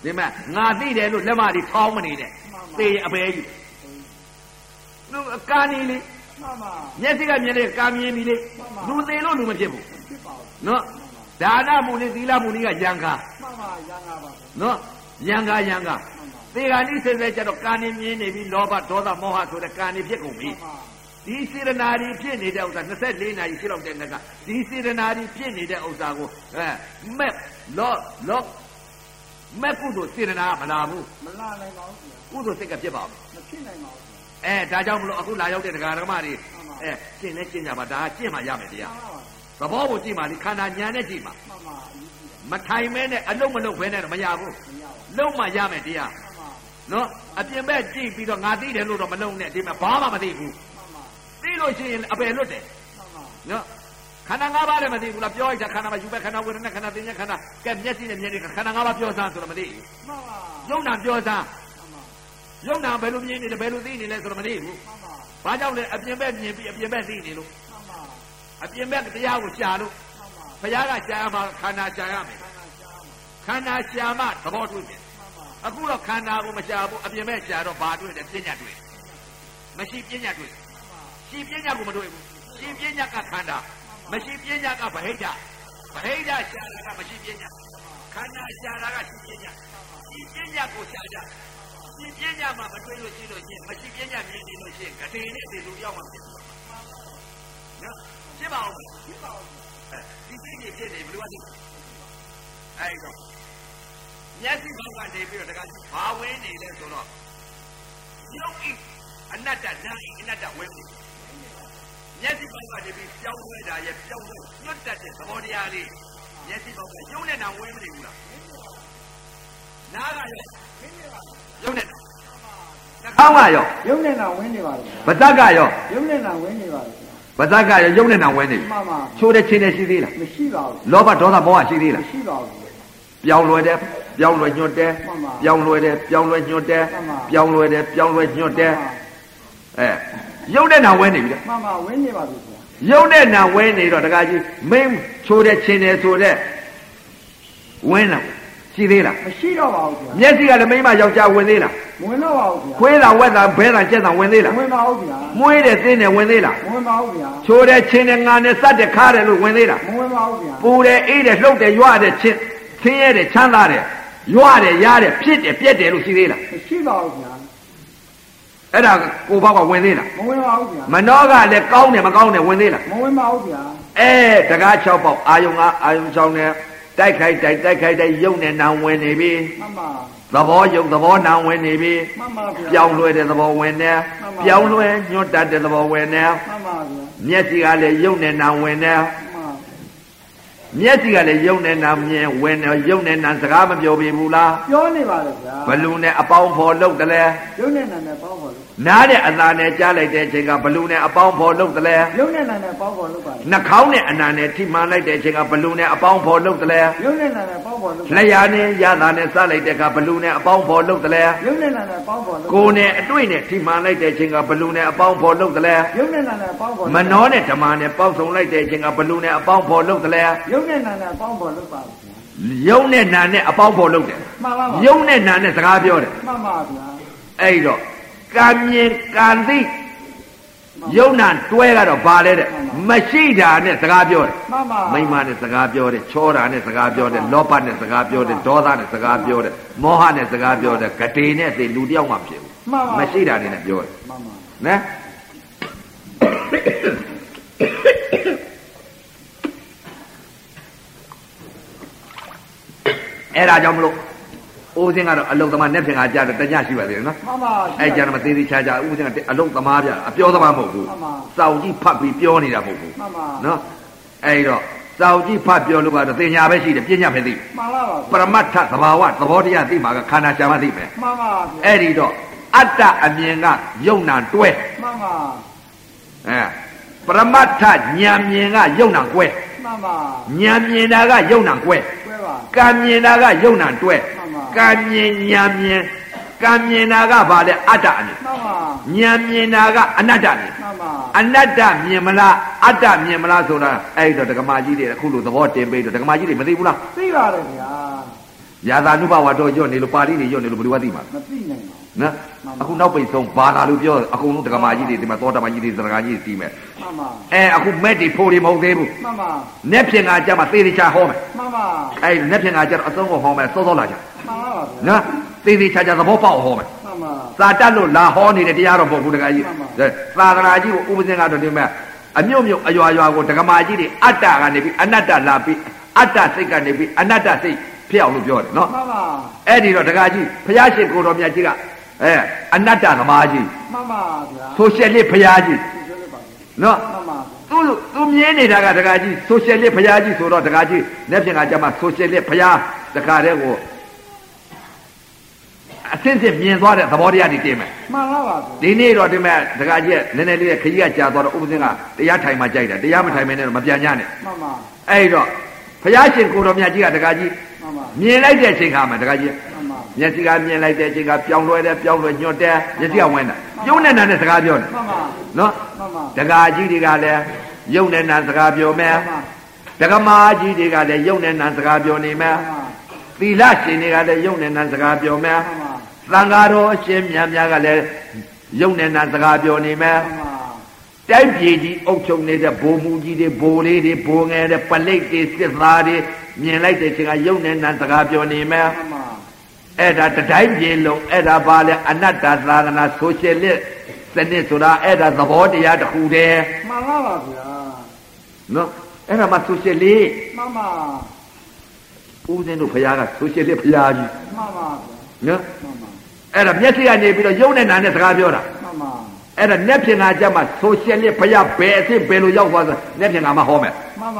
S1: ဒီမှာငါသိတယ်လို့လက်မတွေထောင်းမနေနဲ့
S2: မှန်ပါ
S1: သေရင်အပဲကြီးလူအကာနေလေ
S2: မှန်ပါ
S1: မျက်စိကမြင်လေကာမြင်ပြီလေ
S2: မှန်ပါ
S1: လူသေလို့လူမဖြစ်ဘူး
S2: ဖြစ်ပါဘူး
S1: နော်ဒါနမူနေသီလမူနေကယံကာ
S2: မှန်ပါရန်ကားပါဗျာ
S1: နော်ယံကာယံကာ
S2: မှန်ပါ
S1: သေကနေ့ဆက်ဆက်ကြတော့ကာနေမြင်နေပြီလောဘဒေါသမောဟဆိုတဲ့ကာနေဖြစ်ကုန်
S2: မှ
S1: ပြီ
S2: န်ပါ
S1: ဒီစေရနာတွေဖြစ်နေတဲ့ဥစ္စာ24နာရီရှိတော့တဲ့ငါကဒီစေရနာတွေဖြစ်နေတဲ့ဥစ္စာကိုအဲမက်လောလောမက်ကုသိုလ်စေရနာကမလာဘူး
S2: မလာနိုင်ပါဘူး
S1: ကု
S2: ဗျာ
S1: သိုလ်စိတ်ကဖြစ်ပါဘူး
S2: မဖြစ်နိုင်ပါဘူးဗ
S1: အဲ
S2: ျာ
S1: ဒါကြောင့်မလို့အခုလာရောက်တဲ့ဒကာဒကမတွေ
S2: မှန်ပါ
S1: အဲရှင်းလဲရှင်းကြပါဒါကရှင်းမှရမယ်တရား
S2: မှန်ပါ
S1: သဘောကိုရှင်းမှလေခန္ဓာညာနဲ့ရှင်းမှ
S2: မှန်ပါအရေးကြီးတယ်
S3: မထိုင်မဲနဲ့အလုံးမလုံးဘဲနဲ့တော့မရဘူး
S2: မရပါ
S3: လုံးမှရမယ်တရား
S2: ဘူးမှန်
S3: နော်အပြင်ဘက်ကြည့်ပြီးတော့ငါသိတယ်လို့တော့မလုံးနဲ့ဒီမှာဘာမှမသိဘူး
S2: ပါမှန်
S3: သိလို့ရှိရင်အပယ်လွတ်တယ်
S2: ပါမှန်ပါ
S3: နော်ခန္ဓာ၅ပါးလည်းမသိဘူးလားပြောလိုက်တာခန္ဓာမှာယူပဲခန္ဓာဝေဒနာခန္ဓာသင်္ညာခန္ဓာကဲမျက်စိနဲ့မြင်နေတာခန္ဓာ၅ပါးပြောစားဆိုတော့မသိဘူး
S2: မှန်ပါ
S3: ယုံနာပြောစား
S2: မှန်
S3: ယုံနာဘယ်လိုမြင်နေတယ်ဘယ်လိုသိနေလဲဆိုတော့မသိဘူးဘာ
S2: ပါမှန်
S3: ကြောင့်လဲအပြင်ဘက်မြင်ပြီးအပြင်ဘက်သိနေလို့
S2: ပါမှန်
S3: အပြင်ဘက်တရားကိုရှာလို့
S2: ပါ
S3: ဘု
S2: မှန်ပါမှန်
S3: ရားကရှာရမှာခန္ဓာရှာရမယ်
S2: ပါရှားမှ
S3: ခန္ဓာရှာမှသဘောတွေ့တယ်
S2: န်ပါ
S3: အခုတော့ခန္ဓာကိုမရှာဘူးအပြင်မဲ့ရှာတော့ဘာတွေ့လဲပညာတွေ့မရှိပညာတွေ့ရှိပညာကိုမတွေ့ဘူးရှိပညာကခန္ဓာမရှိပညာကဗဟိတဗဟိတရှာတာကမရှိပညာခန္ဓာရှာတာကရှိပညာရှိပညာကိုရှာတာရှိပညာမှာမတွေ့လို့ရှိလို့ရှိရင်မရှိပညာမြင်နေလို့ရှိရင်ဂတိနဲ့ဒီလိုရောက်မှာဖြစ်တယ်နော်ရှင်းပါဦး
S2: ဒီပါဦး
S3: အဲဒီစိတ်ကြီးဖြစ်နေဘယ်လိုလဲအဲ့တော့ မျက်စိဘက်ကနေပြီးတော့တခါဘာဝင်နေလဲဆိုတော့ရုပ်ဤအနတ္တနာဤအနတ္တဝင်နေမျက်စိဘက်ကနေပြီးပြောင်းလဲတာရဲ့ပြောင်းလဲညွတ်တတ်တဲ့သဘောတရားလေးမျက်စိဘက်ကရုပ်နဲ့တောင်ဝင်မနေဘူးလားနားကရော
S2: မင်းတွေက
S3: ရုပ်နဲ့တောင်နှာ
S1: အောက်ကရော
S2: ရုပ်နဲ့နာဝင်နေပါလေ
S1: ဗဇက်ကရောဗဇက်ကရော
S2: ရုပ်နဲ့နာဝင်နေပါလေ
S1: ရုပ်နဲ့နာဝဲနေပြီ
S2: မှန်ပါ
S1: ချိုးတဲ့ချင်းနဲ့ရှိသေးလား
S2: မရှိပါဘူး
S1: လောဘဒေါသမောဟရှိသေးလား
S2: မရှိပါဘူး
S1: ပြောင်းလွယ်တယ်ပြောင်းလွယ်ညွတ်တယ်
S2: မှန်ပါ
S1: ပြောင်းလွယ်တယ်ပြောင်းလွယ်ညွတ်တယ်
S2: မှန်ပါ
S1: ပြောင်းလွယ်တယ်ပြောင်းလွယ်ညွတ်တယ်အဲရုပ်နဲ့နာဝဲနေပြီလား
S2: မှန်ပါဝင်နေပါပြီခင်ဗျာ
S1: ရုပ်နဲ့နာဝဲနေတော့တကကြီးမင်းချိုးတဲ့ချင်းတယ်ဆိုတဲ့ဝင်းလားရှိသေးလား
S2: မရှိတော့ပါဘူးခင်
S1: မျက်စိကလည်းမိန်းမယောက်ျားဝင်သေးလား
S2: ဗျာဝင်တော့ပါဘူးခင်
S1: ခွေးလားဝက်လားဘဲလားကြက်လားဝင်သေး
S2: ဗျာ
S1: လား
S2: ဝင်ပါဦးခင်ဗျာ
S1: မွေးတဲ့သင်းနဲ့ဝင်သေးလား
S2: ဝင်ပါဦးခင်ဗျာ
S1: ချိုးတဲ့ချင်းနဲ့ငါနဲ့စက်တဲ့ခါတယ်လို့ဝင်သေးလား
S2: ဝင်ပါဦးခင်ဗျာ
S1: ပူတယ်အေးတယ်လှုပ်တယ်ရွတဲ့ချင်းဆင်းရဲတယ်ချမ်းသာတယ်ရွတယ်ရတဲ့ဖြစ်တယ်ပြက်တယ်လို့ရှိသေးလား
S2: မရှိပါဘူးခင်ဗျာ
S1: အဲ့ဒါကိုဘောက်ကဝင်သေးလား
S2: မဝင်ပါဘူးခင်ဗျာ
S1: မနှောကလည်းကောင်းတယ်မကောင်းတယ်ဝင်သေးလား
S2: မဝင်ပါဘူးခင်ဗျာ
S1: အဲတကား6ပေါက်အာယုံကအာယုံ6နဲ့တိုက်ခိုက်တိုက်တိုက်ခိုက်တိုက်ယုံနဲ့နံဝင်နေပြီ
S2: မှန်ပါ
S1: သဘောယုံသဘောနံဝင်နေပြီ
S2: မှန်ပါခင်ဗျာ
S1: ပြောင်းလွှဲတဲ့သဘောဝင်နေ
S2: မှန်ပါ
S1: ပြောင်းလွှဲညွတ်တတ်တဲ့သဘောဝင်နေ
S2: မှန်ပါခင်
S1: မျက်စိကလည်းယုံနဲ့နံဝင်နေ
S2: ဗျာ
S1: မျက်စိကလည်းယုံနဲ့နံမြင်ဝင်နေယုံနဲ့နံစကားမပြောပြဘူးလား
S2: မှန်ပါပြောနေပါလေခင်ဗျာ
S1: ဘလူနဲ့အပေါင်းဖော်လုပ်တယ်လဲ
S2: ရုပ်နဲ့နာနဲ့ပေါင်းပေါ်လို့
S1: နားနဲ့အသာနဲ့ကြားလိုက်တဲ့အချိန်ကဘလူနဲ့အပေါင်းဖော်လုပ်တယ်လဲ
S2: ရုပ်နဲ့နာနဲ့ပေါင်းပေါ်လို့ပါလေ
S1: နှာခေါင်းနဲ့အနာနဲ့ထိမှန်လိုက်တဲ့အချိန်ကဘလူနဲ့အပေါင်းဖော်လုပ်တယ်လဲ
S2: ရုပ်နဲ့နာနဲ့ပေါင်းပေါ်လို့
S1: လက်ရနဲ့ရတာနဲ့စလိုက်တဲ့အခါဘလူနဲ့အပေါင်းဖော်လုပ်တယ်လဲ
S2: ရုပ်နဲ့နာနဲ့ပေါင်းပေါ်လို့
S1: ကိုယ်နဲ့အတွေ့နဲ့ထိမှန်လိုက်တဲ့အချိန်ကဘလူနဲ့အပေါင်းဖော်လုပ်တယ်လဲ
S2: ရုပ်နဲ့နာနဲ့ပေါင်းပေါ်လို့
S1: မနှောနဲ့ဓမ္မနဲ့ပေါင်းစုံလိုက်တဲ့အချိန်ကဘလူနဲ့အပေါင်းဖော်လုပ်တယ်လဲ
S2: ရုပ်နဲ့နာနဲ့ပေါင်းပေါ်လို့ပါလေခင်
S1: ယုံနဲ့နာနဲ့အပေါင်းဖော်လုပ်တယ်
S2: ဗျာမှန်ပါပါ
S1: ယုံနဲ့နာနဲ့စကားပြောတယ်
S2: မှန်ပါခင်ဗျာ
S1: အဲ့ဒီတော့ကံမြင်ကံသိယုံနာတွဲကတော့ဘာလဲတဲ့မရှိတာနဲ့စကားပြောတယ်
S2: မှန်ပါ
S1: မိမနဲ့စကားပြောတယ်ချောတာနဲ့စကားပြောတယ်လောဘနဲ့စကားပြောတယ်ဒေါသနဲ့စကားပြောတယ်မောဟနဲ့စကားပြောတယ်ဂတိနဲ့သိလူတစ်ယောက်မှဖြစ်ဘူး
S2: မှန်ပါ
S1: မရှိတာနေနဲ့ပြောတယ်
S2: မှန်ပါ
S1: နော် အဲ့ဒါကြောင့်မလို့ဦးစင်းကတော့အလုံသမားနဲ့ဖင်ကကြားတယ်တညရှိပါသေးတယ်နော်
S2: မှန်ပါ
S1: အဲ့ကြမ်းမသေးသေးချာချာဦးစင်းကအလုံသမားပြအပြောသမားမဟုတ်ဘူးစောင့်ကြည့်ဖတ်ပြီးပြောနေတာမဟုတ်ဘူး
S2: မှန်ပါ
S1: နော်အဲ့တော့စောင့်ကြည့်ဖတ်ပြောလို့ကတော့သင်ညာပဲရှိတယ်ပညာပဲသိတယ်
S2: မှန်လားပါခင်ဗျာ
S1: ပရမတ္ထသဘာဝသဘောတရားသိမှာကခန္ဓာရှာမသိမယ်
S2: မှန်ပါဗျာ
S1: အဲ့ဒီတော့အတ္တအမြင်ကယုံနာတွဲ
S2: မှန်ပါ
S1: အဲပရမတ္ထဉာဏ်မြင်ကယုံနာကွဲ
S2: မှန်ပါ
S1: ဉာဏ်မြင်တာကယုံနာကွဲ
S2: ကျွဲပါ
S1: ကံမြင်တာကယုံနာတွဲ
S2: မှန်ပါ
S1: ကံမြင်ဉာဏ်မြင်ကံမြင်တာကဘာလဲအတ္တအမြင်
S2: မှန်ပါ
S1: ဉာဏ်မြင်တာကအနတ္တအမြင်
S2: မှန်ပါ
S1: အနတ္တမြင်မလားအတ္တမြင်မလားဆိုတာအဲ့တော့ဒကမာကြီးတွေအခုလိုသဘောတင်ပေးတော့ဒကမာကြီးတွေမသိဘူးလား
S2: သိပါတယ်ဗျာ
S1: ယာသာနုဘဝတော်ညွတ်နေလို့ပါဠိတွေညွတ်နေလို့ဘယ်လိုမှသိမှာလဲ
S2: မသိနိုင်ပါဘူး
S1: နော်အခုနောက်
S2: မှန်ပါ
S1: ပိတ်ဆုံးဘာသာလို့ပြောအကုန်လုံးဒကမာကြီးတွေဒီမှာသောတာပန်ကြီးတွေသရဂါကြီးတွေသိမယ်
S2: မှန်ပါ
S1: အဲအခုမက်တွေဖိုးတွေမဟုတ်သေးဘူး
S2: မှန်ပါ
S1: နက်ဖြင်ကကြမှာသေသေးချာဟောမယ်
S2: မှန်ပါ
S1: အဲ့နက်ဖြင်ကကြတော့အဆုံးကိုဟောမယ်စောစောလာကြ
S2: မှန်လားပါဗျာ
S1: နော်သေသေးချာချာသဘောပေါက်အောင်ဟောမယ်
S2: မှန်ပါ
S1: သာတတ်လို့လာဟောနေတဲ့တရားတော်မဟုတ်ဘူးတကကြီး
S2: မှန်ပါ
S1: ဒါသာသနာကြီးကိုဥပဇင်ကတော့ဒီမဲ့အမြုပ်မြုပ်အရွာရွာကိုဒကမာကြီးတွေအတ္တကနေပြီးအနတ္တလာပြီးအတ္တစိတ်ကနေပြီးအနတ္တစိတ်ဖြစ်အောင်လို့ပြောတယ်နော်
S2: မှန်ပါ
S1: အဲ့ဒီတော့တကကြီးဘုရားရှင်ကိုတော်မြတ်ကြီးကအဲအနတ္တသမားကြီး
S2: မှန်ပါဗျာ
S1: ဆိုရှယ်လစ်ဘုရားကြီး
S2: ကျွဲပါဗျာ
S1: နော်
S2: မှန်ပါ
S1: သူ လို့သူမြင်နေတာကတကားကြီး social လစ်ဖျားကြီးဆိုတော့တကားကြီးလက်ဖြင့်ကကြမှာ social လစ်ဖျားတကားတဲ့ကိုအစင်းစင်းမြင်သွားတဲ့သဘောတရားတွေတင်မယ်
S2: မှန်လားပါဗျာ
S1: ဒီနေ့တော့ဒီမဲ့တကားကြီးကနည်းနည်းလေးကခကြီးကကြာသွားတော့ဥပဒေကတရားထိုင်မှကြိုက်တယ်တရားမထိုင်မနဲ့တော့မပြန်ညနဲ့
S2: မှန်ပါ
S1: အဲ့တော့ဖျားရှင်ကိုတော်မြတ်ကြီးကတကားကြီး
S2: မှန်ပါ
S1: မြင်လိုက်တဲ့အချိန်ခါမှာတကားကြီးက
S2: မှန်ပါ
S1: မျက်စိကမြင်လိုက်တဲ့အချိန်ကပြောင်းလဲတယ်ပြောင်းလဲညွတ်တယ်မျက်စိကဝင်တာရုပ်နဲ့နာနဲ့စကားပြောတယ်
S2: မှန်ပါ
S1: နော်
S2: မှန်ပါ
S1: ဒကာကြီးတွေကလည်းရုပ်နဲ့နာစကားပြောမယ်
S2: မှ
S1: ဒ
S2: န်ပါ
S1: ကမာကြီးတွေကလည်းရုပ်နဲ့နာစကားပြောနေမယ်
S2: မှန်ပါ
S1: သီလရှင်တွေကလည်းရုပ်နဲ့နာစကားပြောမယ်
S2: မှန်
S1: သံ
S2: ပါ
S1: ဃာတော်အရှင်မြတ်များကလည်းရုပ်နဲ့နာစကားပြောနေမယ်
S2: မှန်ပါ
S1: တိုက်ပြည်ကြီးအုပ်ချုပ်နေတဲ့ဘိုလ်မူကြီးတွေဘိုလ်လေးတွေဘိုလ်ငယ်တွေပလိတ်တွေစစ်သားတွေမြင်လိုက်တဲ့အချိန်ကရုပ်နဲ့နာစကားပြောနေမယ်
S2: မှန်ပါ
S1: အဲ့ဒါတတိုင်းပြေလုံးအဲ့ဒါပါလေအနတ္တသာသနာဆိုရှယ်လစ်စနစ်ဆိုတာအဲ့ဒါသဘောတရားတစ်ခုတည်း
S2: မှန်လားပါဗျာ
S1: နော်အဲ့ဒါမှဆိုရှယ်လစ်
S2: မှန်ပါ
S1: ဦးဇင်းတို့ဖရာကဆိုရှယ်လစ်ဖရာကြီး
S2: မှန်ပါ
S1: နော်
S2: ဗျာမှန်ပါ
S1: အဲ့ဒါမျက်စိကနေပြီးတော့ရုပ်နဲ့နာနဲ့စကားပြောတာ
S2: မှန်ပါ
S1: အဲ့ဒါမျက်ဖြင်ကကြမှာဆိုရှယ်လစ်ဖရာဘယ်အဆင့်ဘယ်လိုရောက်သွားဆိုမျက်ဖြင်ကမှဟောမယ်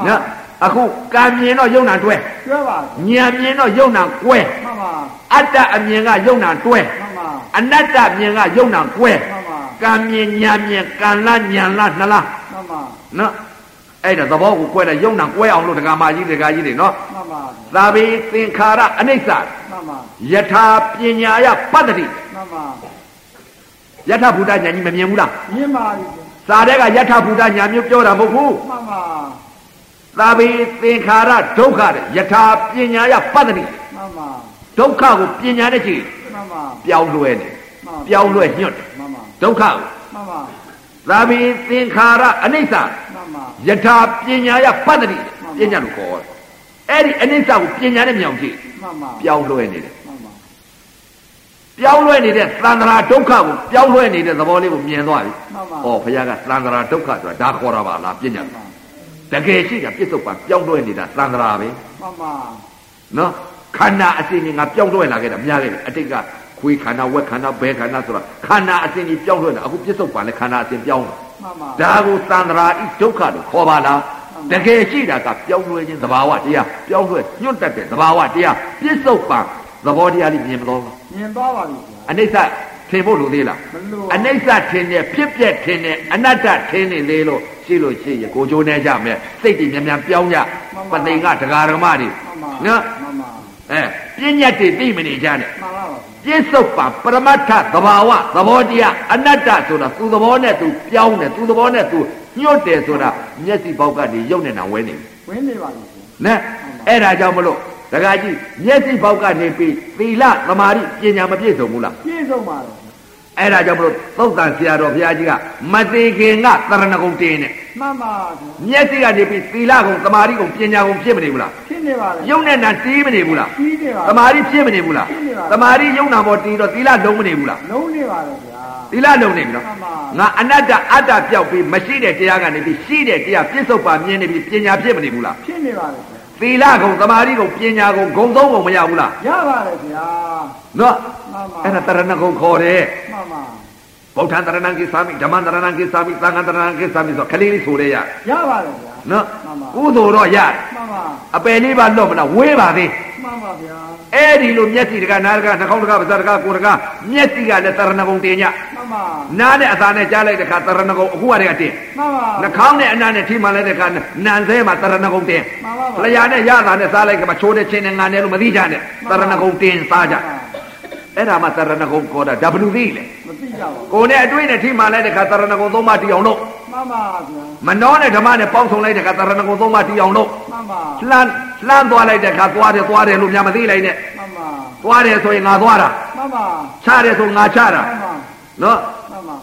S1: နော်အခုကံမြင်တော့ရုပ်နာတွဲ
S2: ကျွဲ
S1: ဉာ
S2: ပါ
S1: ဏ်မြင်တော့ရုပ်နာကွဲ
S2: မှန်ပါ
S1: အတ္တအမြင်ကရုပ်နာတွဲ
S2: မှန်ပါ
S1: အနတ္တမြင်ကရုပ်နာကွဲ
S2: မှန်ပါ
S1: ကံမြင်ညာမြင်ကံလားညာလားနှလား
S2: မှန်ပါ
S1: နော်အဲ့ဒါသဘောကိုကွဲတဲ့ယုံနာကွဲအောင်လို့ဒကာမကြီးဒကာကြီးတွေနော်
S2: မှန်ပါ
S1: သာဘိသင်္ခါရအနိစ္စ
S2: မှန်ပါ
S1: ယထာပညာယပတ္တိ
S2: မှန်ပါ
S1: ယထာဘူတညာကြီးမမြင်ဘူးလား
S2: မြင်ပါပြီ
S1: စာတဲ့ကယထာဘူတညာမျိုးပြောတာမဟုတ်ဘူး
S2: မှန်ပါ
S1: သာဘိသင်္ခါရဒုက္ခတဲ့ယထာပညာယပတ္တိ
S2: မှန်ပါ
S1: ဒုက္ခကိုပညာနဲ့ကြည့်
S2: မှန်ပါ
S1: ပြောင်းလွဲတယ်ပြောင်းလွဲညွတ်တယ်
S2: မှန်ပါ
S1: ဒုက္ခကို
S2: မှန်ပါ
S1: သာဘိသင်္ခါရအနိစ္စ
S2: မှန်ပါ
S1: ယထာပညာယပတ္တိ
S2: မှန်ပါ
S1: ပညာလို့ခေါ်တယ်အဲ့ဒီအနိစ္စကိုပညာနဲ့မြောင်ကြည့်
S2: မှန်ပါ
S1: ပြောင်းလွှဲနေတယ်
S2: မှန်ပါ
S1: ပြောင်းလွှဲနေတဲ့သန္တရာဒုက္ခကိုပြောင်းလွှဲနေတဲ့သဘောလေးကိုမြင်သွားပြီ
S2: မှန်ပါ
S1: ။ဩဘုရားကသန္တရာဒုက္ခဆိုတာဒါခေါ်တာပါလားပညာ
S2: မှန်ပါ
S1: တကယ်ရှိတာပြစ္ဆုတ်ပါပြောင်းလွှဲနေတာသန္တရာပဲ
S2: မှန်ပါ
S1: နော်ခန္ဓာအစဉ်ကြီးငါပြောင်းလွှဲလာခဲ့တာများခဲ့တယ်အတိတ်ကခွေးခန္ဓာဝက်ခန္ဓာဘဲခန္ဓာဆိုတာခန္ဓာအစဉ်ကြီးပြောင်းလွှဲတာအခုပြစ္ဆုတ်ပါလဲခန္ဓာအစဉ်ပြောင်းတာ
S2: မှန်ပါ
S1: ဒါကိုသန္တရာဤဒုက္ခလို့ခေါ်ပါလားတကယ်ရှိတာကပြောင်းလဲခြင်းသဘာဝတရားပြောင်းလဲညွတ်တတ်တဲ့သဘာဝတရားပြစ္ဆုတ်ပံသဘောတရားလေးမြင်မလို့လား
S2: မြင်သွားပါပြီဗျာ
S1: အနိစ္စထင်ဖို့လိုသေးလား
S2: မလိုပါဘူး
S1: အနိစ္စထင်တယ်ဖြစ်ပျက်ထင်တယ်အနတ္တထင်နေလေလို့ရှိလို့ရှိရင်ကိုယ်ကျိုးနေကြမယ်စိတ်တွေမြန်မြန်ပြောင်းကြပသိင်္ဂဒကာရမတွေ
S2: မှန်ပါ
S1: နော်
S2: မှန်ပါ
S1: အဲပြဉ္ညာတွေသိမနေကြနဲ့
S2: မှန်ပါပါ
S1: ပြစ္ဆုတ်ပါပရမတ္ထသဘာဝသဘောတရားအနတ္တဆိုတာသူသဘောနဲ့သူပြောင်းတယ်သူသဘောနဲ့သူညွတ်တယ်ဆိုတာမျက်စိပေါက်ကနေရုပ်နဲ့နာဝဲနေတယ်
S2: ဝင်နေပါပြီဗျာ
S1: နဲအဲ့ဒါကြောင့်မလို့ဒကာကြီးမျက်စိပေါက်ကနေပြီးသီလသမာဓိပညာမပြည့်စုံဘူးလား
S2: ပြည့်စုံပါတယ်ဗျာ
S1: အဲ့ဒါကြောင့်မလို့သုတ်တန်ဆရာတော်ဘုရားကြီးကမသိခင်ကသရဏဂုံတင်းနဲ့
S2: မှန်ပါဗျာ
S1: မျက်စိကနေပြီးသီလကုံသမာဓိကုံပညာကုံဖြစ်မနေဘူးလား
S2: ဖြစ်နေပါတယ်
S1: ရုပ်နဲ့နာတီးမနေဘူးလား
S2: ပြီးနေပါ
S1: သမာဓိဖြစ်မနေဘူးလားသမာဓိရုပ်နာပေါ်တီးတော့သီလလုံးမနေဘူးလား
S2: လုံးနေပါတယ်ဗျာ
S1: သီလလုံးနေပြီနော်
S2: မှန်ပါ
S1: ငါအနတ္တအတ္တပြောက်ပြီးမရှိတဲ့တရားကနေပြီးရှိတဲ့တရားပြစ္ဆုတ်ပါမြင်နေပြီးပညာဖြစ်မနေဘူးလား
S2: ဖြစ်နေပါတယ်ဗျာ
S1: သီလကုံသမာဓိကုံပညာကုံဂုံသုံးကုံမရဘူးလား
S2: ရပါတယ်ဗျာ
S1: နော်
S2: မှန်ပါ
S1: အဲ့ဒါတရဏဂုံခေါ်တယ်
S2: မှန်ပါ
S1: ဗုဒ္ဓံတရဏံကိသာမိဓမ္မံတရဏံကိသာမိသံဃံတရဏံကိသာမိဆိုခလေးလေးဆိုရရ
S2: ရပါတယ်ဗျာ
S1: နော်
S2: မှန်ပါ
S1: ကုသိုလ်တော့ရတယ်
S2: မှန်ပါ
S1: အပယ်လေးပါလွတ်မလားဝေးပါသေး
S2: မှန်ပါဗျာ
S1: အဲ့ဒီလိုမျက်စိတကနားတကနှာခေါင်းတကပါးစပ်တကကိုယ်တကမျက်စိကလည်းတရဏဂုံတင်ည
S2: မှန်ပါ
S1: နားနဲ့အသာနဲ့ကြားလိုက်တဲ့အခါတရဏဂုံအခုကတည်းကတင်
S2: မှန်ပါ
S1: နှာခေါင်းနဲ့အနားနဲ့ထိမှန်လိုက်တဲ့အခါနန်သေးမှာတရဏဂုံတင်း
S2: မှန်ပါပါ
S1: လျာနဲ့ရတာနဲ့စားလိုက်ကမှချိုးတဲ့ချင်းနဲ့ငါနဲ့လို့မသိကြနဲ့တရဏဂုံတင်းစားကြအဲ့ဒါမှတရဏဂုံခေါ်တာဝသိလေ
S2: မသိကြပါ
S1: ကိုယ်နဲ့အတွေ့နဲ့ထိမှန်လိုက်တဲ့အခါတရဏဂုံသုံးပါတီအောင်လို့
S2: ဘူးမှန်ပါဗျာ
S1: မနှောနဲ့ဓမ္မနဲ့ပေါင်းစုံလိုက်တဲ့အခါတရဏဂုံသုံးပါတီအောင်လို့
S2: မှန်ပါ
S1: လှမ်းလှမ်းသွားလိုက်တဲ့အခါသွားတယ်သွားတယ်လို့များမသိလိုက်နဲ့
S2: မှန်ပါ
S1: သွားတယ်ဆိုရင်ငါသွားတာ
S2: မှန်ပါ
S1: ချတယ်ဆိုငါချတာ
S2: မှန်ပါ
S1: နော်
S2: မှန်ပါ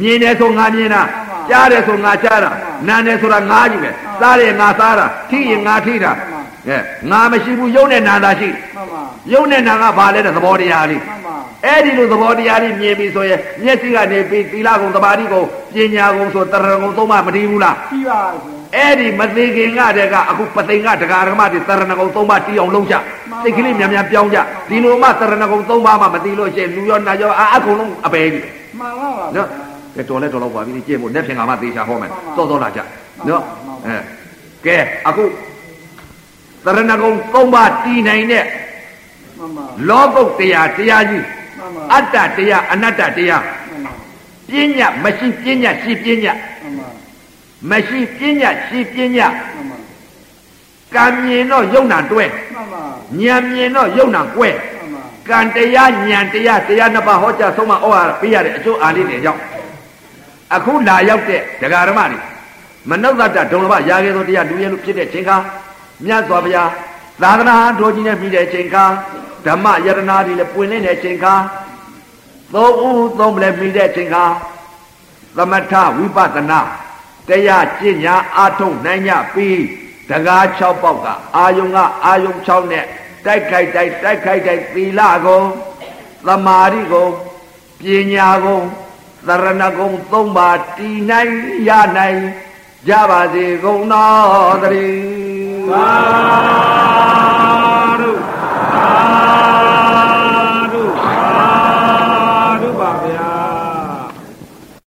S1: မြင်တယ်ဆိုငါမြင်တာကြားတယ်ဆိုငါကြားတာနားတယ်ဆိုတာငါကြီးပဲစားတယ်ငါစားတာထိရင်ငါထိတာ ကဲငါမရှိဘူးယုံနဲ့နာသာရှိတယ်
S2: မှန်ပါ
S1: ယုံနဲ့နာကဘာလဲတဲ့သဘောတရားလေး
S2: မှန်ပါ
S1: အဲ့ဒီလိုသဘောတရားလေးမြင်ပြီဆိုရင်မျက်စိကနေပြီးသီလကုံသမာဓိကုံပညာကုံဆိုတရဏကုံသုံးပါမတည်ဘူးလား
S2: ပြီးပါပြီ
S1: အဲ့ဒီမသိခင်ကတည်းကအခုပသိင်္ဂဒကာရမတွေတရဏကုံသုံးပါတီးအောင်လုပ်ကြစိတ်ကလေးမြန်မြန်ပြောင်းကြဒီလိုမှတရဏကုံသုံးပါမှမတည်လို့ရှိရင်လူရောနာရောအာအကုန်လုံးအပယ်ကြီး
S2: မှန်လားပါ
S1: နော်ဒ ကဲတော်လဲတော်တော့ပါပြီကြည့်မို့လက်ဖြင်ကမှသေချာဟောမယ်
S2: ဟု
S1: စော
S2: တ်ပါ
S1: စောလာကြနော်
S2: ဟုတ်ပါ
S1: အဲကဲအခုသရဏဂုံသုံးပါးတည်နိုင်တဲ့
S2: မမ
S1: လောကုတ်တရားတရားကြီး
S2: မမ
S1: အတ္တတရားအနတ္တတရား
S2: မမ
S1: ပညာမရှိပညာရှိပညာ
S2: မမ
S1: မရှိပညာရှိပညာ
S2: မမ
S1: ကံမြင်တော့ယုံနာတွဲ
S2: မမ
S1: ဉာဏ်မြင်တော့ယုံနာကွဲ
S2: မမ
S1: ကံတရားညံတရားတရားနှစ်ပါးဟောကြားဆုံးမဩဝါဒပေးရတဲ့အကျိုးအားလေးတွေကြောင့်အခုလာရောက်တဲ့ဒကာဓမ္မတွေမနုဿတ္တဒုံလဘရာခဲသောတရားလူရဲလူဖြစ်တဲ့ချိန်ခါမြတ်စွာဘုရားသာသနာတော်ကြီးနဲ့ပြီးတဲ့ချိန်ခါဓမ္မယတနာတွေလည်းပွင့်လင်းတဲ့ချိန်ခါသုံးဦးသုံးလည်းပြီးတဲ့ချိန်ခါသမထဝိပဿနာတရားကျင့်ညာအားထုတ်နိုင်ကြပြီးတကား6ပေါက်ကအာယုံကအာယုံ6နဲ့တိုက်ခိုက်တိုက်တိုက်ခိုက်တိုက်သီလကိုသမာဓိကိုပညာကိုသရဏဂုံ3ပါးတည်နိုင်ရနိုင်ကြပါစေကုန်သောတည်းသာ